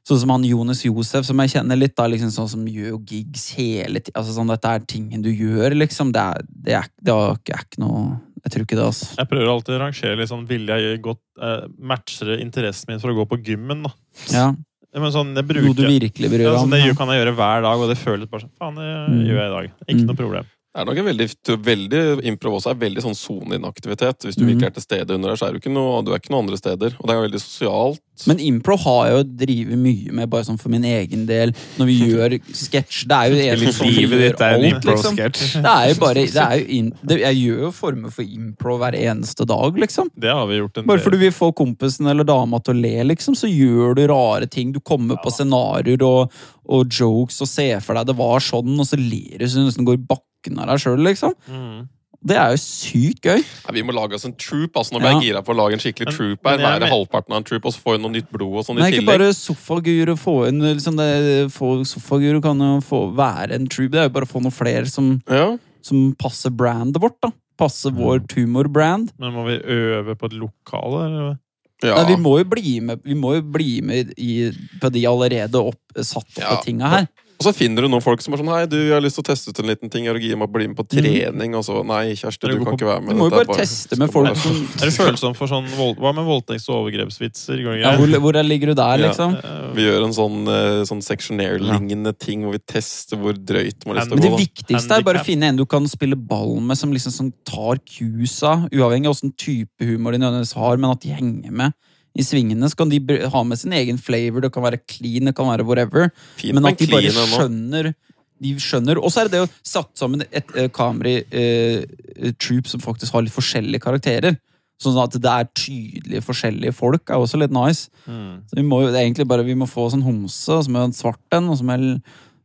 Sånn som han Jonas Josef, som jeg kjenner litt, da, liksom sånn som gjør gigs hele tida. Altså, sånn, dette er tingen du gjør, liksom. Det er, det er, det er, ikke- er ikke noe Jeg tror ikke det, altså. Jeg prøver alltid å rangere litt sånn Vil jeg godt eh, matche interessen min for å gå på gymmen, da? Ja. Men sånn, det Noe du bruker virkelig bryr ja, deg sånn, om. Det ja. gjør- kan jeg gjøre hver dag, og det føles bare sånn Faen, det Mm. gjør jeg i dag. Ikke Mm. noe problem. Det er nok en veldig, veldig Impro også er veldig sånn soneinaktivitet. Hvis du Mhm. virkelig er til stede under der, så er du ikke noe, du er ikke noe andre steder. Og det er veldig sosialt. Men impro har jeg jo drevet mye med, bare sånn for min egen del. Når vi gjør sketsj Det er jo en som Livet gjør ditt er en alt, liksom. impro-sketsj. Det er jo bare det er jo in, det, Jeg gjør jo former for impro hver eneste dag, liksom. Det har vi gjort en Bare for du vil få kompisen eller dama til å le, liksom, så gjør du rare ting. Du kommer på scenarioer og, og jokes og ser for deg det var sånn, og så ler du så du nesten går i bakken av deg sjøl, liksom. Mm. Det er jo sykt gøy. Nei, vi må lage oss en troop. altså Nå ble jeg gira på å lage en skikkelig Men- troop men her. jeg Være men- halvparten av en troop, og så få inn noe nytt blod og sånn i Nei, ikke tillegg. bare sofaguru få inn liksom det, få, Sofaguru kan jo få være en troop. Det er jo bare å få noen flere som, Ja. som passer brandet vårt. da Passer Mm. vår tumorbrand. Men må vi øve på et lokale? Eller? Ja. Nei, vi må jo bli med, vi må jo bli med i, på de allerede opp, satte Ja. tinga her. Og så finner du noen folk som er sånn Hei, du, jeg har lyst til å teste ut en liten ting. Jeg vil gi meg å bli med på trening. Og så Nei, Kjersti, Eller gå du på- kan ikke være Du med. Mm. må jo Dette er bare teste med skal folk bare- som Er du følsom for sånn vold... Hva med voldtekts- og overgrepsvitser? Går det ja, greit? hvor, hvor ligger du der, Ja. liksom? Eh, Vi gjør en sånn, eh, sånn seksjonær-lignende ting hvor vi tester hvor drøyt man har lyst Men til det å gå. da. viktigste er bare å Handicap. finne en du kan spille ball med, som liksom som tar cusa, uavhengig av åssen type humor de nødvendigvis har, men at de henger med i svingene. Så kan de br- ha med sin egen flavor, det kan være clean, det kan være whatever. Fint Men med en at de bare clean en nå. skjønner de skjønner, Og så er det det å satt sammen et eh, comedy eh, troop som faktisk har litt forskjellige karakterer. Sånn at det er tydelige forskjellige folk, er også litt nice. mm. Så vi må jo det er egentlig bare vi må få sånn homse, og så må vi ha en svart en, og så må jeg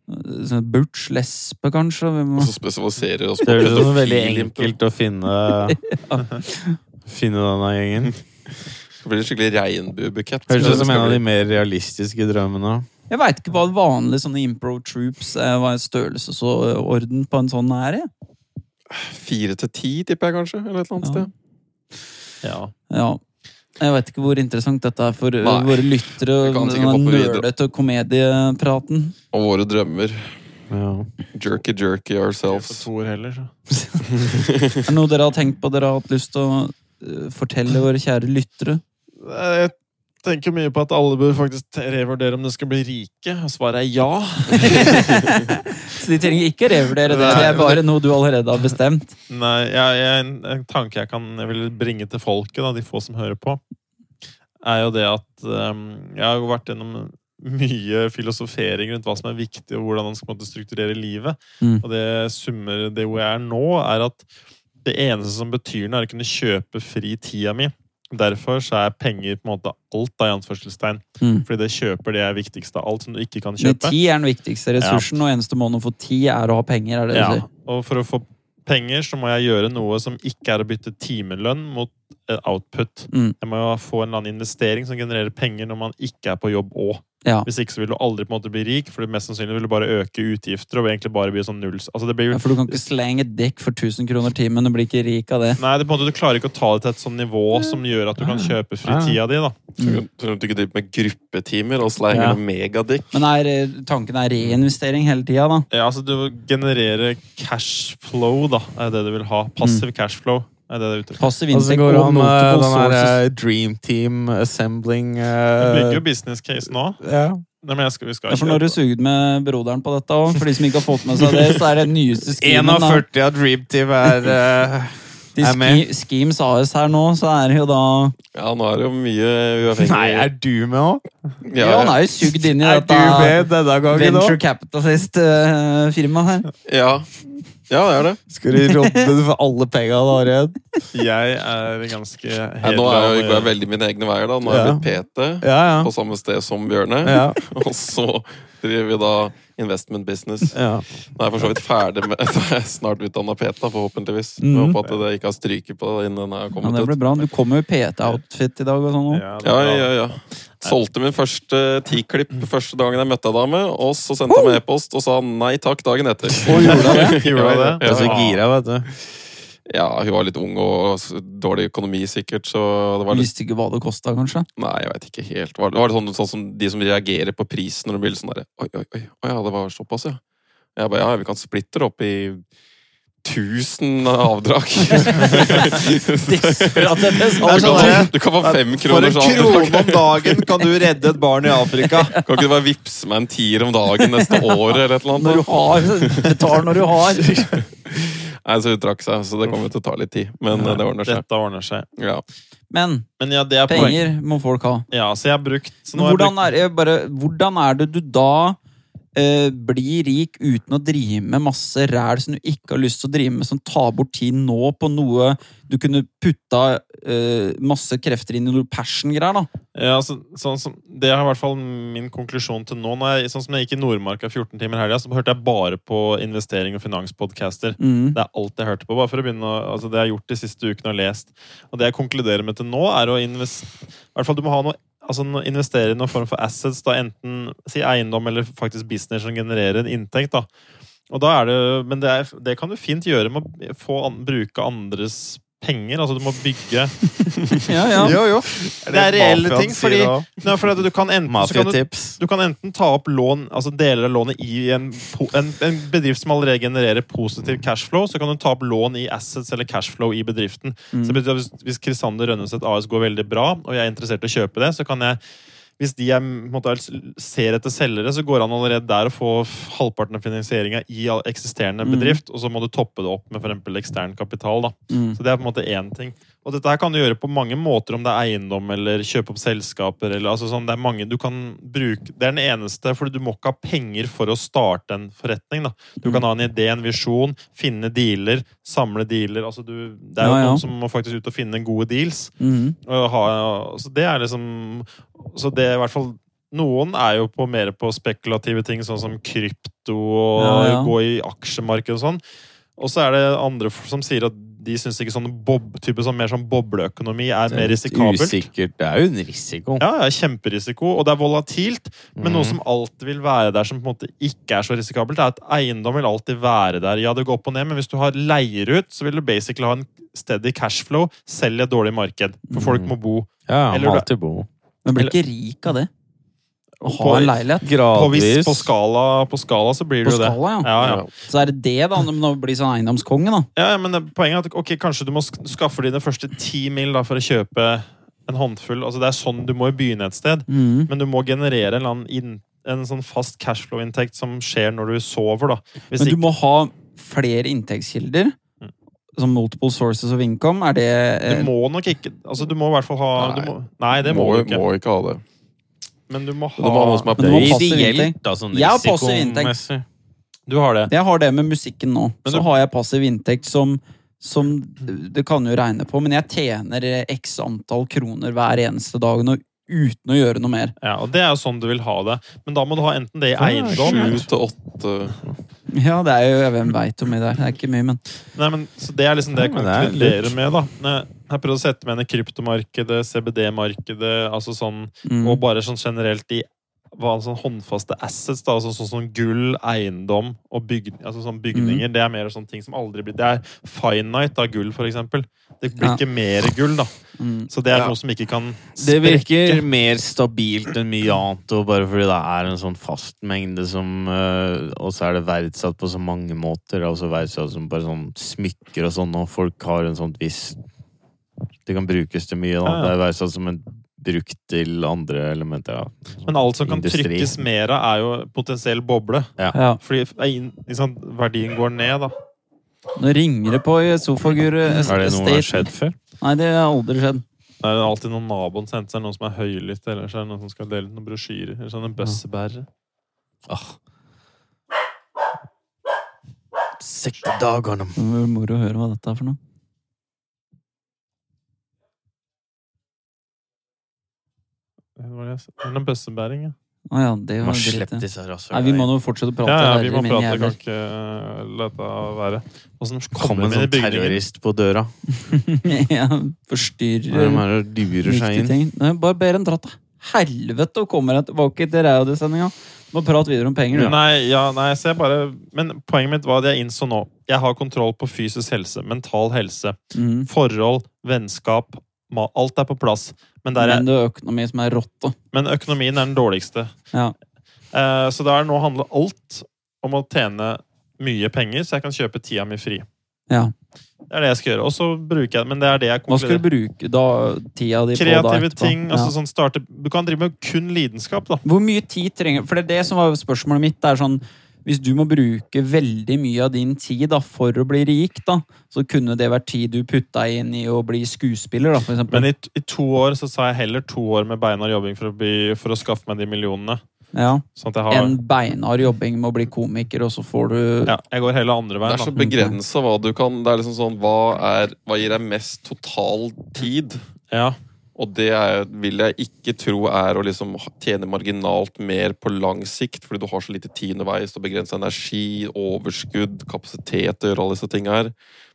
l- sånn butch, lesbe, kanskje. og Vi Og må... så spesialiserer oss på Det høres ut som veldig pedofilimpo. enkelt å finne Finne denne gjengen. Det blir en skikkelig regnbuebukett. Høres ut som en av de mer realistiske drømmene. Jeg veit ikke hva vanlige sånne impro troops eh, hva er størrelsesorden på en sånn er. jeg. Fire til ti, tipper jeg kanskje. Eller et eller annet Ja. sted. ja. Ja. Jeg veit ikke hvor interessant dette er for eh, Nei. våre lyttere. Vi kan og sikkert Den hoppe videre. nerdete komediepraten. Og våre drømmer. Ja. Jerky, jerky For ourselves. Thor heller, så. Er det noe dere har tenkt på dere har hatt lyst til å eh, fortelle våre kjære lyttere? Eh, Jeg tenker mye på at alle bør faktisk revurdere om de skal bli rike. og Svaret er ja. Så de trenger ikke revurdere det. Det Nei. er bare noe du allerede har bestemt. Nei, jeg, jeg, en, en tanke jeg, kan, jeg vil bringe til folket, da, de få som hører på, er jo det at ehm, jeg har jo vært gjennom mye filosofering rundt hva som er viktig, og hvordan man skal på en måte, strukturere livet. Mm. Og det summer det hvor jeg er nå, er at det eneste som betyr noe, er å kunne kjøpe fri tida mi. Derfor så er penger på en måte alt, da, i anførselstegn. Mm. Fordi det kjøper det er viktigst av alt som du ikke kan Men kjøpe. tid er den viktigste ressursen, og eneste måten å få tid er å ha penger. er det du Ja, sier. og for å få penger så må jeg gjøre noe som ikke er å bytte timelønn mot eh, output. Mm. Jeg må jo få en eller annen investering som genererer penger når man ikke er på jobb òg. Ja. Hvis ikke så vil du aldri på en måte bli rik, for det mest sannsynlig vil du bare øke utgifter og egentlig bare bli sånn nulls. Altså det blir Ja, jo for du kan ikke slenge et dekk for 1000 kroner timen. Du blir ikke rik av det. Nei, det er på en måte du klarer ikke å ta det til et sånn nivå som gjør at du kan kjøpe fri Ja. tida di, da. Mm. Selv om du ikke driver med gruppetimer og slenger Ja. ja. megadick. Men er, eh, tanken er reinvestering hele tida, da. Ja, altså du genererer cash flow, da, er det du vil ha. Passiv Mm. cash flow er Eh, det det er ute etter. Passiv Og så inntekt Altså, går og han med multiple den her sources. eh, Dream Team Assembling Du eh, bygger jo business case nå. ja. Nei, men jeg skal, vi skal Ja, for når du sugde med broderen på dette òg, for de som ikke har fått med seg det, så er det den nyeste En schemen. av da. 40 av Dream Team er eh, De er med. ski- Schemes AS her nå, så er det jo da Ja, nå er det jo mye uavhengig Nei, er du med òg? Ja, han er jo sugd inn i Er du dette med denne gangen venture òg? capitalist-firmaet her. ja. ja, det er det. Skal du rodde for alle penga du har igjen? Jeg er ganske Nei, nå er jeg, går jeg hederlig. veldig mine egne veier. da Nå er jeg Ja. blitt PT Ja, på samme sted som Bjørne. ja. ja. Og så driver vi da Investment business. Ja. Nå er jeg for så vidt ferdig med jeg er snart utdanna PETA, forhåpentligvis. Jeg Mhm. håper at det ikke har stryket på det innen den er Ja, kommet det ut. blir bra. Du kommer jo i PT-outfit i dag og sånn. også. Ja, det Ja, er bra. Mm. ja, ja. Solgte min første tiklipp første dagen jeg møtte ei dame, og så sendte jeg meg e-post og sa nei takk dagen etter. Gjorde jeg det? Jeg er så Ja. gira, vet du. Ja, hun var litt ung og s- dårlig økonomi sikkert, så det var litt Visste ikke hva det kosta, kanskje. Nei, jeg veit ikke helt. Var det, var det sånn, sånn som de som reagerer på prisen når det blir sånn derre Oi, oi, oi. Å ja, det var såpass, ja. Jeg bare, ja, vi kan splitte det opp i 1000 avdrag. Desperat etter Det er Du sånn salg. kan, der- du kan få fem For kroner en krone om dagen kan du redde et barn i Afrika! Kan ikke du bare vippse meg en tier om dagen neste år, eller et eller Når du annet? da? har. Betal når du har. Nei, så hun trakk seg, så det kommer til å ta litt tid. Men eh, det ordner seg. Dette ordner seg. Ja. Men Men ja, det er poeng. penger må folk ha. Ja, så jeg har brukt så Men nå har jeg hvordan er, jeg bare, hvordan er det du da eh, blir rik uten å drive med masse ræl som du ikke har lyst til å drive med, som tar bort tid nå på noe du kunne putta eh, masse krefter inn i noe passion-greier, da? Ja, altså, sånn som, Det er i hvert fall min konklusjon til nå. Når jeg, sånn som jeg gikk i Nordmarka 14 timer i helga, så hørte jeg bare på investering og finanspodcaster. Mm. Det er alt jeg hørte på. bare for å begynne å, altså Det jeg har gjort de siste ukene og lest. Og det jeg konkluderer med til nå, er å invest, i hvert fall du må ha noe, altså no- investere i noen form for assets. da Enten si eiendom eller faktisk business som genererer en inntekt. da og da er det, Men det, er, det kan du fint gjøre med å få an, bruke andres penger. Altså du må bygge Ja, ja. Jo, jo. Det er reelle ting. fordi Nei, for at du kan enten, så kan du, Mafiatips. du kan enten ta opp lån, altså deler av lånet i en, po- en, en bedrift som allerede genererer positiv cashflow, så kan du ta opp lån i assets eller cashflow i bedriften. Så det betyr at hvis, hvis Kristiander Rønneset AS går veldig bra, og jeg er interessert i å kjøpe det, så kan jeg hvis de er, på en måte, ser etter selgere, så går det an allerede der å få halvparten av finansieringa i all- eksisterende Mm. bedrift, og så må du toppe det opp med f.eks. ekstern kapital. da. Mm. Så det er på en måte én ting. Og dette her kan du gjøre på mange måter, om det er eiendom eller kjøpe opp selskaper eller altså sånn, Det er mange du kan bruke. Det er den eneste, for du må ikke ha penger for å starte en forretning. da. Du kan ha en idé, en visjon, finne dealer, samle dealer. altså du, Det er jo Ja, ja. noen som må faktisk ut og finne gode deals. Mm. Og ha, så det er liksom Så det er i hvert fall noen er jo på, mer på spekulative ting, sånn som krypto og Ja, ja. gå i aksjemarkedet og sånn. Og så er det andre f- som sier at de syns ikke sånn bob, type sånn, mer sånn bobleøkonomi er mer risikabelt. Usikkert. Det er jo en risiko. Ja, det er kjemperisiko, og det er volatilt. Men noe Mhm. som alltid vil være der, som på en måte ikke er så risikabelt, er at eiendom vil alltid være der. Ja, det går opp og ned, men hvis du har leier ut, så vil du basically ha en steady cashflow, selv i et dårlig marked. For folk må bo. Ja, han Eller må du- alltid bo. Men blir ikke rik av det. Å ha På- en leilighet. På, vis, Gradvis. på, skala, på skala så blir På det jo det. skala, ja. Ja, ja. Så er det det, da. Når man blir sånn eiendomskonge, da. Ja, ja, men det- poenget er at ok, kanskje du må sk- skaffe dine første ti mil da, for å kjøpe en håndfull. Altså, det er sånn du må jo begynne et sted. Mm. Men du må generere en, eller annen inn- en sånn fast cashflow-inntekt som skjer når du sover. da. Men Hvis du ikke, Mm. må ha flere inntektskilder. Som multiple sources of income. Er det eh, du må nok ikke altså, Du må i hvert fall ha Nei. du må, Nei, det må, må, du ikke. må ikke ha det. Men du må Du må ha noe ha som er Men du Det på. må er ha passiv ideelt, inntekt. da, sånn Jeg har passiv inntekt. risikomessig. Du har det. Jeg har det med musikken nå. Men Så du- har jeg passiv inntekt som, som Det kan jo regne på, men jeg tjener x antall kroner hver eneste dag nå uten å gjøre noe mer. Ja, og Det er jo sånn du vil ha det. Men da må du ha enten Sånn det i Ja, eiendom Sju til åtte Ja, det er jo Hvem veit om det der? Det er ikke mye, men Nei, men så Det er liksom det jeg Ja, men det er konkluderer med. da Nei, Jeg har prøvd å sette meg inn i kryptomarkedet, CBD-markedet, altså sånn mm. Og bare sånn generelt i hva sånn håndfaste assets, da, altså sånn som gull, eiendom og byg, altså sånn Mm. bygninger. Det er mer sånne ting som aldri blir Det er finite av gull, for eksempel. Det blir Ja. ikke mer gull, da. Mm. Så det er Ja. noe som ikke kan Det virker sprekke. mer stabilt enn mye annet, og bare fordi det er en sånn fast mengde som øh, Og så er det verdsatt på så mange måter, altså verdsatt som bare sånn smykker og sånn, og folk har en sånn viss Det kan brukes til mye, da. Ja, ja. Det er verdsatt som en brukt til andre elementer, ja. Men alt som kan Industri. trykkes mer av, er jo potensiell boble. Ja. Fordi eh, liksom, verdien går ned, da. Nå ringer det på i sofaguru. Er det noe som har skjedd før? Nei, det har aldri skjedd. Det er alltid noen naboen som henter seg noen som er høylytt, eller så er det noen som skal dele ut noen brosjyrer, eller sånn sånne bøssebærere. Ah. Sekte dagene. Det blir moro å høre hva dette er for noe. Hva var det jeg sa? Det er Noen bøssebæring, ja. Å ja, det Må var dritt. slippe ja. disse rasshøla. Nei, vi må nå fortsette å prate. Ja, ja, herre vi må min prate. jævel. Kan ikke eh, la dette være. Åssen Kom kommer en vi inn i sånn bygningen? terrorist på døra. ja, Hva er det forstyrrer med å lure seg viktige inn? ting. Nei, bare ber en dra til helvete og kommer jeg tilbake til radiosendinga. Bare prat videre om penger, du. Nei, ja, nei, så jeg bare Men poenget mitt var at jeg innså nå Jeg har kontroll på fysisk helse, mental helse, Mm. forhold, vennskap ma Alt er på plass. Men, der Men er, det er økonomi som er rått, da. men økonomien er den dårligste. Ja. Eh, så der nå handler alt om å tjene mye penger, så jeg kan kjøpe tida mi fri. Ja. Det er det jeg skal gjøre. Og så bruker jeg Men det er det jeg Hva skal konkluderer. du bruke da tida di på? da, Kreative etterpå? ting. Ja. altså sånn starte, Du kan drive med kun lidenskap, da. Hvor mye tid trenger For det er det som var spørsmålet mitt. Det er sånn Hvis du må bruke veldig mye av din tid da, for å bli rik, da, så kunne det vært tid du putta inn i å bli skuespiller, da, for Men eksempel. i, t- i to år så sa jeg heller to år med beinhard jobbing for å, bli, for å skaffe meg de millionene. Ja. Sånn at jeg har En beinhard jobbing med å bli komiker, og så får du ja, Jeg går heller andre Det veien. er så Da. begrensa hva du kan. Det er liksom sånn, hva, er, hva gir deg mest total tid? Ja. Og det er, vil jeg ikke tro er å liksom tjene marginalt mer på lang sikt, fordi du har så lite tid underveis, og begrensa energi, overskudd, kapasitet til å gjøre alle disse tinga her.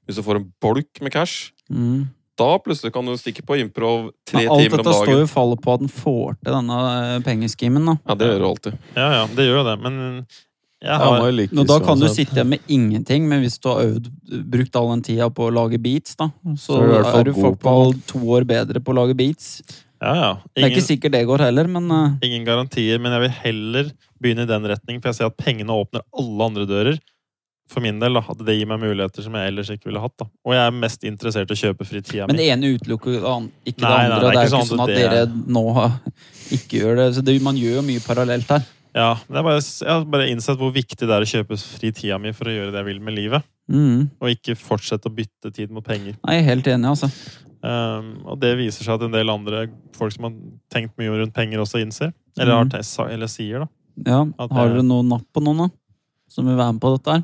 Hvis du får en bolk med cash, mm. da plutselig kan du stikke på improv tre Men Alt timer om dette står dagen. jo og faller på at en får til denne eh, pengeskimen, da. Ja, det gjør du alltid. ja, ja, det gjør jo det. Men jeg Han har må jo lykkes, Og da kan du uansett. sitte igjen med ingenting, men hvis du har øvd, brukt all den tida på å lage beats, da, så, Så er du i hvert fall er du god på fotball to år bedre på å lage beats. ja, ja. Det er ikke Ingen, sikkert det går heller, men eh, ingen garantier, men jeg vil heller begynne i den retning, for jeg ser at pengene åpner alle andre dører. For min del da, at det gir meg muligheter som jeg ellers ikke ville hatt. da. Og jeg er mest interessert i å kjøpe fri tida Men mi. det ene utelukker jo det an- ikke Nei, nei, det andre. og det er jo ikke sånn at det er- dere nå har- ikke gjør det. Så det, man gjør jo mye parallelt her. Ja, men jeg, bare, jeg har bare innsett hvor viktig det er å kjøpe fri tida mi for å gjøre det jeg vil med livet. Mm. Og ikke fortsette å bytte tid mot penger. Nei, jeg er helt enig, altså. Um, og det viser seg at en del andre folk som har tenkt mye rundt penger, også innser. Eller, har Mhm. te- sa- eller sier, da. Ja. At det- Har dere noe napp på noen, da? Som vil være med på dette her?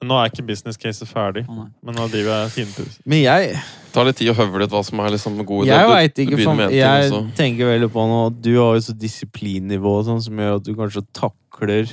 Men nå er ikke business caset ferdig. Å, nei. Men nå driver jeg finpuss. Men jeg, Det tar litt tid å høvle ut hva som er liksom gode jeg Du- du- veit du ikke. begynner For, med en ting, jeg og så- tenker veldig på nå at Du har jo så disiplinnivå og sånn som gjør at du kanskje takler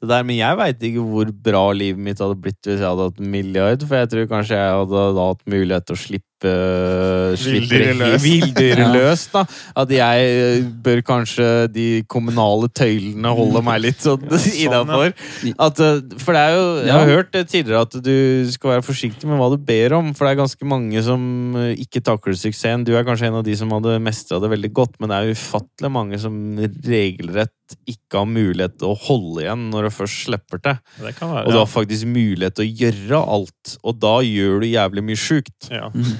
det der. Men jeg veit ikke hvor bra livet mitt hadde blitt hvis jeg hadde hatt en milliard. For jeg tror kanskje jeg hadde da hatt mulighet til å slippe Villdyret løs. Villdyret Ja. løs, da. At jeg eh, bør kanskje de kommunale tøylene holde meg litt sånn ja. innafor. At, eh, for det er jo, jeg har Ja. hørt det tidligere at du skal være forsiktig med hva du ber om, for det er ganske mange som eh, ikke takler suksessen. Du er kanskje en av de som hadde mestra det veldig godt, men det er jo ufattelig mange som regelrett ikke har mulighet til å holde igjen når det først slipper til. Det kan være. Og du ja. har faktisk mulighet til å gjøre alt, og da gjør du jævlig mye sjukt. Ja. Mhm.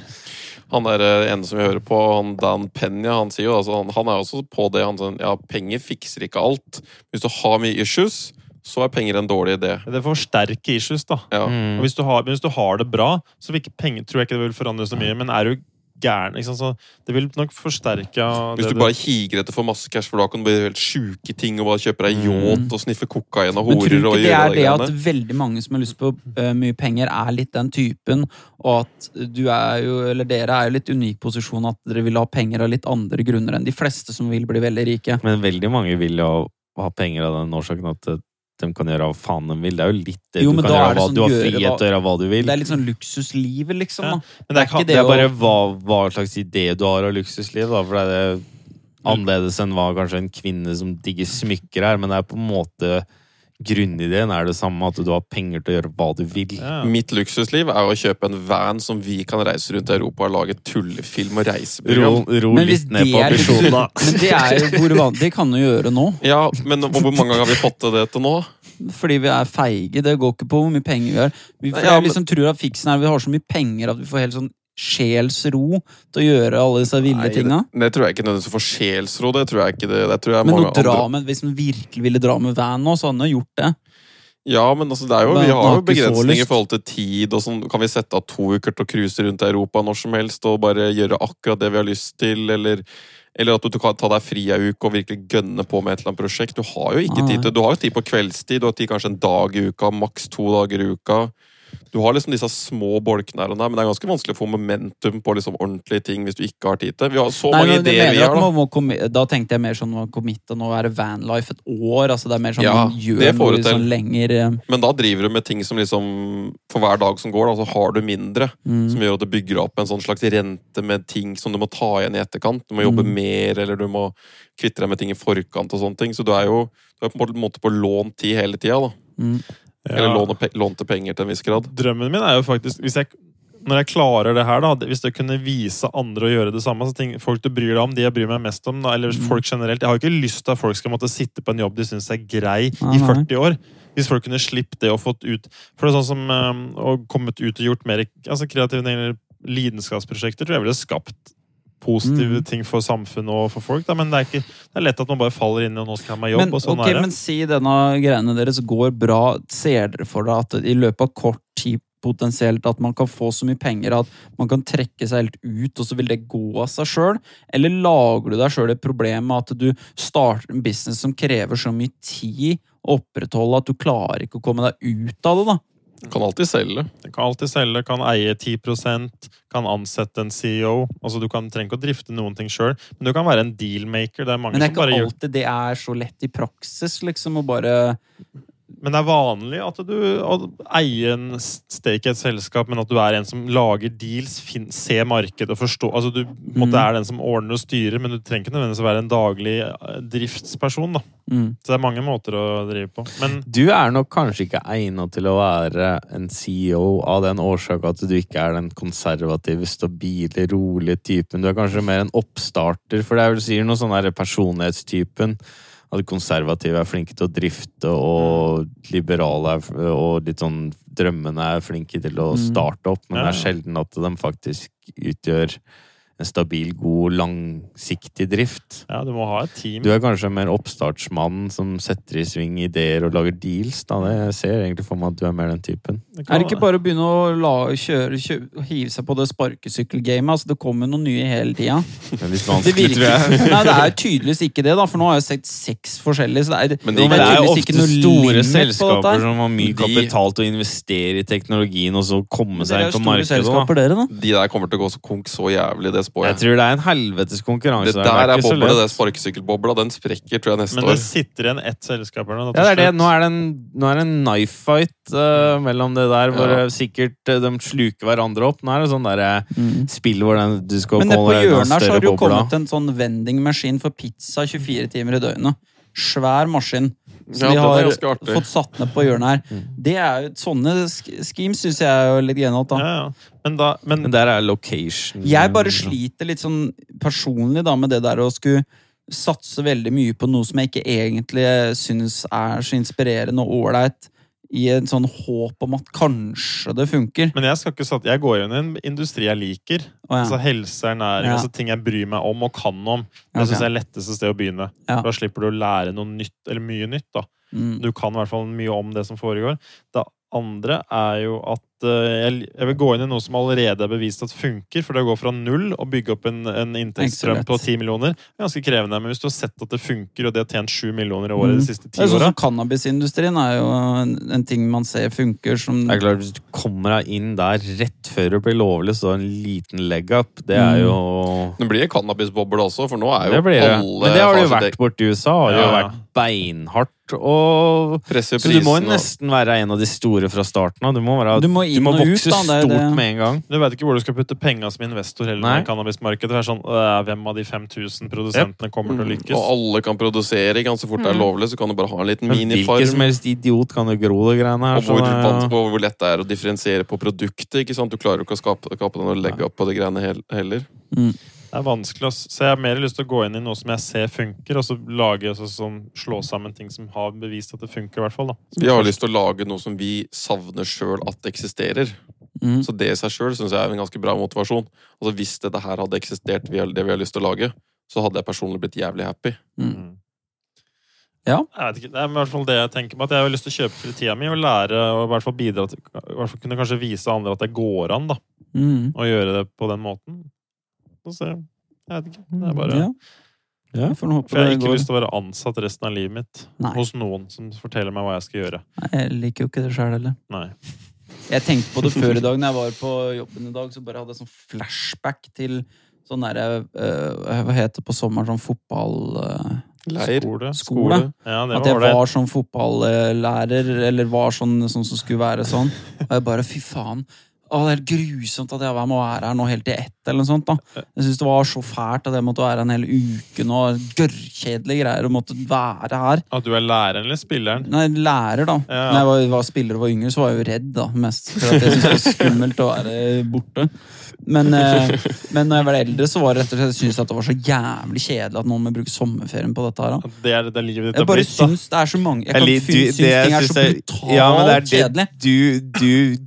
Han der eh, ene som vi hører på, han Dan Penya, han sier jo altså, han, han er også på det. Han sånn, ja, penger fikser ikke alt. Hvis du har mye issues, så er penger en dårlig idé. Det forsterker issues, da. Ja. Mm. Og hvis du har, men hvis du har det bra, så vil ikke penger, tror jeg ikke det vil forandre så mye. Men er du gæren, ikke sant? så det vil nok forsterke Hvis det du bare higer etter for masse cash, for da kan du bli helt sjuke ting og bare kjøpe deg yacht og sniffe kokain og Mm. Men tror horer du og ikke det gjøre er de det at greiene. veldig mange som har lyst på eh, mye penger, er litt den typen, og at du er jo, eller dere er jo litt unik posisjon at dere vil ha penger av litt andre grunner enn de fleste som vil bli veldig rike? Men veldig mange vil jo ha penger av den årsaken at eh, de kan gjøre hva faen de vil. Det er jo litt det Jo, du men da kan gjøre. er det hva- sånn, du har gjøre frihet hva- til å gjøre hva du vil. Det er litt sånn luksuslivet, liksom. Ja. da. Men det er, ikke ikke Det er å- bare hva, hva slags idé du har av luksusliv, da. For det er det annerledes enn hva kanskje en kvinne som digger smykker er. Men det er på en måte Grunnideen er det samme, at du har penger til å gjøre hva du vil. Ja. Mitt luksusliv er å kjøpe en van som vi kan reise rundt i Europa og lage tullefilm og Ro, reiseprogram. ro Men hvis litt ned det på er ambisjonen, da. Men det er jo hvor vanlig Det kan du gjøre nå. Ja, men hvor mange ganger har vi fått til det til nå? Fordi vi er feige. Det går ikke på hvor mye penger vi har. Vi Nei, ja, jeg liksom tror at fiksen er at vi har så mye penger at vi får helt sånn sjelsro til å gjøre alle disse ville Nei, tinga. Det, det tror jeg ikke nødvendigvis får sjelsro. Det tror jeg ikke det. det tror jeg Men mange å dra andre- med, hvis man virkelig ville dra med van nå, så hadde han jo gjort det. Ja, men altså, det er jo, Men vi man har har jo ikke så begrensninger i lyst. forhold til tid. og sånn. Kan vi sette av to uker til å cruise rundt i Europa når som helst og bare gjøre akkurat det vi har lyst til? Eller, eller at du kan ta deg fri ei uke og virkelig gønne på med et eller annet prosjekt. Du har jo ikke Nei. tid til Du har jo tid på kveldstid, du har tid kanskje en dag i uka, maks to dager i uka. Du har liksom disse små bolkene her og der, men det er ganske vanskelig å få momentum på liksom ordentlige ting hvis du ikke har tid til det. Vi har så Nei, mange men du ideer vi mener at har, da. man må commi- da tenkte jeg mer sånn man committe, nå er det vanlife et år. altså Det er mer sånn Ja, man gjør det noe får du til. sånn lenger eh, Men da driver du med ting som liksom For hver dag som går, da, så har du mindre. mm, Mm. Som gjør at du bygger opp en sånn slags rente med ting som du må ta igjen i etterkant. Du må jobbe Mm. mer, eller du må kvitte deg med ting i forkant og sånne ting. Så du er jo du er på en måte på lånt tid hele tida, da. Mm. Eller Ja. låne pe lånte penger til en viss grad. Drømmen min er jo faktisk hvis jeg, Når jeg klarer det her, da hvis jeg kunne vise andre å gjøre det samme så ting, Folk du bryr deg om, de jeg bryr meg mest om, da, eller Mm. folk generelt Jeg har jo ikke lyst til at folk skal måtte sitte på en jobb de syns er grei, Nei, i nei. 40 år. Hvis folk kunne slippe det og fått ut For det er sånn som eh, å kommet ut og gjort mer altså kreative eller lidenskapsprosjekter, tror jeg ville skapt positive Mm. ting for samfunnet og for folk. Da, men det er, ikke, det er lett at man bare faller inn i og nå skal jeg ha meg jobb, Men, og sånn ok, er det. men si denne greiene deres går bra. Ser dere for dere at i løpet av kort tid potensielt at man kan få så mye penger at man kan trekke seg helt ut, og så vil det gå av seg sjøl? Eller lager du deg sjøl et problem med at du starter en business som krever så mye tid å opprettholde at du klarer ikke å komme deg ut av det, da? Kan alltid selge. Du kan alltid selge, kan eie 10 kan ansette en CEO. Altså Du kan trenger ikke å drifte noen ting sjøl, men du kan være en dealmaker. Det er mange Men det er som bare ikke gjør alltid det er så lett i praksis, liksom, å bare Men det er vanlig at du å eier en stake i et selskap, men at du er en som lager deals, fin, ser markedet og forstår Altså Du på en måte Mm. er den som ordner og styrer, men du trenger ikke nødvendigvis å være en daglig eh, driftsperson. da mm. Så det er mange måter å drive på. Men Du er nok kanskje ikke egnet til å være en CEO av den årsak at du ikke er den konservative, stabile, rolige typen. Du er kanskje mer en oppstarter, for det er vel sikkert noe sånn der personlighetstypen. At konservative er flinke til å drifte, og liberale er, f- og litt sånn drømmene er flinke til å Mm. starte opp, men Ja. det er sjelden at de faktisk utgjør en stabil, god, langsiktig drift. ja, du må ha et team. Du er kanskje mer oppstartsmannen som setter i sving ideer og lager deals. Da. Det jeg ser egentlig for meg at du er mer den typen. Er det ikke bare å begynne å la, kjøre, kjø- hive seg på det sparkesykkelgamet? Altså, det kommer noe nye hele tida. Men litt Det vanskelig, virker tror jeg. Nei, det er tydeligvis ikke det, da, for nå har jeg sett seks forskjellige. Så det er, Men det de- Men er det er jo tydeligvis ikke ofte noe limit store på dette her. selskaper som har mye De- kapital til å investere i teknologien og så komme Dere seg er jo inn på store markedet. Da. selskaper, dere, da. De der kommer til å gå så konk så jævlig, det spår Jeg jeg. tror det er en helvetes konkurranse. Det der er ikke så bobla, lett. det sparkesykkelbobla. Den sprekker, tror jeg, neste Men det år. sitter igjen ett selskap her nå. da, Ja, til det er det. slutt. Nå er det en, nå er det en knife fight eh, mellom det der, hvor Ja. eh, sikkert eh, de sluker hverandre opp. Nå er det sånn der eh, spill hvor den, du skal Mm. Men nede på komme deg hjørnet her unna så har det større jo bobla. kommet en sånn vendingmaskin for pizza 24 timer i døgnet. Svær maskin. Ja, Som den de er har ganske artig. Mm. fått satt ned på hjørnet her. Det er jo, sånne sk- schemes syns jeg er jo litt genialt, da. Ja, ja. Men da men, Men der er location Jeg bare sliter litt sånn personlig da med det der å skulle satse veldig mye på noe som jeg ikke egentlig syns er så inspirerende og ålreit, i en sånn håp om at kanskje det funker. Men jeg skal ikke satt, jeg går jo inn i en industri jeg liker. Å ja. Altså Helse, ernæring, Ja. altså ting jeg bryr meg om og kan om. Det Ok. synes jeg er letteste sted å begynne. Ja. Da slipper du å lære noe nytt, eller mye nytt. da. Mm. Du kan i hvert fall mye om det som foregår. Det andre er jo at eh, jeg, jeg vil gå inn i noe som allerede er bevist at funker. For det å gå fra null og bygge opp en, en inntektsstrøm Ikke så lett. på 10 millioner er ganske krevende. Men hvis du har sett at det funker, og det har tjent 7 millioner i året Mm. de siste Det ti er sånn åra som Cannabisindustrien er jo en, en ting man ser funker som Det er klart, Hvis du kommer deg inn der rett før det blir lovlig, så en liten leg-up, det er jo Det blir en cannabisboble også, for nå er jo Det blir det. alle Men det har det jo har sitt vært borti USA. Har det jo Ja, ja. vært beinhardt og eget- presser Så du må jo prisen og- nesten være en av de store fra starten av. Du må, være, Du må inn og ut, vokse da, det er stort det. med en gang. Du veit ikke hvor du skal putte penga som investor heller Nei. i cannabismarkedet. Det er sånn, øh, Hvem av de 5000 produsentene kommer til å Mm, Og lykkes? alle kan produsere. ikke sant? Så fort det er lovlig, så kan du bare ha en Mm. liten Men hvilken som minifarm. helst idiot kan jo gro det greiene her. sånn, eh, Og så hvor, det er jo- vans- og hvor lett det er å differensiere på produktet. ikke sant? Du klarer jo ikke å skape, skape den og legge opp på de greiene hel- heller. Det er vanskelig, ass. Så jeg har mer lyst til å gå inn i noe som jeg ser funker, og så lage, altså, sånn, slå sammen ting som har bevist at det funker, i hvert fall. da. Vi har lyst til å lage noe som vi savner sjøl at det eksisterer. Mm. Så det i seg sjøl syns jeg er en ganske bra motivasjon. Altså Hvis dette her hadde eksistert, vi har- det vi har lyst til å lage, så hadde jeg personlig blitt jævlig happy. Mm. Jeg vet ikke, Det er i hvert fall det jeg tenker på. At jeg har lyst til å kjøpe fritida mi og lære og i hvert fall bidra til i hvert fall Kunne kanskje vise andre at det går an da, Mm. å gjøre det på den måten. Så ser jeg. Jeg vet ikke. Det er bare... Ja. Ja. Vi får nå håpe For jeg har det ikke går. lyst til å være ansatt resten av livet mitt Nei. hos noen som forteller meg hva jeg skal gjøre. Nei, jeg liker jo ikke det sjøl heller. Nei. Jeg tenkte på det før i dag når jeg var på jobben i dag, så bare hadde jeg sånn flashback til sånn derre eh, Hva heter det på sommeren? Sånn fotball... eh, Leir. Skole. Skole. Ja, det At jeg var ålreit. var sånn fotballærer, eller var sånn, sånn som skulle være sånn. Og jeg bare, fy faen. Å, det er helt grusomt at jeg må være her nå helt til ett. eller noe sånt da. Jeg synes det var så fælt at jeg måtte være her en hel uke nå. Gørrkjedelige greier å måtte være her. At du er læreren eller spilleren? Når jeg lærer, da. Ja. Når jeg var, var spiller og var yngre, så var jeg jo redd, da, mest. For at jeg syntes det var skummelt å være borte. Men, eh, men når jeg ble eldre, så var det rett og slett, jeg syntes at det var så jævlig kjedelig at noen må bruke sommerferien på dette her. da. Det er det livet Jeg ditt har bare blitt. da. syns det er så mange Jeg Jeg kan lik- fin- synes det jeg ting er syns så er- brutalt ja, men det er kjedelig. det, du, du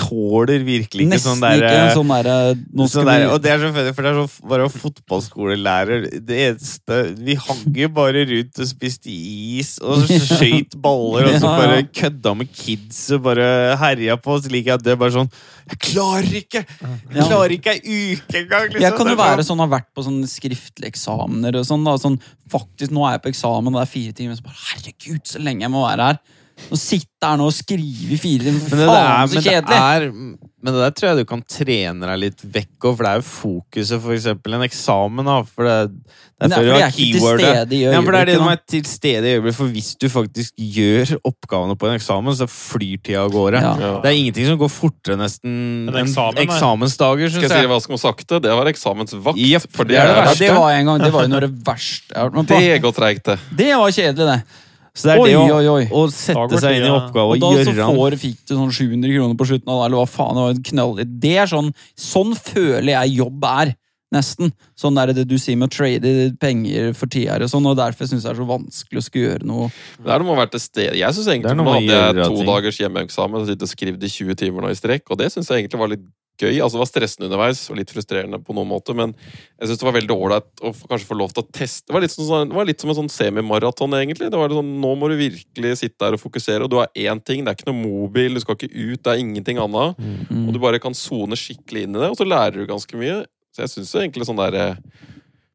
tåler virkelig ikke Nesten sånn derre ikke en sånn derre Nå skal Sånn der, vi og det er så funny, for det er så bare fotballskolelærer Det eneste Vi hang jo bare rundt og spiste is og skøyt baller og Ja, så ja. bare kødda med kids og bare herja på oss like at det bare sånn Jeg klarer ikke! Jeg Ja. klarer ikke ei uke engang! jeg kan jo Det er være sånn- sånn, har vært på sånne skriftlige eksamener og sånn. da, sånn, Faktisk, nå er jeg på eksamen, og det er fire timer. Så bare, herregud, så lenge jeg må være her. Å sitte her nå og skrive i fire timer, men det, faen så der- kjedelig! men, det er, men det der tror jeg du kan trene deg litt vekk over, for det er jo fokuset for eksempel en eksamen, da, for det, det Men det er er før fordi du har jeg er ikke til keywordet. stede i Ja, for det er øyeblikket, det som da. er til stede i øyeblikket, for hvis du faktisk gjør oppgavene på en eksamen, så flyr tida av gårde. Ja. Ja. Det er ingenting som går fortere nesten En enn eksamen, nei. eksamensdager, Skal syns jeg si jeg. hva som var sakte? Det var eksamensvakt. Jepp, for det det, er det er Ja, verste. verst. det var en gang, det var jo noe av det verste jeg har vært med Det på. går treigt, det. Det var kjedelig, det. Så det er Oi, det å, oi, oi. å Da sette går seg inn i tida. oppgave Og og, da så gjøre den. får, fikk du sånn 700 kroner på slutten av det, eller hva faen, det var en knall... Det er sånn, sånn føler jeg jobb er, nesten. Sånn er det du sier med å trade penger for tiere og sånn, og derfor synes jeg det er så vanskelig å skulle gjøre noe. Det er noe med å være til stede. Jeg synes Det er egentlig noe Nå med å hadde jeg gjøre to ting. dagers hjemmeeksamen og sitte og skrevet i 20 timer nå i strekk, og det synes jeg egentlig var litt gøy. Altså Det var stressende underveis og litt frustrerende på noen måte, men jeg synes det var veldig ålreit å f- kanskje få lov til å teste. Det var litt, sånn, det var litt som en sånn semimaraton, egentlig. Det var litt sånn, Nå må du virkelig sitte der og fokusere, og du har én ting, det er ikke noe mobil, du skal ikke ut, det er ingenting annet. Mm. Og du bare kan sone skikkelig inn i det, og så lærer du ganske mye. Så jeg syns egentlig sånn der eh,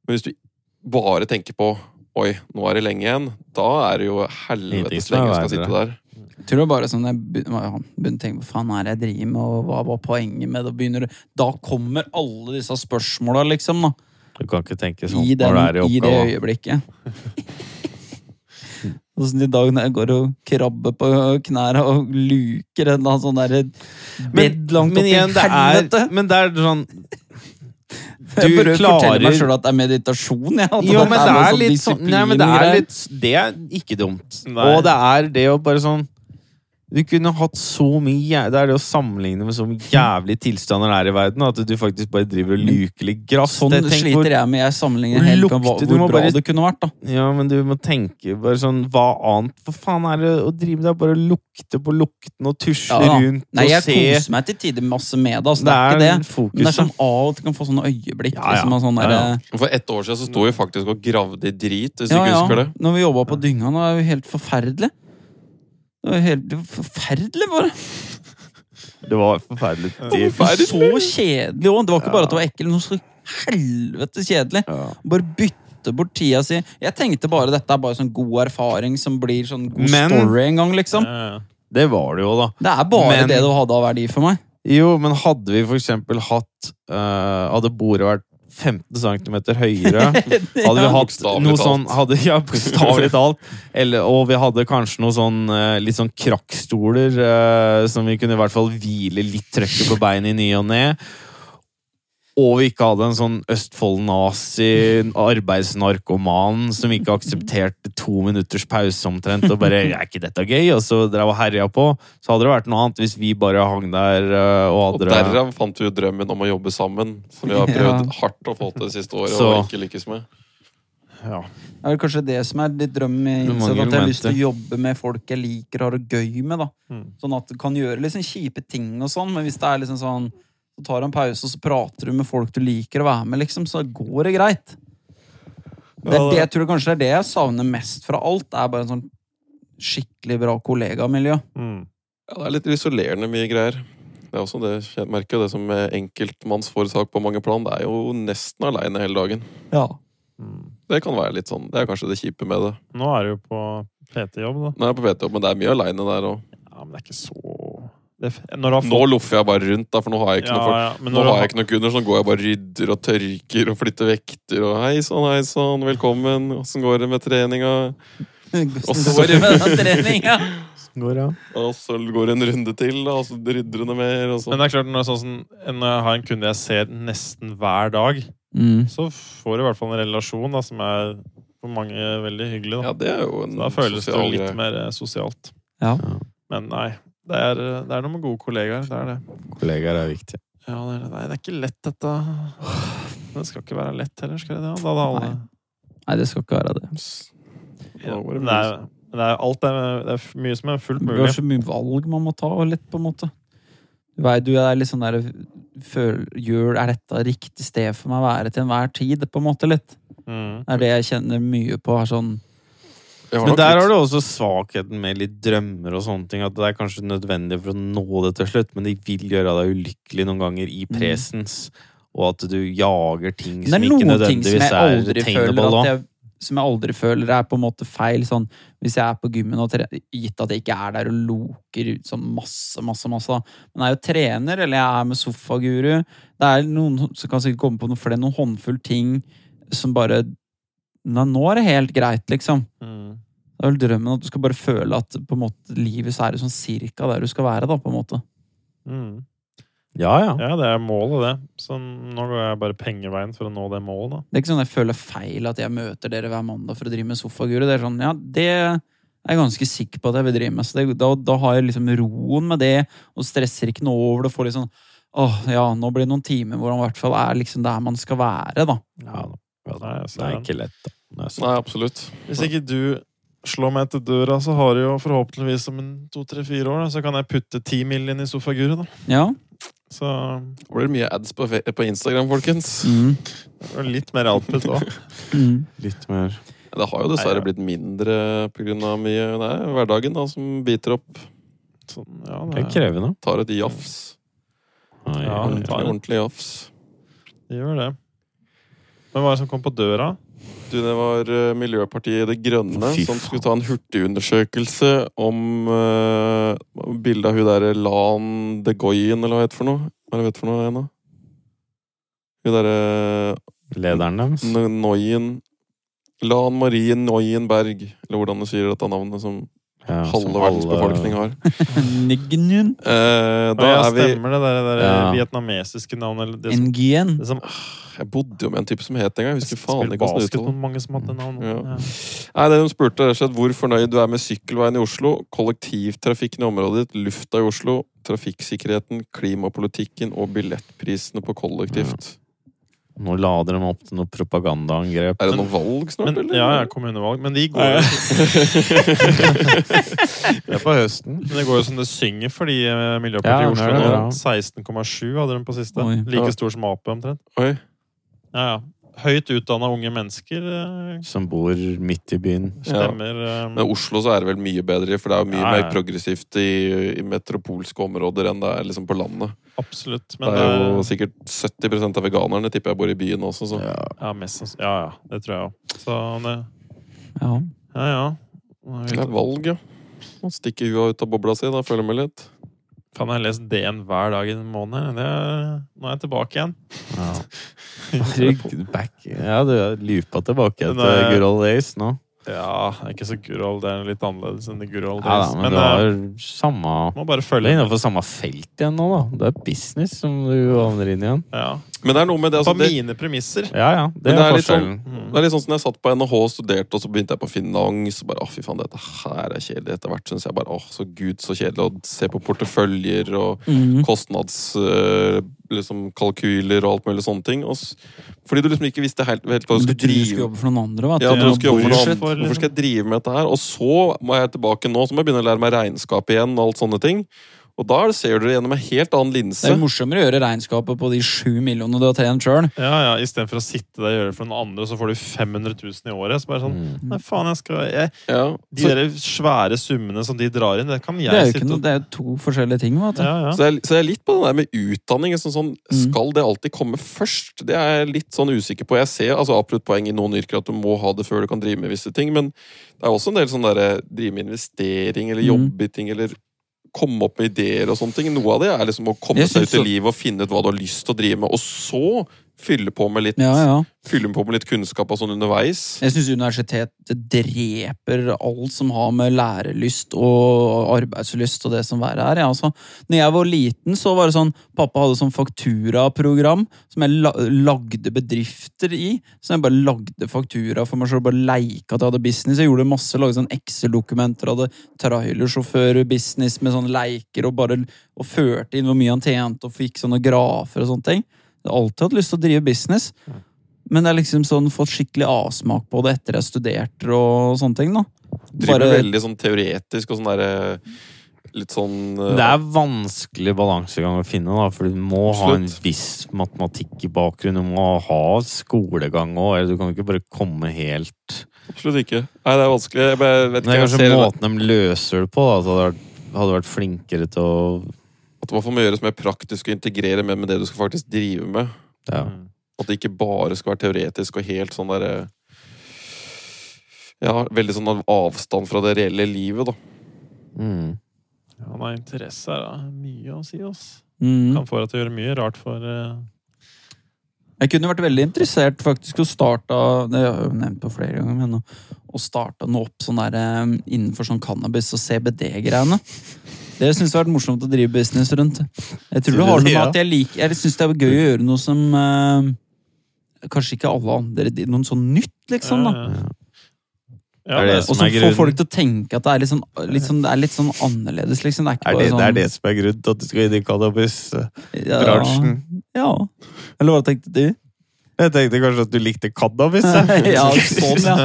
Men hvis du bare tenker på Oi, nå er det lenge igjen. Da er det jo Ingenting helvetes som er lenge du skal verre. sitte der. Tror du bare sånn jeg begynner, ja, begynner å tenke på faen hva er det jeg driver med, og hva var poenget med det, og begynner du Da kommer alle disse spørsmåla, liksom, da. Du kan ikke tenke sånn I, den, når du er i i det oppgave. øyeblikket. Og Sånn i dag når jeg går og krabber på knærne og luker en eller annen sånn derre bed langt men opp i igjen, det helvete. er, men det er sånn jeg Du prøver å fortelle meg klarer sjøl at det er meditasjon. Jeg, at Jo, det men er det noe er sånn litt sånn Nei, men det er disiplingreier. litt Det er ikke dumt. Nei. Og det er det å bare sånn Du kunne hatt så mye jæ- Det er det å sammenligne med så mye jævlige tilstander det er i verden, at du faktisk bare driver og luker litt gress. Sånn Det- tenk hvor- sliter jeg med. Jeg sammenligner hvor helt med hva, lukter- du hvor må bra bare- det kunne vært. da. Ja, men du må tenke bare sånn Hva annet Hva faen er det å drive med? Det er bare å lukte på lukten og tusle Ja, da. rundt Nei, og jeg se koser meg til tider masse med det. Altså, Det det er ikke det. fokuset. Men det er sånn av og til kan få sånne øyeblikk. Ja, ja. Liksom, av sånn Ja, der, ja. Og For ett år siden så sto vi faktisk og gravde i drit, hvis du ja, ikke husker ja. det. Når vi jobba på dynga, det er jo helt forferdelig. Det var jo helt det var forferdelig, bare. Det var forferdelig. Det var så kjedelig òg. Det var ikke bare at det var ekkelt, men noe så helvete kjedelig. Ja. Bare bytte bort tida si. Jeg tenkte bare dette er bare sånn god erfaring som blir sånn god Men- story en gang, liksom. Ja, ja. Det var det jo, da. Det er bare Men- det det hadde av verdi for meg. Jo, men hadde vi for eksempel hatt eh, Hadde bordet vært 15 cm høyere Hadde vi hatt Bokstavelig noe sånn talt. hadde, Ja, bokstavelig talt. Eller, og vi hadde kanskje noe sånn eh, litt sånn krakkstoler eh, som vi kunne i hvert fall hvile litt trøkket på beinet i ny og ne. Og vi ikke hadde en sånn Østfold-nazi, arbeidsnarkoman, som ikke aksepterte to minutters pause omtrent, og bare 'er ikke dette gøy?' og så drev og herja på. Så hadde det vært noe annet hvis vi bare hang der eh, og Og hadde det- derav fant vi jo drømmen om å jobbe sammen, som vi har prøvd Ja. hardt å få til det siste året Så- og ikke lykkes med. Det er vel kanskje det som er litt drømmen min. Det er innsett, At mange jeg har lyst til å elementer. jobbe med folk jeg liker og har det gøy med. da. Sånn at du kan gjøre liksom kjipe ting og sånn, men hvis det er liksom sånn så tar du en pause og så prater du med folk du liker å være med, liksom, så går det greit. Det, er Ja, det, det- jeg tror kanskje det er det jeg savner mest fra alt. Det er bare en sånn skikkelig bra kollegamiljø. Mm. Ja, det er litt isolerende mye greier. Det er også det, jeg merker jo det som eh, enkeltmannsforetak på mange plan. Det er jo nesten aleine hele dagen. Ja. Mm. Det kan være litt sånn, det er kanskje det kjipe med det. Nå er du jo på PT-jobb, da. Nå er jeg på PT, men det er mye aleine der òg. Ja, men det er ikke så Det, f- når du har Nå loffer jeg bare rundt, da, for nå har jeg ikke noe ja, folk. ja, men Nå når du har jeg ikke noen kunder, så nå går jeg bare og rydder og tørker og flytter vekter og hei sann, hei sann, velkommen, åssen går det med treninga? Hvordan så- går det med den treninga? Går, ja. Og så går det en runde til, da, og så rydder hun det mer, og så Men det er klart, når, jeg sånn, som- når jeg har en kunde jeg ser nesten hver dag, Mm. så får du i hvert fall en relasjon da, som er for mange veldig hyggelig. Da, Ja, det er jo en da føles det jo sosial litt greie. mer eh, sosialt. Ja. Men nei, det er, eh, det er noe med gode kollegaer. Det er det. Kollegaer er viktig. Ja, det, er, nei, det er ikke lett, dette. Det skal ikke være lett heller, skal det det? Da hadde alle... Nei. Nei, det skal ikke være det. Ja, hvor er det det er, det er, alt er, det er mye som er fullt Det er mulig. så mye valg man må ta, og litt, på en måte. Du vei- du er litt sånn der føl, gjør, Er dette riktig sted for meg å være til enhver tid? på en måte litt. Mm. Det er det jeg kjenner mye på. Er sånn, Jeg har Men nok der litt- har du også svakheten med litt drømmer og sånne ting. At det er kanskje nødvendig for å nå det til slutt, men de vil gjøre deg ulykkelig noen ganger i presens. Og at du jager ting Mm. Men det som er ikke noen ting som nødvendigvis jeg er aldri føler tegnable at da. jeg, som jeg aldri føler er på en måte feil. Sånn, hvis jeg er på gymmen og tre, gitt at jeg ikke er der og loker ut sånn masse, masse, masse da. Men jeg er jo trener, eller jeg er med sofaguru. Det er noen som kan sikkert komme på noe flere, noen håndfull ting som bare Nei, nå er det helt greit, liksom. Mm. Det er vel drømmen at du skal bare føle at på en måte, livet så er det sånn cirka der du skal være, da, på en måte. Mm. Ja, ja. Ja, det er målet, det. Så nå går jeg bare pengeveien for å nå det målet, da. Det er ikke sånn jeg føler feil at jeg møter dere hver mandag for å drive med sofaguru. Det er sånn, ja, det er jeg ganske sikker på at jeg vil drive med. Så det, da, da har jeg liksom roen med det, og stresser ikke noe over det. Får litt sånn åh, ja, nå blir det noen timer hvor han i hvert fall er liksom der man skal være, da. ja da. Nei, jeg Det er ser den. ikke lett, da. Det er sånn. sant. Nei, absolutt. Hvis ikke du slår meg etter døra, så har du jo forhåpentligvis om en to-tre-fire år, da, så kan jeg putte ti mill. inn i sofaguru, da. Ja. Så Det blir mye ads på, fe- på Instagram, folkens. Mm. og litt mer output òg. Mm. Litt mer Det har jo Nei, dessverre ja. blitt mindre pga. mye det er hverdagen da, som biter opp. Sånn, ja, Det er det, krevende. Tar et jafs. Ai, Ja, ai, Ordentlig, tar det. ordentlig jafs. det gjør det. Men hva er det som kom på døra? Du, det var eh, Miljøpartiet Det Grønne Fy som faen. skulle ta en hurtigundersøkelse om uh, bildet av hun derre Lan de Goyen, eller hva det heter for noe. Hva er det hun heter for noe ennå? Hun derre eh, ai. Lederen deres. N- Noyen Lan Marie Noyenberg, eller hvordan du sier dette navnet som Ja, som halve verdens alle- befolkning har. Nignun Eh, da ja, er vi stemmer det der, det der Ja. vietnamesiske navnet? Eller sånn- det, som, Ngien. det som Jeg bodde jo med en type som het en gang. Jeg husker faen spiller ikke hvordan det basket uttaler. mot mange som hadde det navnet. Ja. Ja. Nei, det Hun spurte rett og slett hvor fornøyd du er med sykkelveien i Oslo, kollektivtrafikken i området ditt, lufta i Oslo, trafikksikkerheten, klimapolitikken og billettprisene på kollektivt. Nå lader de opp til noe propagandaangrep. Er det noe valg snart, Men, eller? ja, ja, kommunevalg. Men de går jo Nei. Det er på høsten. Men det går jo som det synger for de eh, Ja, Miljøpartiet i Oslo. det er det nå. bra. 16,7 hadde de på siste. Oi. like Ja. stor som Ap, omtrent. Oi. Ja, ja. Høyt utdanna unge mennesker eh, Som bor midt i byen. stemmer. eh, Men i Oslo så er det vel mye bedre, for det er jo mye Ja, ja. mer progressivt i, i metropolske områder enn det er liksom på landet. Absolutt. Det Men er jo det er- sikkert 70 av veganerne tipper jeg bor i byen også, så Ja. ja, mest, sanns- ja, ja. Det tror jeg òg. Så eh, det sånn- Ja. Ja, ja. Nå det er er vi- valg, ja. Nå stikker hua ut av bobla si, da følger med litt. Kan jeg lese DN hver dag i en måned? Det er, nå er jeg tilbake igjen. Ja. Trygg back. Ja, du er lupa tilbake til Nei. good old days nå. Ja, det er ikke så good old. Det er litt annerledes enn the good old Ja, days. da, men, men du eh, har samme må bare Det er følge med. innenfor samme felt igjen nå, da. Det er business som du havner inn igjen. Ja. Men det er noe med det, På altså, det mine premisser. Ja, ja. Det er, Men det er litt forskjellen. Mm. Det er litt sånn som når jeg satt på NHH og studerte, og så begynte jeg på finans. Og bare, å fy faen, dette her er kjedelig. Etter hvert synes jeg bare, åh, så gud, så kjedelig å se på porteføljer og Mm. kostnadskalkyler liksom, kalkyler og alt mulig sånne ting. Og, s- fordi du liksom ikke visste helt, helt hva du Du skulle tror du skal drive jobbe for noen andre, vet ja, det du er skal jobbe for noe annet. bullshit. Hvorfor liksom? skal jeg drive med dette her? Og så må jeg tilbake nå, så må jeg begynne å lære meg regnskap igjen. Og alt sånne ting. Og da ser du det gjennom en helt annen Det linse. er jo morsommere å gjøre regnskapet på de sju millionene du har trent sjøl. Ja, ja, Istedenfor å sitte der og gjøre det for noen andre, så får du 500 000 i året. Så bare sånn, Mm. nei faen, jeg skal jeg, Ja. De Så, der svære summene som de drar inn, det kan Det er jeg jo ikke sitte noe, og det er jo to forskjellige ting. Vet du. ja, ja. Så jeg, så jeg er litt på den der med utdanning. Sånn, sånn, Mm. skal det alltid komme først? Det er jeg litt sånn usikker på. Jeg ser altså, absolutt poeng i noen yrker at du må ha det før du kan drive med visse ting, men det er også en del sånn derre drive med investering eller Mm. jobbe i ting eller komme opp med ideer og sånne ting. Noe av det er liksom å komme Jeg synes seg ut så- i livet og finne ut hva du har lyst til å drive med, og så fylle på med litt, Ja, ja. fylle på med litt kunnskap og sånn underveis. Jeg syns universitet det dreper alt som har med lærelyst og arbeidslyst og det som verre er. Ja, altså, når jeg var liten, så var det sånn Pappa hadde sånn fakturaprogram som jeg la lagde bedrifter i. Så jeg bare lagde faktura for meg sjøl, bare leika at jeg hadde business. Jeg gjorde masse, lagde sånn Excel-dokumenter, hadde trailersjåfør-business med sånne leiker og bare og førte inn hvor mye han tjente, og fikk sånne grafer og sånne ting. Jeg har alltid hatt lyst til å drive business. Men jeg har liksom sånn fått skikkelig avsmak på det etter jeg studerte og sånne ting. da. Driver Bare- veldig sånn teoretisk og sånn derre Litt sånn eh, Det er vanskelig balansegang å finne, da, for du må ha en Absolutt. viss matematikk i bakgrunnen. Du må ha skolegang òg, eller du kan ikke bare komme helt eh, Absolutt ikke. Nei, det er vanskelig. Jeg bare vet Det ikke. er Jeg kanskje ser måten de løser det på, da, at det hadde vært- hadde vært flinkere til å at man får gjøres mer praktisk og integrere mer med det du skal faktisk drive med. ja. Mm. At det ikke bare skal være teoretisk og helt sånn derre Ja, veldig sånn av- avstand fra det reelle livet, da. mm. Ja, Han har interesse her, da. Mye å si, ass. Mm. Kan få deg til å gjøre mye rart for eh, Jeg kunne vært veldig interessert faktisk å starte Det har jeg jo nevnt på flere ganger, men å- å starte noe opp sånn der eh, innenfor sånn cannabis og CBD-greiene. Det syns jeg har vært morsomt å drive business rundt. Jeg tror det har noe med Ja. at jeg liker Jeg syns det er gøy å gjøre noe som eh, kanskje ikke alle andre Noe sånn nytt, liksom. da. eh, Er Ja, det det, Og som som er får grunnen. folk til å tenke at det er litt sånn, litt sånn, det er litt sånn annerledes, liksom. Det er ikke er bare det, sånn det er det som er grunnen til at du skal inn i cannabisbransjen. ja, Ja. Eller hva tenkte du? Jeg tenkte kanskje at du likte cannabis. jeg. ja, sånn, ja.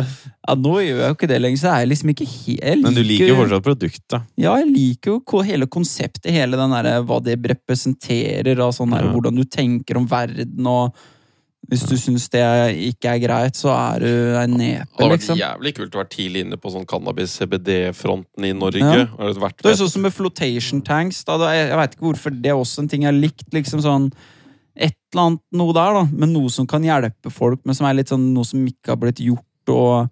ja, nå gjør jeg jo ikke det lenger, så jeg er liksom ikke helt Men du liker jo fortsatt produktet. Ja, jeg liker jo ko- hele konseptet, hele den der, eh, hva det representerer, og sånn der, Ja. hvordan du tenker om verden, og hvis du syns det er- ikke er greit, så er du en Det nepe, hadde vært liksom. jævlig kult å være tidlig inne på sånn cannabis-CBD-fronten i Norge. Ja. Har det vært Det er jo sånn som med flotation tanks. Da, da, jeg jeg vet ikke hvorfor det er også en ting jeg har likt. liksom sånn Et eller annet noe der, da. Men noe som kan hjelpe folk, men som er litt sånn noe som ikke har blitt gjort, og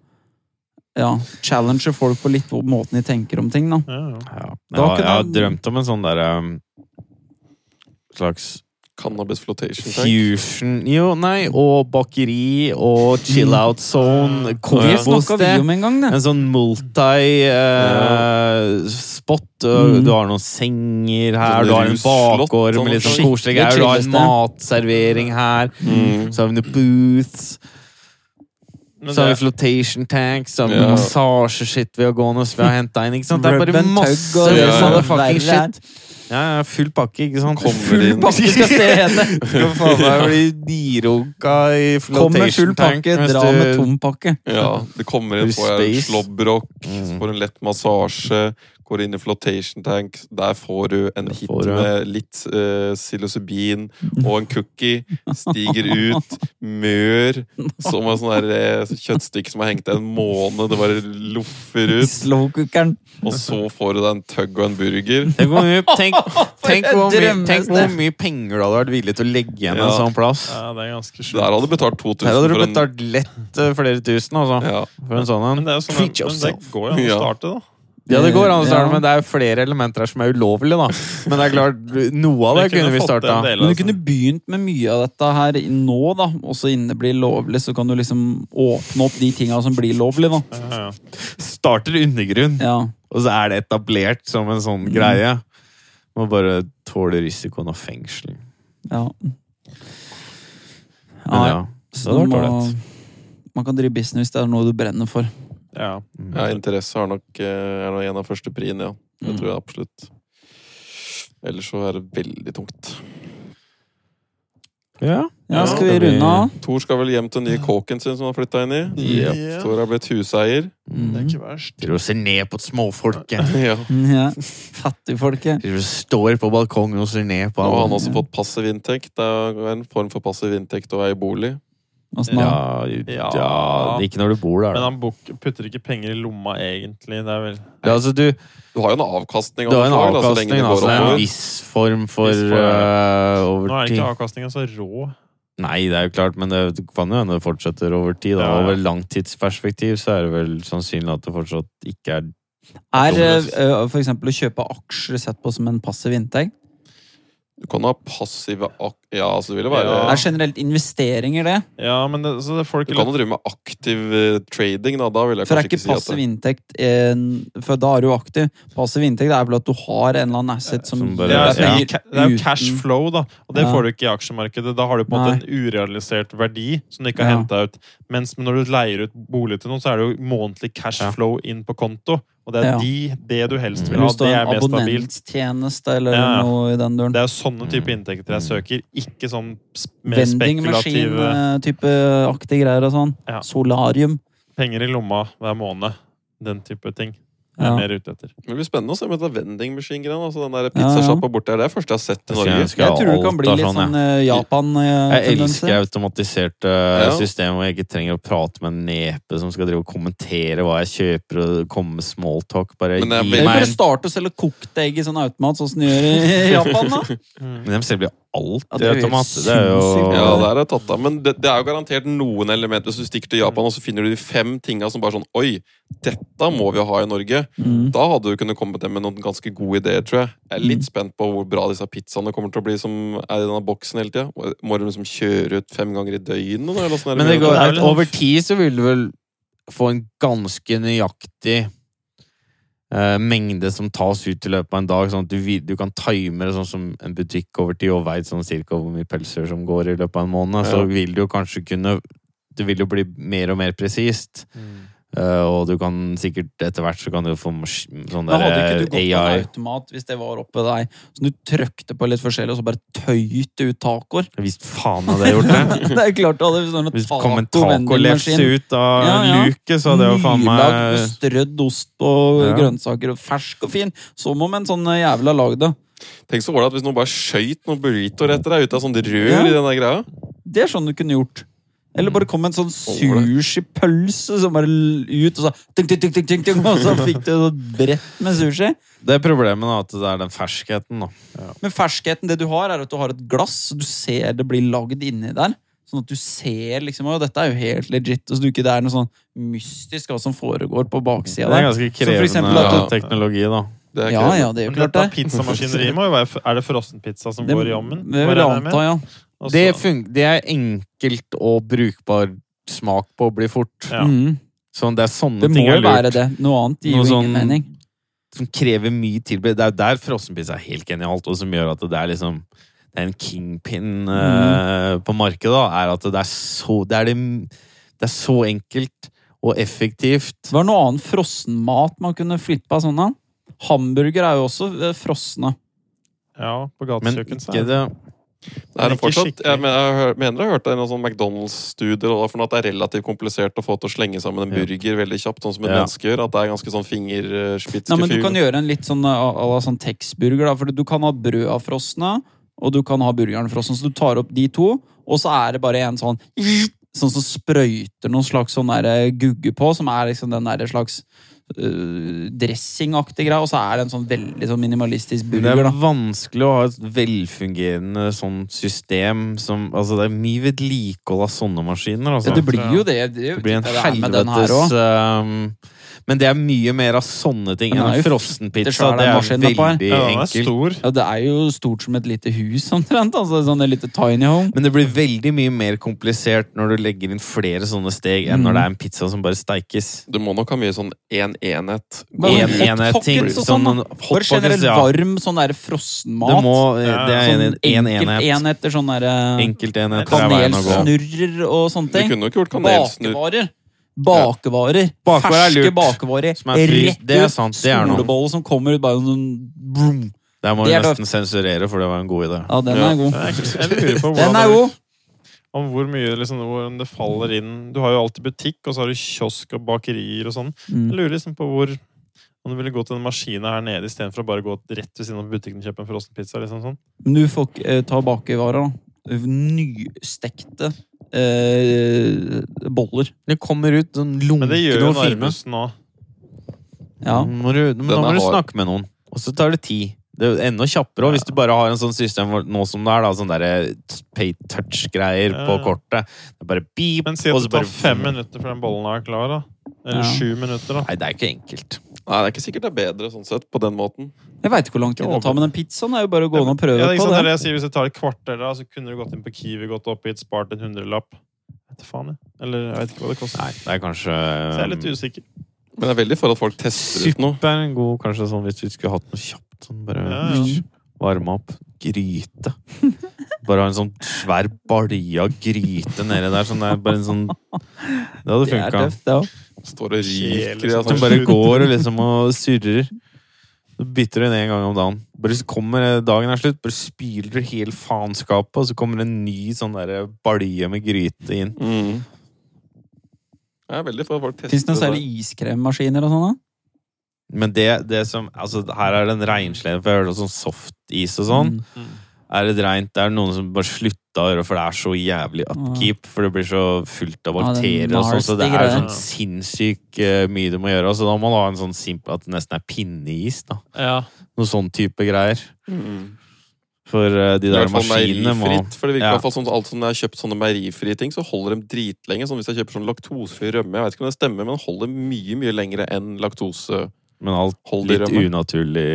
ja, challenger folk på litt hvor- måten de tenker om ting, da. ja, ja. Ja. Jeg, Da har- kunne jeg har han- drømt om en sånn derre slags Cannabis flotation tank. fusion Jo, nei, og bakeri og Mm. chill out zone. Det Kombos, snakka vi det. om en gang, det. En sånn multi-spot. Mm. Du har noen senger Sånn her, du har en russlott, bakgård med litt sånn sånn koselige greier, du har en chilleste. matservering her, Mm. så har vi noen booths. Men Så har vi det, flotation tanks, så har vi Ja. massasjeshit vi har gående vi har henta inn. ikke sant? Det er Rub bare and masse tug og det ja. som er fucking verre er. shit. Ja, ja, full pakke, ikke sant? Kommer full det inn- pakke skal det hete. skal faen meg bli nirunka i Kom med flotation full tank. pakke, mens dra du- med tom pakke. Ja, det kommer inn, får jeg en Space. slåbrok, Mm. får en lett massasje, går inn i flotation tank. Der får du en Der hit får du- med litt uh, psilocybin og en cookie. Stiger ut, mør, som en sånn der, eh, kjøttstykke som har hengt deg en måned. Det bare loffer ut. Slowcookeren. Og så får du deg en tugg og en burger. Tenk hvor mye, tenk, tenk et hvor mye, drømmested. tenk hvor mye penger du hadde vært villig til å legge igjen en Ja. sånn plass. ja, det er ganske Der sjukt. hadde du betalt 2000 Der hadde du for en betalt lett eh, flere tusen altså, ja. for en sånn en. Men det er jo sånn, Treat men det yourself. går jo an å Ja. starte, da. Ja, det går an å starte, Ja. men det er jo flere elementer her som er ulovlige, da. Men det er klart, noe av det kunne vi fått en starta. del av Men du det, kunne begynt med mye av dette her i- nå, da. Og så innen det blir lovlig, så kan du liksom åpne opp de tinga som blir lovlig, da. sånn. Ja, ja. Starter undergrunn, Ja. og så er det etablert som en sånn greie. Må bare tåle risikoen av fengsel. ja. Men Nei, ja, så det hadde du vært må- ålreit. Man kan drive business hvis det er noe du brenner for. Ja. ja, interesse er nok, eh, er nok en av første prien, ja. Det Mm. tror jeg absolutt. Ellers så er det veldig tungt. Ja. Ja, Ja. skal vi Skal vi- runde av? Tor skal vel hjem til den nye kåken sin som han flytta inn i. Ja. Tor er blitt huseier. Det er Mm. ikke verst. Driver og ser ned på småfolket. Ja. Ja. Fattigfolket. Driver og står på balkongen og ser ned på Nå har han alle. også fått passiv inntekt. Det er en form for passiv inntekt å eie bolig. Åssen da? Ja, ja, ikke når du bor der, Men da. han bok, putter ikke penger i lomma, egentlig. Det er vel Ja, altså, du, Du har jo en avkastning. Du har en han får, da, så lenge avkastning, det da, altså, så går det er en oppover. viss form for Viss form, øh, Nå over er tid. ikke avkastninga så rå. Nei, det er jo klart, men det kan jo hende det fortsetter over tid. Da. Ja, ja. Over langtidsperspektiv så er det vel sannsynlig at det fortsatt ikke er Er Dominus. eh, for eksempel å kjøpe aksjer sett på som en passiv inntekt? Du kan ha passive ak... Ja, altså det ville være Ja. Er generelt investeringer det? Ja, men det, så det er folk Du kan jo drive med aktiv eh, trading, da. Da vil jeg For det er kanskje ikke ikke si at passiv inntekt en, For da er du jo aktiv. Passiv inntekt er vel at du har en eller annen asset som, Som bare- det er, det er ja. penger ca- det er jo uten- cash flow, da. Og det Ja. får du ikke i aksjemarkedet. Da har du på en måte en urealisert verdi som du ikke har Ja. hentet henta ut. Mens når du leier ut bolig til noen, så er det jo månedlig cash Ja. flow inn på konto. Og det er Ja. de, det du helst vil Eller ha. hvis du Det har er en mer stabilt. abonnenttjeneste eller Ja. noe i den duren. Det er jo sånne type Mm. inntekter jeg søker, ikke sånn s- mer spekulative eh. Vendingmaskin-type aktige greier og sånn. Ja. Solarium. penger i lomma hver måned. Den type ting. Jeg er Ja. mer ute etter. Det blir spennende å se med den vending machine-greia. Altså den der Ja, ja. pizzasjappa borti her. Det er det første jeg har sett i Norge. Jeg tror det kan bli litt sånn eh, Jeg Japan-tendenser. elsker automatiserte Ja. systemer hvor jeg ikke trenger å prate med en nepe som skal drive og kommentere hva jeg kjøper og komme med smalltalk. Bare Men det er gi veldig- Eller meg bare en starte å selge kokte egg i sånn automat, sånn som de gjør i Japan. da. Men de selger jo Ja, alt det i er jo automat. helt Det er jo sinnssykt. Ja, det er tatt av. Men det, det er jo garantert noen elementer. Hvis du stikker til Japan og så finner du de fem tinga som bare sånn Oi, dette må vi ha i Norge. Mm. Da hadde du kunnet kommet hjem med noen ganske gode ideer, tror jeg. Jeg er litt spent på hvor bra disse pizzaene kommer til å bli som er i denne boksen hele tida. Må de liksom kjøre ut fem ganger i døgnet? da, Eller sånn, Men det går, Det er vel- over tid så vil du vel få en ganske nøyaktig eh, mengde som tas ut i løpet av en dag, sånn at du, vi- du kan time det sånn som en butikk over tid og veit sånn cirka hvor mye pelser som går i løpet av en måned. Så Ja. vil du jo kanskje kunne Det vil jo bli mer og mer presist. Mm. eh, og du kan sikkert etter hvert så kan du få mas- sånn Men hadde ikke du der gått på en AI automat hvis det var oppe deg, så du trøkte på litt forskjellig, og så bare tøyte ut tacoer? Hvis faen hadde jeg gjort det! det er jo klart du hadde hvis det var noe Hvis det kom en taco-vendingmaskin. tacolefse ut av Ja, ja. luket, så hadde jeg jo faen Nylagd med meg strødd ost og Ja. grønnsaker og fersk og fin. Som om en sånn jævla lagd det. Tenk så ålreit hvis noen bare skøyt noen burritoer etter deg ut av sånn rør Ja. i den der greia. Det er sånn du kunne gjort. Eller bare kom en sånn sushipølse som bare l- ut, og så tink, tink, tink, tink, tink, tink, Og så fikk du et brett med sushi. Det er problemet da, at det er den ferskheten. da. Men ferskheten det du har, er at du har et glass, så du ser det blir lagd inni der. Sånn at du ser liksom Og dette er jo helt legit. Og så du ikke det er noe sånn mystisk hva som foregår på baksida Det er der. ganske for eksempel krevende at du- teknologi, da. Det er Ja, ikke- ja, det er jo Men klart, dette det. pizzamaskineriet må jo være Er det frossenpizza som Det, går i ovnen? det vil jeg anta, ja. Det, fun det er enkelt og brukbar smak på å bli fort. Ja. Mm. Sånn, det er sånne Det må ting jeg jo være lurer det. Noe annet gir Noe jo sånn- ingen mening. som krever mye tilberedelse. Det er jo der frossenpizza er helt genialt, og som gjør at det er liksom det er en kingpin eh, på markedet. Da, er at det er så det er, det, det er så enkelt og effektivt. Det var noe annen frossenmat man kunne flippe av sånne. Hamburger er jo også eh, frosne. ja, på Men gatekjøkken. så er ikke det Det er Men det ikke fortsatt, jeg skikkelig. mener jeg har- mener jeg har hørt det i noen sånn McDonald's-studier og da, for noe at det er relativt komplisert å få til å slenge sammen en Ja. burger veldig kjapt, sånn som et Ja. menneske gjør. At det er ganske sånn fingerspitz Nei, men du kan gjøre en litt sånn eh, à à la sånn Tex-burger, da, for du kan ha brød av frosne, og du kan ha burgeren frossen, så du tar opp de to, og så er det bare en sånn Sånn som sprøyter noen slags sånn der eh, gugge på, som er liksom den der slags eh, dressingaktig greie, og så er det en sånn veldig sånn minimalistisk Men Det burger, er da. vanskelig å ha et velfungerende sånn system som Altså, det er mye vedlikehold av sånne maskiner, Ja, altså. det blir jo det. Det, er jo Det blir en det er med den her helvetes også. ehm, Men det er mye mer av sånne ting Den enn er en jo frossenpizza. svær, den Det er maskinen oppå her. veldig Ja, den er enkelt. stor. Ja, det er jo stort som et lite hus, omtrent. Altså, sånn et lite tiny home. Men det blir veldig mye mer komplisert når du legger inn flere sånne steg, enn når det er en pizza som bare steikes. Du må nok ha mye sånn én enhet. Bare hot En enhet ting. pockets og Sånn sånn, da. hot Bare generelt pockets, ja. varm sånn der Det, frossenmat. må, eh, det er en, sånn en enkeltenheter, enhet. sånn derre Enkeltenheter er veien å gå. kanelsnurrer og sånne Du ting. kunne nok gjort kanelsnurr. Bakevarer. Bakevarer. Bakevarer er Ferske lurt. bakevarer. Som er fri. Rett ut. Det er sant, det er noe. Skolebolle som kommer ut bare sånn brum. Der må Det vi er nesten sensurere, for det var en god idé. Ja, den Ja. er god. Jeg jeg lurer på hvordan Den er det- god. om hvor mye liksom, hvor det faller inn. Du har jo alltid butikk, og så har du kiosk og bakerier og sånn. Mm. Jeg lurer liksom på hvor om du ville gå til den maskina her nede istedenfor å bare gå rett ved siden av butikken og kjøpe en frossen pizza. liksom sånn. Men du får ikke eh, ta bakevarer, da. Nystekte eh, boller. Det kommer ut sånn Men det gjør lunkne jo og fine. Narvesen nå. Ja. Nå Må Mm, du, men da Den må er du hard. snakke med noen, og så tar det tid. Det er jo enda kjappere også, hvis du bare har en sånn system hvor- nå som det er, da, sånn derre pay touch-greier Ja, på ja. kortet. Det er bare beep, Men si og at så det tar bare- fem minutter før den bollen er klar, da. Eller Ja. sju minutter, da. Nei, det er ikke enkelt. Nei, det er ikke sikkert det er bedre sånn sett, på den måten. Jeg veit ikke hvor lang tid det tar, men den pizzaen er jo bare å gå inn og prøve Ja, det er ikke på. sant, det er det. det jeg sier. Hvis det tar et kvarter, da, så kunne du gått inn på Kiwi, gått opp hit, spart en hundrelapp. Vet du faen, jeg. Eller jeg vet ikke hva det koster. Nei, det er kanskje um, Så jeg er litt usikker. Men jeg er veldig for at folk tester ut noe. Suppe er en god kanskje sånn hvis du skulle hatt noe kjapt. Sånn bare Ja, ja. varme opp. Gryte. Bare ha en sånn svær balje av gryte nede der. Sånn det er bare en sånn Det hadde Det er funka. tøft, det òg. Står og Kjedelig, ryker i sånn. altså. Som bare går og liksom og surrer. Så bytter du den en gang om dagen. Bare så kommer dagen er slutt, bare spyler du hele faenskapet, og så kommer det en ny sånn der balje med gryte inn. mm. Jeg er veldig for at folk tester Fins det noen der. særlig iskremmaskiner og sånn? da? Men det, det som Altså, her er det en reinslede, for jeg hørte sånn softis og sånn. Mm. Er det reint? Det er noen som bare slutta å gjøre for det er så jævlig upkeep. For det blir så fullt Ja, av det er bakterier og sånn, så nasty det er jo greier. sånn sinnssykt eh, mye du må gjøre. Så da må man ha en sånn simpel at det nesten er pinneis, da. Ja. Noe sånn type greier. Mm. For eh, de I der hvert fall maskinene må meierifritt, For det virker i Ja. hvert fall sånn at alt som jeg har kjøpt sånne meierifrie ting, så holder de dritlenge. Sånn hvis jeg kjøper sånn laktosefri rømme, jeg vet ikke om det stemmer, men holder mye mye lengre enn laktose. Men alt Hold i litt rømme. unaturlig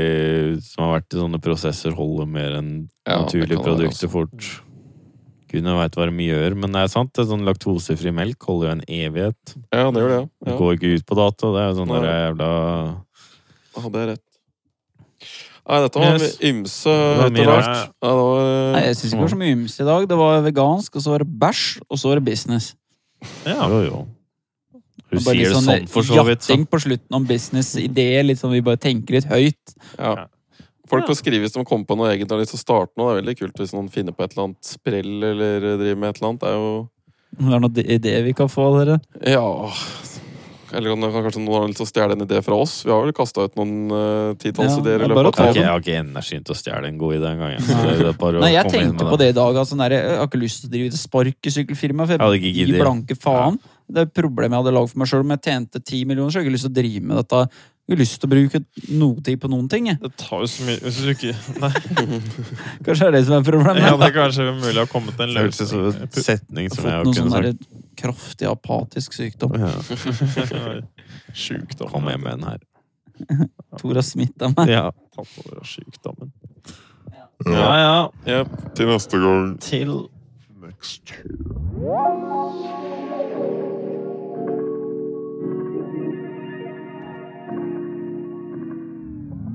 som har vært i sånne prosesser, holder mer enn Ja, det naturlige kan det altså. produkter være, fort. Gudene veit hva de gjør, men det er sant. Det er sånn Laktosefri melk holder jo en evighet. Ja, det gjør det, Det ja. går ikke ut på dato. Det er jo sånn Nei. der jævla Ja, det er rett. Nei, dette var Yes. ymse Det var mye etter hvert. rart. Ja, det var, eh, Nei, jeg syns ikke det var så mye ymse i dag. Det var vegansk, og så var det bæsj, og så var det business. ja. Jo, jo. Hun Og bare litt eh, sier det sånn for så vidt. Så. Jatting på slutten om business-ideer, litt sånn vi bare tenker litt høyt. ja. Folk får skrive hvis de kommer på noe eget og har lyst til å starte noe. Det er veldig kult hvis noen finner på et eller annet sprell eller driver med et eller annet. Det er jo Om det er noen ideer vi kan få, dere. Ja Eller om det kan- kanskje noen har lyst til å stjele en idé fra oss. Vi har vel kasta ut noen eh, titalls Ja, ideer i det er bare å ta løpet av Ok, jeg tiden. har ikke energi til å stjele en god idé engang. jeg. Så det er bare å Nei, jeg komme inn tenkte med på det i dag. Altså, nei, jeg har ikke lyst til å drive til sparkesykkelfirma, for Jeg hadde jeg ikke gir giddet. blanke faen. Det er et problem jeg hadde lagd for meg sjøl. Om jeg tjente ti millioner, så har jeg ikke lyst til å drive med dette. Jeg har ikke lyst til å bruke noe tid på noen ting. Jeg. Det tar jo så mye Hvis du ikke Nei, Kanskje det er det som er problemet. ja, det er kanskje mulig å komme til en Det hørtes ut som en løsning. setning jeg som har jeg fått noe kunne sånn sagt. der kraftig apatisk sykdom. Ja. Sjukdom. Kom hjem med den her. Tora smitta meg. Ja. Tatt over av sjukdommen. Ja, ja. ja. Til neste gang. Til